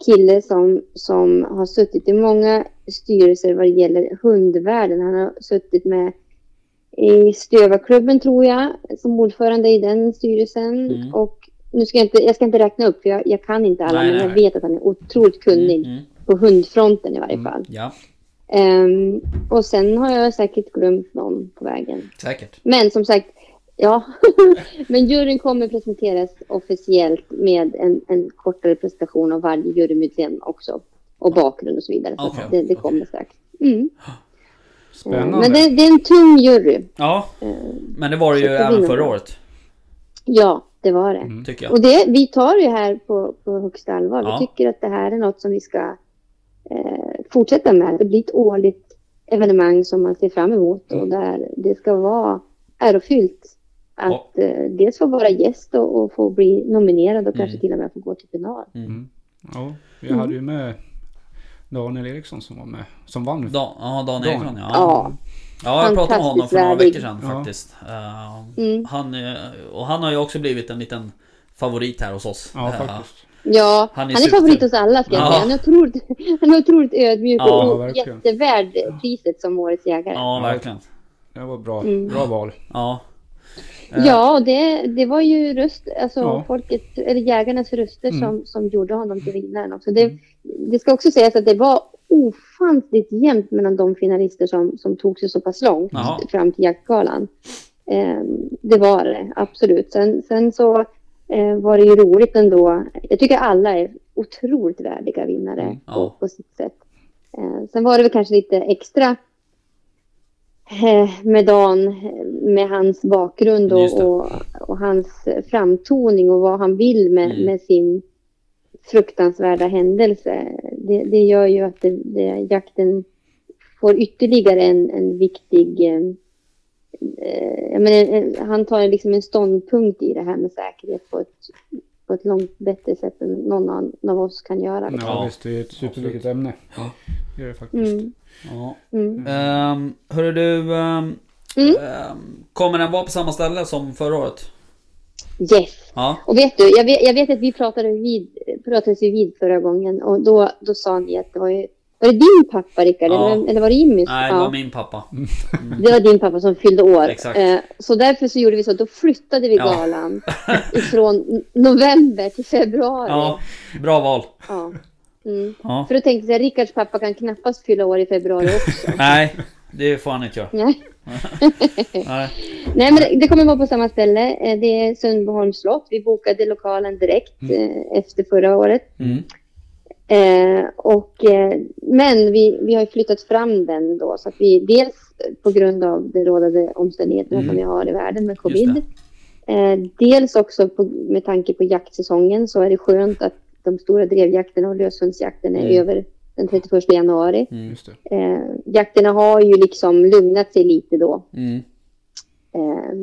[SPEAKER 4] kille som, som har suttit i många styrelser vad det gäller hundvärlden. Han har suttit med i Stövarklubben tror jag, som ordförande i den styrelsen.
[SPEAKER 1] Mm.
[SPEAKER 4] Och nu ska jag, inte, jag ska inte räkna upp, för jag, jag kan inte alla,
[SPEAKER 1] Nej,
[SPEAKER 4] men
[SPEAKER 1] nej,
[SPEAKER 4] jag
[SPEAKER 1] nej.
[SPEAKER 4] vet att han är otroligt kunnig
[SPEAKER 1] Mm, mm,
[SPEAKER 4] på hundfronten i varje fall.
[SPEAKER 1] Ja,
[SPEAKER 4] Ehm, och sen har jag säkert glömt någon på vägen.
[SPEAKER 1] säkert.
[SPEAKER 4] Men som sagt, ja. Men juryn kommer presenteras officiellt med en, en kortare presentation av varje jurymedlem också. Och bakgrund och så vidare. Så
[SPEAKER 1] Okej,
[SPEAKER 4] det, det
[SPEAKER 1] okej.
[SPEAKER 4] kommer strax. Mm.
[SPEAKER 3] Spännande.
[SPEAKER 4] Men det, det är en tung jury.
[SPEAKER 1] Ja,
[SPEAKER 4] Ehm,
[SPEAKER 1] men det var det ju
[SPEAKER 4] Säkert
[SPEAKER 1] även
[SPEAKER 4] vinner.
[SPEAKER 1] förra året,
[SPEAKER 4] Ja, det var det.
[SPEAKER 3] Mm.
[SPEAKER 1] tycker jag.
[SPEAKER 4] Och det, vi tar det här på, på högsta allvar.
[SPEAKER 1] Ja.
[SPEAKER 4] Vi tycker att det här är något som vi ska eh, fortsätta med. Det blir ett årligt evenemang som man ser fram emot och där det ska vara ärofyllt att eh, dels få vara gäst och, och få bli nominerad och kanske
[SPEAKER 1] Mm.
[SPEAKER 4] till och med få gå till final.
[SPEAKER 3] Ja, vi hade ju
[SPEAKER 4] Mm.
[SPEAKER 3] med Daniel Eriksson som var med. Som vann.
[SPEAKER 1] Dan, ja, Dan
[SPEAKER 3] Dan.
[SPEAKER 1] Eriksson ja.
[SPEAKER 4] Ja.
[SPEAKER 1] Ja, jag pratade med honom för några
[SPEAKER 4] Fantastiskt
[SPEAKER 1] veckor sedan
[SPEAKER 3] värdig.
[SPEAKER 1] faktiskt. Ehm,
[SPEAKER 4] Mm.
[SPEAKER 1] Han, eh, och han har ju också blivit en liten favorit här hos oss.
[SPEAKER 3] Ja,
[SPEAKER 1] Eh,
[SPEAKER 3] faktiskt.
[SPEAKER 4] Ja,
[SPEAKER 1] Han
[SPEAKER 4] han
[SPEAKER 1] är
[SPEAKER 4] är,
[SPEAKER 1] superkul.
[SPEAKER 4] favorit hos alla ska jag
[SPEAKER 1] Ja.
[SPEAKER 4] säga. Han är otroligt, han är otroligt ödmjuk
[SPEAKER 1] Ja,
[SPEAKER 4] och
[SPEAKER 3] verkligen.
[SPEAKER 4] jättevärd priset som årets jägare.
[SPEAKER 1] Ja, verkligen.
[SPEAKER 3] Det var bra,
[SPEAKER 4] Mm.
[SPEAKER 3] bra val.
[SPEAKER 1] Ja. Eh,
[SPEAKER 4] Ja, det, det var ju röst, alltså
[SPEAKER 3] Ja.
[SPEAKER 4] folket, eller jägarnas röster
[SPEAKER 3] Mm.
[SPEAKER 4] som, som gjorde honom till vinnaren också. Det, det ska också sägas att det var ofantligt jämnt mellan de finalister som, som tog sig så pass långt
[SPEAKER 1] Jaha.
[SPEAKER 4] fram till jaktgalan. Eh, det var det, absolut. Sen, sen så eh, var det ju roligt ändå. Jag tycker alla är otroligt värdiga vinnare
[SPEAKER 3] Mm,
[SPEAKER 1] ja.
[SPEAKER 4] på, på sitt sätt. Eh, sen var det väl kanske lite extra eh, med Dan, eh, med hans bakgrund och,
[SPEAKER 1] Just det.
[SPEAKER 4] och, och hans eh, framtoning och vad han vill med,
[SPEAKER 1] Mm.
[SPEAKER 4] med sin fruktansvärda händelse. Det, det gör ju att det, det, jakten får ytterligare en, en viktig... eh, Eh, jag menar, en- han tar liksom en ståndpunkt i det här med säkerhet på ett, på ett långt bättre sätt än någon an- av oss kan göra.
[SPEAKER 3] Ja,
[SPEAKER 4] liksom.
[SPEAKER 1] Ja.
[SPEAKER 3] visst, det är ett superviktigt ämne.
[SPEAKER 1] Ja.
[SPEAKER 3] Det är det faktiskt.
[SPEAKER 4] Mm,
[SPEAKER 1] ja.
[SPEAKER 4] mm.
[SPEAKER 1] Ehm, hörru du, ehm,
[SPEAKER 4] Mm.
[SPEAKER 1] ehm, kommer den vara på samma ställe som förra året?
[SPEAKER 4] Yes.
[SPEAKER 1] Ja.
[SPEAKER 4] Och vet du, jag vet, jag vet att vi pratade vid, pratades ju vid förra gången och då, då sa ni att det var ju... Var det din pappa, Rickard?
[SPEAKER 1] Ja.
[SPEAKER 4] Eller, eller var det Jimmys?
[SPEAKER 1] Nej, det
[SPEAKER 4] Ja.
[SPEAKER 1] var min pappa.
[SPEAKER 4] Det var din pappa som fyllde år.
[SPEAKER 1] Exakt.
[SPEAKER 4] Eh, Så därför så gjorde vi så att då flyttade vi
[SPEAKER 1] Ja.
[SPEAKER 4] galan från november till februari.
[SPEAKER 1] Ja, bra val.
[SPEAKER 4] Ja. Mm.
[SPEAKER 1] Ja.
[SPEAKER 4] För då tänkte jag, Rickards pappa kan knappast fylla år i februari också.
[SPEAKER 1] Eh, Nej, det får han inte göra.
[SPEAKER 4] Nej.
[SPEAKER 1] Nej.
[SPEAKER 4] Nej, men det- det kommer vara på samma ställe. Eh, Det är Sundbyholms slott. Vi bokade lokalen direkt eh, efter förra året.
[SPEAKER 1] Mm.
[SPEAKER 4] Eh, och, eh, men vi, vi har ju flyttat fram den då. Så att vi, dels eh, på grund av det rådande omständigheterna
[SPEAKER 1] Mm.
[SPEAKER 4] som vi har i världen med
[SPEAKER 1] Just
[SPEAKER 4] covid. Eh, dels också på, med tanke på jaktsäsongen så är det skönt att de stora drevjakterna och löshundsjakten är
[SPEAKER 1] Mm.
[SPEAKER 4] över den 31 januari.
[SPEAKER 1] Mm.
[SPEAKER 3] Just det.
[SPEAKER 4] Eh, jakterna har ju liksom lugnat sig lite då.
[SPEAKER 1] Mm.
[SPEAKER 4] Eh,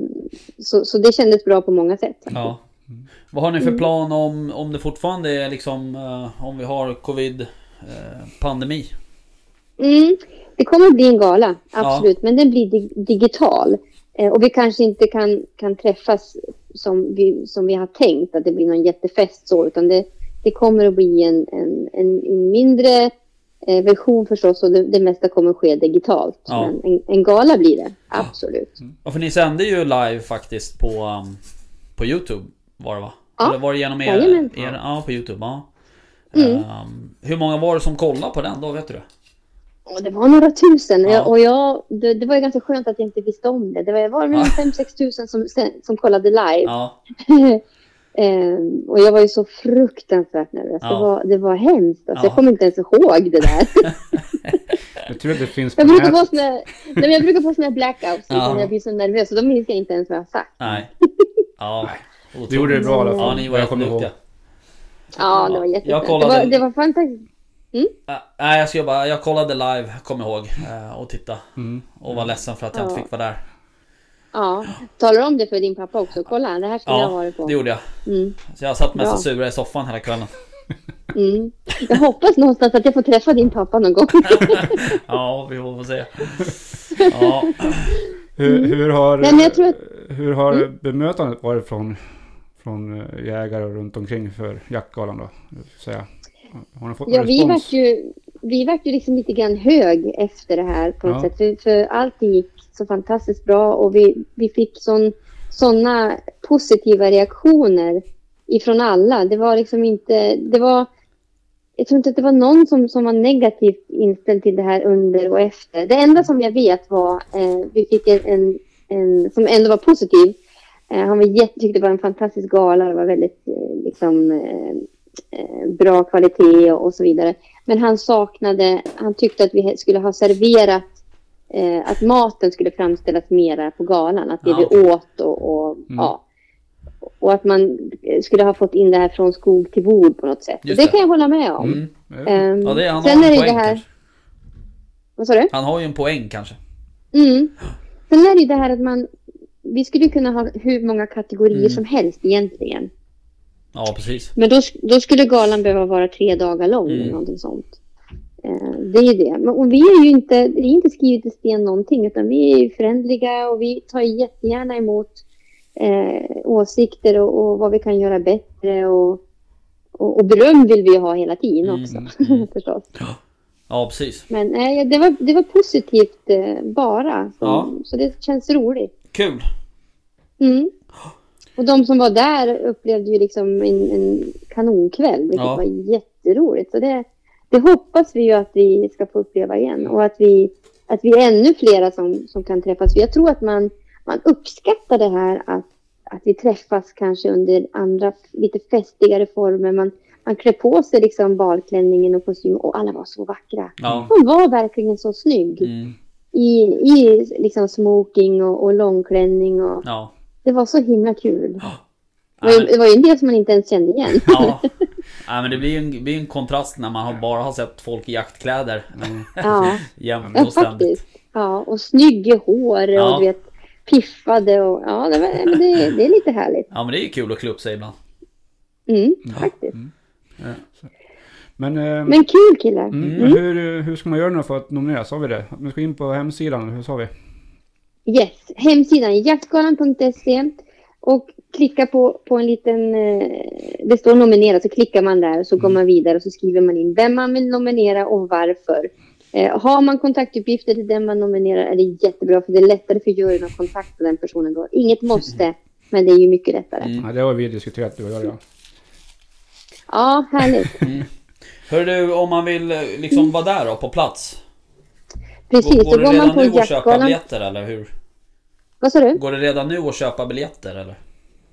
[SPEAKER 4] så, så det kändes bra på många sätt.
[SPEAKER 1] Ja.
[SPEAKER 3] Mm.
[SPEAKER 1] Vad har ni
[SPEAKER 4] Mm.
[SPEAKER 1] för plan om, om det fortfarande är liksom eh, om vi har covid eh, pandemi?
[SPEAKER 4] Mm, det kommer bli en gala, absolut. Men den blir dig- digital. Eh, och vi kanske inte kan, kan träffas som vi, som vi har tänkt, att det blir någon jättefest så. Utan det, det kommer att bli en, en, en, en mindre eh, version förstås. Och det, det mesta kommer ske digitalt.
[SPEAKER 1] Ja.
[SPEAKER 4] Men en, en gala blir det, absolut.
[SPEAKER 1] Ja, för ni sände ju live faktiskt på, um, på Youtube var det va?
[SPEAKER 4] Ja,
[SPEAKER 1] Eller var det genom er?
[SPEAKER 4] jajamän.
[SPEAKER 1] er ja, på Youtube. Ja.
[SPEAKER 4] Mm.
[SPEAKER 1] Ehm, hur många var det som kollade på den då? Vet du det?
[SPEAKER 4] Och det var några tusen.
[SPEAKER 1] Ja.
[SPEAKER 4] Och jag, det, det var ju ganska skönt att jag inte visste om det. Det var, var
[SPEAKER 1] Ja.
[SPEAKER 4] väl 5-6 tusen som, som kollade live.
[SPEAKER 1] Ja.
[SPEAKER 4] Ehm, och jag var ju så fruktansvärt nervös.
[SPEAKER 1] Ja.
[SPEAKER 4] Det, var, det var hemskt. Alltså,
[SPEAKER 1] Ja.
[SPEAKER 4] Jag kommer inte ens ihåg det där.
[SPEAKER 3] Jag tror att det finns på
[SPEAKER 4] Jag brukar få
[SPEAKER 3] nätet.
[SPEAKER 4] såna, nej, men jag brukar få såna här blackouts liksom,
[SPEAKER 1] Ja.
[SPEAKER 4] när jag blir så nervös. Och då minns jag inte ens vad jag har sagt.
[SPEAKER 1] Nej. Ja. Otroligt.
[SPEAKER 3] Du gjorde det bra i alla fall.
[SPEAKER 1] Ja, ni var
[SPEAKER 3] Jag kommer
[SPEAKER 1] jätteduktiga.
[SPEAKER 3] ihåg.
[SPEAKER 4] Ja, det var
[SPEAKER 1] Jag
[SPEAKER 4] jätteskönt. Det
[SPEAKER 1] kollade-
[SPEAKER 4] var, det var fantastiskt.
[SPEAKER 1] Äh, Nej, jag ska bara, jag kollade live, kom ihåg. eh, Och titta.
[SPEAKER 3] Mm.
[SPEAKER 1] Och var ledsen för att jag inte
[SPEAKER 4] Ja.
[SPEAKER 1] fick vara där.
[SPEAKER 4] Ja. Talar du om det för din pappa också? Kolla, det här skulle jag ha
[SPEAKER 1] Ja,
[SPEAKER 4] varit på.
[SPEAKER 1] det gjorde jag.
[SPEAKER 4] Mm.
[SPEAKER 1] Så jag satt mest
[SPEAKER 4] Bra.
[SPEAKER 1] och sura i soffan hela kvällen.
[SPEAKER 4] Mm. Jag hoppas någonstans att jag får träffa din pappa någon gång.
[SPEAKER 1] Ja, vi får se. Ja.
[SPEAKER 3] Hur, hur har,
[SPEAKER 4] Mm. Nej, men jag tror att- Mm.
[SPEAKER 3] hur har bemötandet varit från, från eh, jägare och runt omkring för jaktgalan då? Vill säga. Har ni fått någon
[SPEAKER 4] Ja, vi
[SPEAKER 3] respons?
[SPEAKER 4] vart ju, vi vart ju liksom lite grann hög efter det här på något
[SPEAKER 3] Ja.
[SPEAKER 4] sätt. För, för allting gick så fantastiskt bra och vi, vi fick sån, såna positiva reaktioner ifrån alla. Det var liksom inte, det var, jag tror inte att det var någon som, som var negativt inställd till det här under och efter. Det enda som jag vet var, eh, vi fick en, en, en som ändå var positiv. Eh, han var jätte, tyckte det var en fantastisk gala, det var väldigt eh, liksom, eh, eh, bra kvalitet och, och så vidare. Men han saknade, han tyckte att vi he- skulle ha serverat, eh, att maten skulle framställas mera på galan. Att det
[SPEAKER 1] Ja,
[SPEAKER 4] vi
[SPEAKER 1] okej. Mm.
[SPEAKER 4] åt och, och ja. Och att man eh, skulle ha fått in det här från skog till bord på något sätt.
[SPEAKER 1] Just
[SPEAKER 4] det
[SPEAKER 1] det.
[SPEAKER 4] kan jag hålla med om.
[SPEAKER 1] Mm.
[SPEAKER 3] Eh,
[SPEAKER 4] Ehm,
[SPEAKER 1] Ja, det, han
[SPEAKER 4] sen
[SPEAKER 1] har
[SPEAKER 4] är
[SPEAKER 1] en
[SPEAKER 4] det ju det
[SPEAKER 1] poäng
[SPEAKER 4] här...
[SPEAKER 1] kanske.
[SPEAKER 4] Vad sa du?
[SPEAKER 1] Han har ju en poäng kanske.
[SPEAKER 4] Mm. Sen är det ju det här att man... Vi skulle kunna ha hur många kategorier
[SPEAKER 1] Mm.
[SPEAKER 4] som helst egentligen.
[SPEAKER 1] Ja, precis.
[SPEAKER 4] Men då, sk- då skulle galan behöva vara tre dagar lång
[SPEAKER 1] Mm.
[SPEAKER 4] eller någonting sånt. Eh, det är ju det. Men, och vi är ju inte, det är inte skrivet i sten någonting utan vi är ju förändliga och vi tar ju jättegärna emot eh, åsikter och, och vad vi kan göra bättre och, och, och beröm vill vi ju ha hela tiden
[SPEAKER 1] Mm.
[SPEAKER 4] också
[SPEAKER 1] Mm.
[SPEAKER 4] förstås.
[SPEAKER 1] Ja, precis.
[SPEAKER 4] Men nej, det, var, det var positivt eh, bara. Så,
[SPEAKER 1] Ja.
[SPEAKER 4] så det känns roligt.
[SPEAKER 1] Kul.
[SPEAKER 4] Mm. Och de som var där upplevde ju liksom en, en kanonkväll, vilket
[SPEAKER 1] Ja.
[SPEAKER 4] var jätteroligt. Så det, det hoppas vi ju att vi ska få uppleva igen och att vi, att vi är ännu flera som, som kan träffas. För jag tror att man, man uppskattar det här att, att vi träffas kanske under andra lite festigare former. Man, man klär på sig liksom balklänningen och kostym och alla var så vackra.
[SPEAKER 1] Ja.
[SPEAKER 4] Hon var verkligen så snygg
[SPEAKER 1] Mm.
[SPEAKER 4] i, i liksom smoking och, och långklänning. Och,
[SPEAKER 1] Ja.
[SPEAKER 4] det var så himla kul. Det var, ju-
[SPEAKER 1] Nej,
[SPEAKER 4] det var ju en del som man inte ens kände igen.
[SPEAKER 1] ja. Nej, men det blir ju en, det blir en kontrast när man har, bara har sett folk i jaktkläder
[SPEAKER 4] Ja,
[SPEAKER 1] jämt
[SPEAKER 4] ja
[SPEAKER 1] och ständigt.
[SPEAKER 4] faktiskt. Ja, och snygga hår och
[SPEAKER 1] Ja.
[SPEAKER 4] du vet, piffade och ja, det, var, men det, det är lite härligt.
[SPEAKER 1] Ja, men det är ju kul att klä upp sig ibland.
[SPEAKER 4] Mm, faktiskt.
[SPEAKER 3] Men, eh,
[SPEAKER 4] Men kul killar.
[SPEAKER 3] mm,
[SPEAKER 4] Mm.
[SPEAKER 3] Hur, hur ska man göra nu för att nominera? Sa vi det? Vi ska in på hemsidan, hur sa vi?
[SPEAKER 1] Mm.
[SPEAKER 4] Yes, hemsidan jaktgalan.se och klicka på, på en liten, eh, det står nominera, så klickar man där och så
[SPEAKER 1] Mm.
[SPEAKER 4] går man vidare och så skriver man in vem man vill nominera och varför. Eh, har man kontaktuppgifter till den man nominerar är det jättebra för det är lättare för juryn att kontakta den personen då. Inget måste, men det är ju mycket lättare.
[SPEAKER 1] Mm.
[SPEAKER 3] Ja, det har vi diskuterat du och jag redan.
[SPEAKER 4] Ja, härligt.
[SPEAKER 1] Mm. Hör du, om man vill eh, liksom vara där då, på plats?
[SPEAKER 4] Precis,
[SPEAKER 1] går
[SPEAKER 4] så
[SPEAKER 1] det
[SPEAKER 4] går man
[SPEAKER 1] redan
[SPEAKER 4] på
[SPEAKER 1] nu att köpa
[SPEAKER 4] jaktgalan.
[SPEAKER 1] biljetter eller hur?
[SPEAKER 4] Vad sa du?
[SPEAKER 1] Går det redan nu att köpa biljetter eller?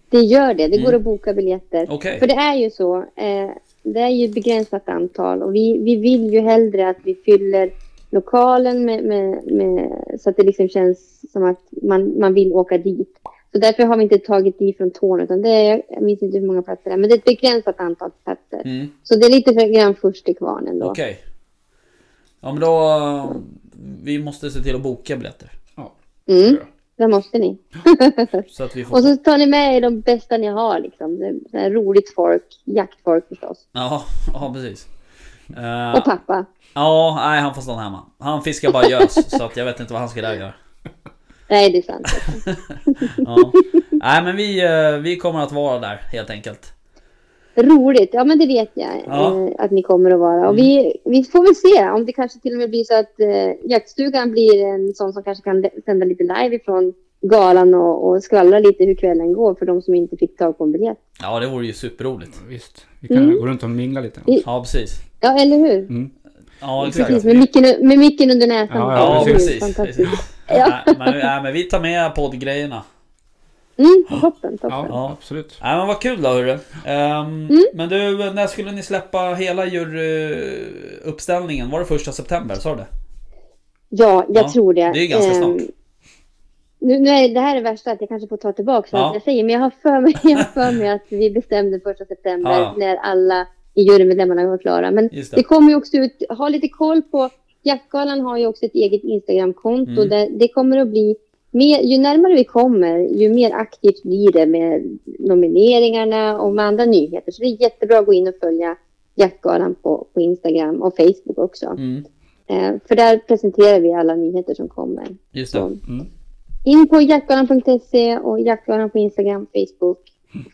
[SPEAKER 4] Det gör det. Det går
[SPEAKER 1] Mm.
[SPEAKER 4] att boka biljetter.
[SPEAKER 1] Okej.
[SPEAKER 4] För det är ju så. Eh, det är ju ett begränsat antal och vi, vi vill ju hellre att vi fyller lokalen med, med, med, så att det liksom känns som att man, man vill åka dit. Så därför har vi inte tagit i från tån utan det är, jag minns inte hur många platser det är, men det är ett begränsat antal platser.
[SPEAKER 1] Mm.
[SPEAKER 4] Så det är lite för grann först till kvarnen då.
[SPEAKER 1] Okej. Ja men då... eh, Vi måste se till att boka biljetter.
[SPEAKER 3] Ja.
[SPEAKER 4] Mm, det måste ni.
[SPEAKER 1] Så att vi får...
[SPEAKER 4] Och så tar ni med er de bästa ni har liksom. Det är, så här roligt folk, jaktfolk förstås.
[SPEAKER 1] Ja, ja precis. Eh,
[SPEAKER 4] Och pappa.
[SPEAKER 1] ja, nej han får stanna hemma. Han fiskar bara gös, så att jag vet inte vad han ska där göra.
[SPEAKER 4] Nej, det är sant.
[SPEAKER 1] Ja. Nej men vi, eh, vi kommer att vara där helt enkelt.
[SPEAKER 4] Roligt, ja men det vet jag
[SPEAKER 1] Ja. Mm.
[SPEAKER 4] eh, att ni kommer att vara. Och vi, vi får väl se om det kanske till och med blir så att eh, jaktstugan blir en sån som kanske kan le- sända lite live ifrån galan och, och skvallra lite hur kvällen går för de som inte fick tag på en biljett.
[SPEAKER 1] Ja det vore ju superroligt.
[SPEAKER 3] Visst, vi kan
[SPEAKER 4] Mm.
[SPEAKER 3] gå runt och mingla lite.
[SPEAKER 4] I-
[SPEAKER 1] Ja precis.
[SPEAKER 4] Ja, eller hur?
[SPEAKER 3] Mm.
[SPEAKER 1] Ja exakt.
[SPEAKER 4] Precis, med micken, med micken under näsan.
[SPEAKER 3] Ja,
[SPEAKER 1] Ja
[SPEAKER 4] Det är ju
[SPEAKER 1] precis.
[SPEAKER 4] Fantastiskt.
[SPEAKER 1] precis.
[SPEAKER 4] Ja.
[SPEAKER 1] Nej, men, nej, men vi tar med poddgrejerna.
[SPEAKER 4] Mm, toppen,
[SPEAKER 3] Ja,
[SPEAKER 4] toppen.
[SPEAKER 1] Ja.
[SPEAKER 3] absolut.
[SPEAKER 1] Nej men vad kul då hörru. Ehm, Men du, när skulle ni släppa hela juryuppställningen? Var det första september? Sa du det?
[SPEAKER 4] Ja, jag
[SPEAKER 1] Ja,
[SPEAKER 4] tror det.
[SPEAKER 1] det är ganska snart.
[SPEAKER 4] Ehm, Nu, nu är det här är värst att jag kanske får ta tillbaka
[SPEAKER 1] Ja.
[SPEAKER 4] allt jag säger, men jag har för mig, jag har för mig att vi bestämde första september
[SPEAKER 1] Ja, ja.
[SPEAKER 4] när alla i jurymedlemmarna var klara. Men
[SPEAKER 1] Just det.
[SPEAKER 4] det. kommer ju också ut, ha lite koll på, Jaktgalan har ju också ett eget Instagramkonto
[SPEAKER 1] Mm.
[SPEAKER 4] där det kommer att bli mer, ju närmare vi kommer, ju mer aktivt blir det med nomineringarna och med andra nyheter. Så det är jättebra att gå in och följa Jaktgalan på, på Instagram och Facebook också.
[SPEAKER 1] Mm,
[SPEAKER 4] Eh, för där presenterar vi alla nyheter som kommer.
[SPEAKER 1] just
[SPEAKER 4] Så
[SPEAKER 1] det. Mm.
[SPEAKER 4] in på jaktgalan.se och jaktgalan på Instagram, Facebook.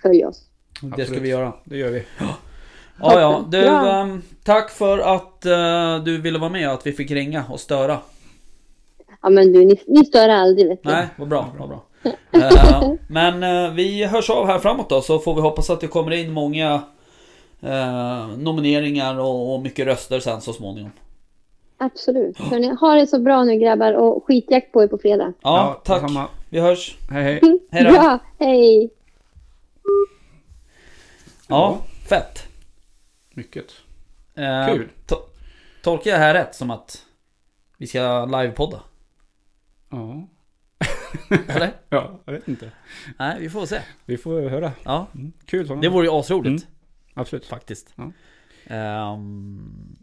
[SPEAKER 4] Följ oss.
[SPEAKER 1] Det ska
[SPEAKER 3] Absolut.
[SPEAKER 1] vi göra.
[SPEAKER 3] Det gör vi.
[SPEAKER 1] Ja, ja. Du,
[SPEAKER 4] Bra.
[SPEAKER 1] ehm, tack för att eh, du ville vara med och att vi fick ringa och störa.
[SPEAKER 4] Ja men du, ni, ni stör aldrig vet du.
[SPEAKER 1] Nej, vad bra, vad bra. Eh, men eh, vi hörs av här framåt då, så får vi hoppas att det kommer in många eh, nomineringar och, och mycket röster sen så småningom.
[SPEAKER 4] Absolut. Hörrni, ha det så bra nu grabbar och skitjakt på er på fredag.
[SPEAKER 1] Ja, tack.
[SPEAKER 3] detsamma.
[SPEAKER 1] Vi hörs.
[SPEAKER 3] Hej hej.
[SPEAKER 1] Hej då.
[SPEAKER 4] Bra, hej.
[SPEAKER 1] Ja, fett.
[SPEAKER 3] Mycket.
[SPEAKER 1] Eh,
[SPEAKER 3] Kul.
[SPEAKER 1] to- tolkar jag här rätt som att vi ska livepodda?
[SPEAKER 3] Ja.
[SPEAKER 1] Eller?
[SPEAKER 3] ja, jag vet inte.
[SPEAKER 1] Nej, vi får se.
[SPEAKER 3] Vi får höra.
[SPEAKER 1] Ja,
[SPEAKER 3] Mm. Kul sådana.
[SPEAKER 1] det vore ju asroligt.
[SPEAKER 3] Absolut.
[SPEAKER 1] Faktiskt.
[SPEAKER 3] Mm. Ja.
[SPEAKER 1] Ehm,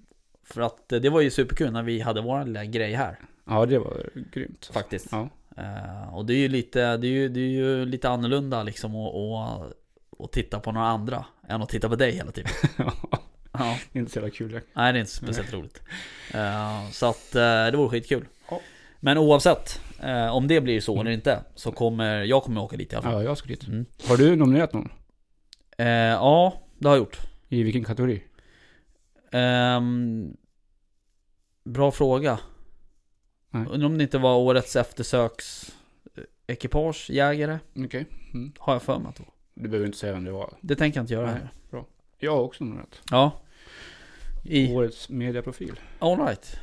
[SPEAKER 1] för att eh, det var ju superkul när vi hade vår lilla grej här.
[SPEAKER 3] Ja, det var grymt.
[SPEAKER 1] Faktiskt.
[SPEAKER 3] Ja.
[SPEAKER 1] Eh, och det är ju lite, det är ju, det är ju lite annorlunda liksom att, att, att titta på några andra än att titta på dig hela tiden. ja.
[SPEAKER 3] inte så jävla kul. jag-
[SPEAKER 1] Nej, det är inte speciellt roligt. Eh, så att eh, det vore skitkul.
[SPEAKER 3] Ja. Mm.
[SPEAKER 1] Men oavsett eh, om det blir så eller inte så kommer jag kommer åka dit i alla fall.
[SPEAKER 3] Ja, jag ska dit.
[SPEAKER 1] Mm.
[SPEAKER 3] Har du nominerat någon?
[SPEAKER 1] Eh, ja, det har jag gjort.
[SPEAKER 3] I vilken kategori?
[SPEAKER 1] Ehm, bra fråga.
[SPEAKER 3] Nej.
[SPEAKER 1] Undrar om det inte var årets eftersöks ekipage, jägare,
[SPEAKER 3] Okej.
[SPEAKER 1] har jag för mig att det var.
[SPEAKER 3] Mm. Du behöver inte säga vem det var.
[SPEAKER 1] Det tänker jag inte göra
[SPEAKER 3] Nej.
[SPEAKER 1] här.
[SPEAKER 3] Jag har också nominerat.
[SPEAKER 1] Ja. I,
[SPEAKER 3] Årets mediaprofil.
[SPEAKER 1] all right.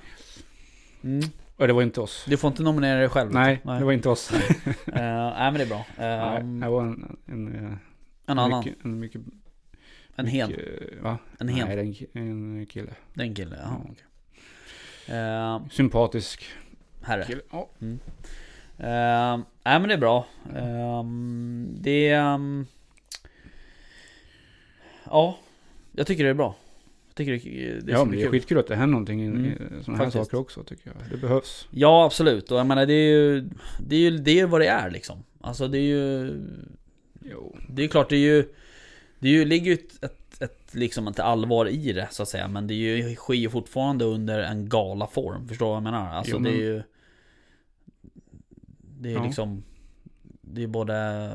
[SPEAKER 1] Mm.
[SPEAKER 3] Och det var inte oss.
[SPEAKER 1] Du får inte nominera dig själv.
[SPEAKER 3] Nej,
[SPEAKER 1] Nej.
[SPEAKER 3] det var inte oss.
[SPEAKER 1] Eh, nej men det är bra.
[SPEAKER 3] Nej,
[SPEAKER 1] Ehm,
[SPEAKER 3] det var en, en, eh,
[SPEAKER 1] en annan.
[SPEAKER 3] Mycket, en mycket...
[SPEAKER 1] en hen.
[SPEAKER 3] mycket, eh, va?
[SPEAKER 1] En hen.
[SPEAKER 3] Nej, det är en, ki- en kille.
[SPEAKER 1] Det är en kille. Ja, okej.
[SPEAKER 3] Mm.
[SPEAKER 1] Ehm,
[SPEAKER 3] Sympatisk
[SPEAKER 1] herre.
[SPEAKER 3] kille. Ja.
[SPEAKER 1] Ehm, nej men det är bra. Ehm, det... ehm, ja, jag tycker det är bra. Jag tycker det, det
[SPEAKER 3] ja,
[SPEAKER 1] ska
[SPEAKER 3] men
[SPEAKER 1] bli
[SPEAKER 3] det är
[SPEAKER 1] kul.
[SPEAKER 3] skitkul att det händer någonting i
[SPEAKER 1] Mm,
[SPEAKER 3] mm. sådana här
[SPEAKER 1] faktiskt.
[SPEAKER 3] saker också tycker jag. Det behövs.
[SPEAKER 1] Ja, absolut. Och jag menar, det är ju... Det är ju det är ju vad det är liksom. Alltså det är ju...
[SPEAKER 3] Jo.
[SPEAKER 1] Det är klart, det är ju... Det är ju, ligger ju ett, ett, ett, liksom ett allvar i det så att säga. Men det är ju, sker ju fortfarande under en galaform. Förstår du vad jag menar? Alltså
[SPEAKER 3] Jo,
[SPEAKER 1] det
[SPEAKER 3] men-
[SPEAKER 1] är ju... Det är ju
[SPEAKER 3] Ja.
[SPEAKER 1] liksom... Det är både...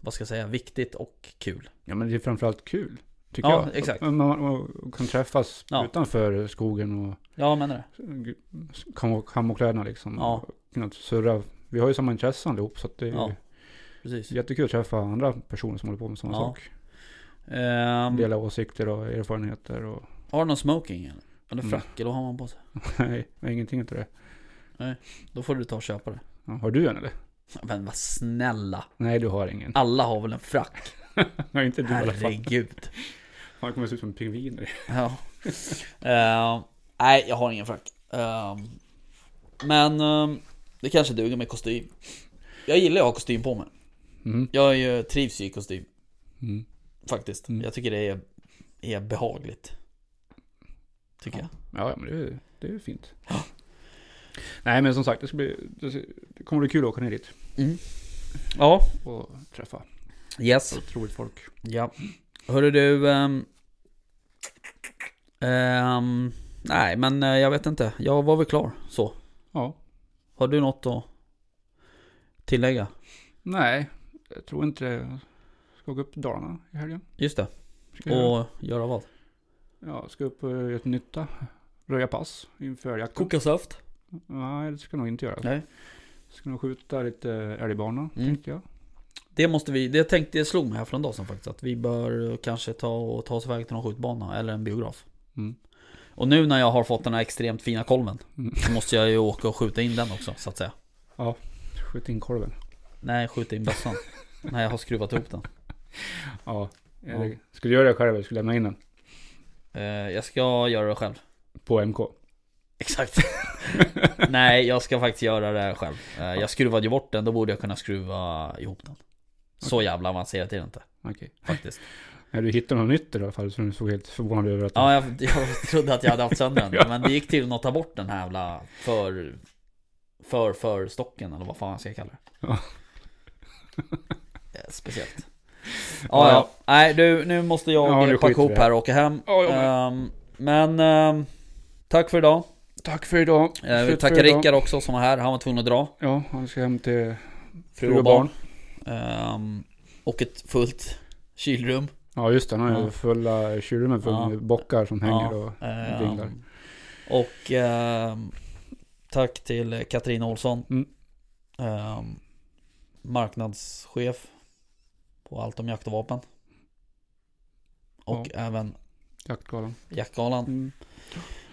[SPEAKER 1] Vad ska jag säga? Viktigt och kul.
[SPEAKER 3] Ja, men det är framförallt kul. Tycker
[SPEAKER 1] Ja,
[SPEAKER 3] jag.
[SPEAKER 1] exakt.
[SPEAKER 3] Man, man, man kan träffas
[SPEAKER 1] Ja.
[SPEAKER 3] utanför skogen och
[SPEAKER 1] Ja, jag menar det.
[SPEAKER 3] kam- kammokläderna liksom.
[SPEAKER 1] Ja.
[SPEAKER 3] Och kunna surra. Vi har ju samma intressen allihop så att det är
[SPEAKER 1] Ja. Precis.
[SPEAKER 3] jättekul att träffa andra personer som håller på med samma
[SPEAKER 1] Ja.
[SPEAKER 3] sak.
[SPEAKER 1] Ehm,
[SPEAKER 3] Dela åsikter och erfarenheter och
[SPEAKER 1] har du någon smoking eller? Eller
[SPEAKER 3] Mm.
[SPEAKER 1] frack, eller vad har man på sig?
[SPEAKER 3] nej, ingenting utav det.
[SPEAKER 1] Då får du ta och köpa det.
[SPEAKER 3] Ja, har du en eller?
[SPEAKER 1] Men vad snälla.
[SPEAKER 3] Nej, du har ingen.
[SPEAKER 1] Alla har väl en frack?
[SPEAKER 3] Nej, inte du i alla fall.
[SPEAKER 1] Herregud.
[SPEAKER 3] Han kommer se ut som pingviner.
[SPEAKER 1] Ja. Eh, nej, jag har ingen frack. Eh, men eh, det kanske duger med kostym. Jag gillar ju att ha kostym på mig.
[SPEAKER 3] Mm.
[SPEAKER 1] Jag är ju, trivs ju i kostym
[SPEAKER 3] Mm.
[SPEAKER 1] faktiskt.
[SPEAKER 3] Mm.
[SPEAKER 1] Jag tycker det är, är behagligt. Tycker jag.
[SPEAKER 3] Ja, ja, men det, är- det är ju fint. Nej, men som sagt, det, ska bli, det, ska- det kommer bli kul att åka ner dit
[SPEAKER 1] Ja,
[SPEAKER 3] och träffa
[SPEAKER 1] yes.
[SPEAKER 3] otroligt folk.
[SPEAKER 1] Ja. Hörru du. ehm, ehm, nej, men eh, jag vet inte. Jag var väl klar så.
[SPEAKER 3] Ja,
[SPEAKER 1] Har du något att tillägga?
[SPEAKER 3] nej, jag tror inte jag ska gå upp till Dalarna i helgen.
[SPEAKER 1] Just det.
[SPEAKER 3] Ska jag,
[SPEAKER 1] Och göra vad?
[SPEAKER 3] ja, ska upp och göra ett nytta. Röja pass inför jakten.
[SPEAKER 1] Koka saft.
[SPEAKER 3] Nej, det ska jag nog inte göra.
[SPEAKER 1] Nej.
[SPEAKER 3] Ska nog skjuta lite älgbana,
[SPEAKER 1] Mm.
[SPEAKER 3] tänkte jag.
[SPEAKER 1] Det måste vi, det tänkte jag slog mig här för en dag sedan faktiskt Att vi bör kanske ta och ta oss iväg till någon skjutbana eller en biograf
[SPEAKER 3] Mm.
[SPEAKER 1] Och nu när jag har fått den här extremt fina kolven
[SPEAKER 3] Mm.
[SPEAKER 1] Så måste jag ju åka och skjuta in den också så att säga
[SPEAKER 3] Skjut in korven.
[SPEAKER 1] Nej, skjuta in bössan När jag har skruvat ihop den
[SPEAKER 3] Ja, Erik, Ska du göra det själv eller ska du lämna in den?
[SPEAKER 1] Eh, Jag ska göra det själv
[SPEAKER 3] På MK?
[SPEAKER 1] Exakt Nej, jag ska faktiskt göra det själv Eh, Jag skruvade ju bort den, då borde jag kunna skruva ihop den Så jävla avancerat är det inte
[SPEAKER 3] Okej.
[SPEAKER 1] faktiskt
[SPEAKER 3] Nej, du hittade något nytt i alla fall som du såg helt förvånad över att
[SPEAKER 1] Ja, jag, jag trodde att jag hade haft sönder den. Men det gick till att ta bort den här jävla för... För, för stocken eller vad fan jag ska kalla det.
[SPEAKER 3] Ja.
[SPEAKER 1] Eh, Speciellt.
[SPEAKER 3] Ja,
[SPEAKER 1] Ja,
[SPEAKER 3] ja.
[SPEAKER 1] ja. Nej, du, nu måste jag
[SPEAKER 3] Ja, nu
[SPEAKER 1] packa
[SPEAKER 3] skiter vi
[SPEAKER 1] ihop här och åka hem.
[SPEAKER 3] Ja, jag
[SPEAKER 1] Ehm, men ehm, tack för idag.
[SPEAKER 3] Tack för idag.
[SPEAKER 1] Eh, vi
[SPEAKER 3] Slut för
[SPEAKER 1] tackar
[SPEAKER 3] idag.
[SPEAKER 1] Rickard också som var här. Han var tvungen att dra.
[SPEAKER 3] Ja, han ska hem till
[SPEAKER 1] Fru och barn. Ehm, och ett fullt kylrum.
[SPEAKER 3] Ja just det, han har ju
[SPEAKER 1] Ja.
[SPEAKER 3] fulla kylor med full
[SPEAKER 1] Ja.
[SPEAKER 3] bockar som hänger och...
[SPEAKER 1] eh,
[SPEAKER 3] vinglar.
[SPEAKER 1] Och ehm, tack till Katarina Olsson.
[SPEAKER 3] Mm.
[SPEAKER 1] Ehm, marknadschef på allt om jakt och vapen. Och även
[SPEAKER 3] Jaktgalan.
[SPEAKER 1] Jaktgalan.
[SPEAKER 3] Mm.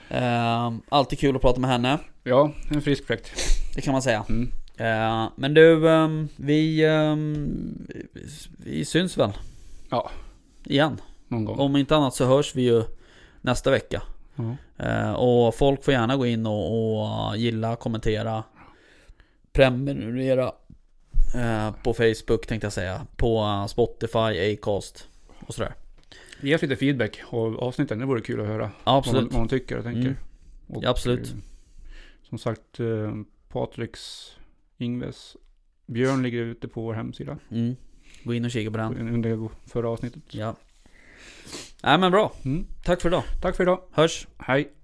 [SPEAKER 1] Ehm, alltid kul att prata med henne,
[SPEAKER 3] Ja, en frisk fläkt.
[SPEAKER 1] det kan man säga.
[SPEAKER 3] Mm.
[SPEAKER 1] Ehm, men du, ehm, vi, ehm, vi syns väl?
[SPEAKER 3] Ja.
[SPEAKER 1] Igen.
[SPEAKER 3] Någon gång.
[SPEAKER 1] Om inte annat så hörs vi ju nästa vecka.
[SPEAKER 3] Ja.
[SPEAKER 1] Eh, och folk får gärna gå in och, och gilla, kommentera, prenumerera eh, på Facebook tänkte jag säga. På eh, Spotify, Acast och sådär.
[SPEAKER 3] Ge oss lite feedback av avsnitten. Det vore kul att höra
[SPEAKER 1] Ja,
[SPEAKER 3] vad man,
[SPEAKER 1] absolut.
[SPEAKER 3] vad man tycker och tänker.
[SPEAKER 1] Mm.
[SPEAKER 3] Och,
[SPEAKER 1] Ja, absolut.
[SPEAKER 3] eh, Som sagt, eh, Patriks, Ingves, Björn ligger ute på vår hemsida.
[SPEAKER 1] Mm. Gå in och kika på den.
[SPEAKER 3] Under förra avsnittet.
[SPEAKER 1] Ja. Nej men bra.
[SPEAKER 3] Mm.
[SPEAKER 1] Tack för idag.
[SPEAKER 3] Tack för idag.
[SPEAKER 1] Hörs.
[SPEAKER 3] Hej.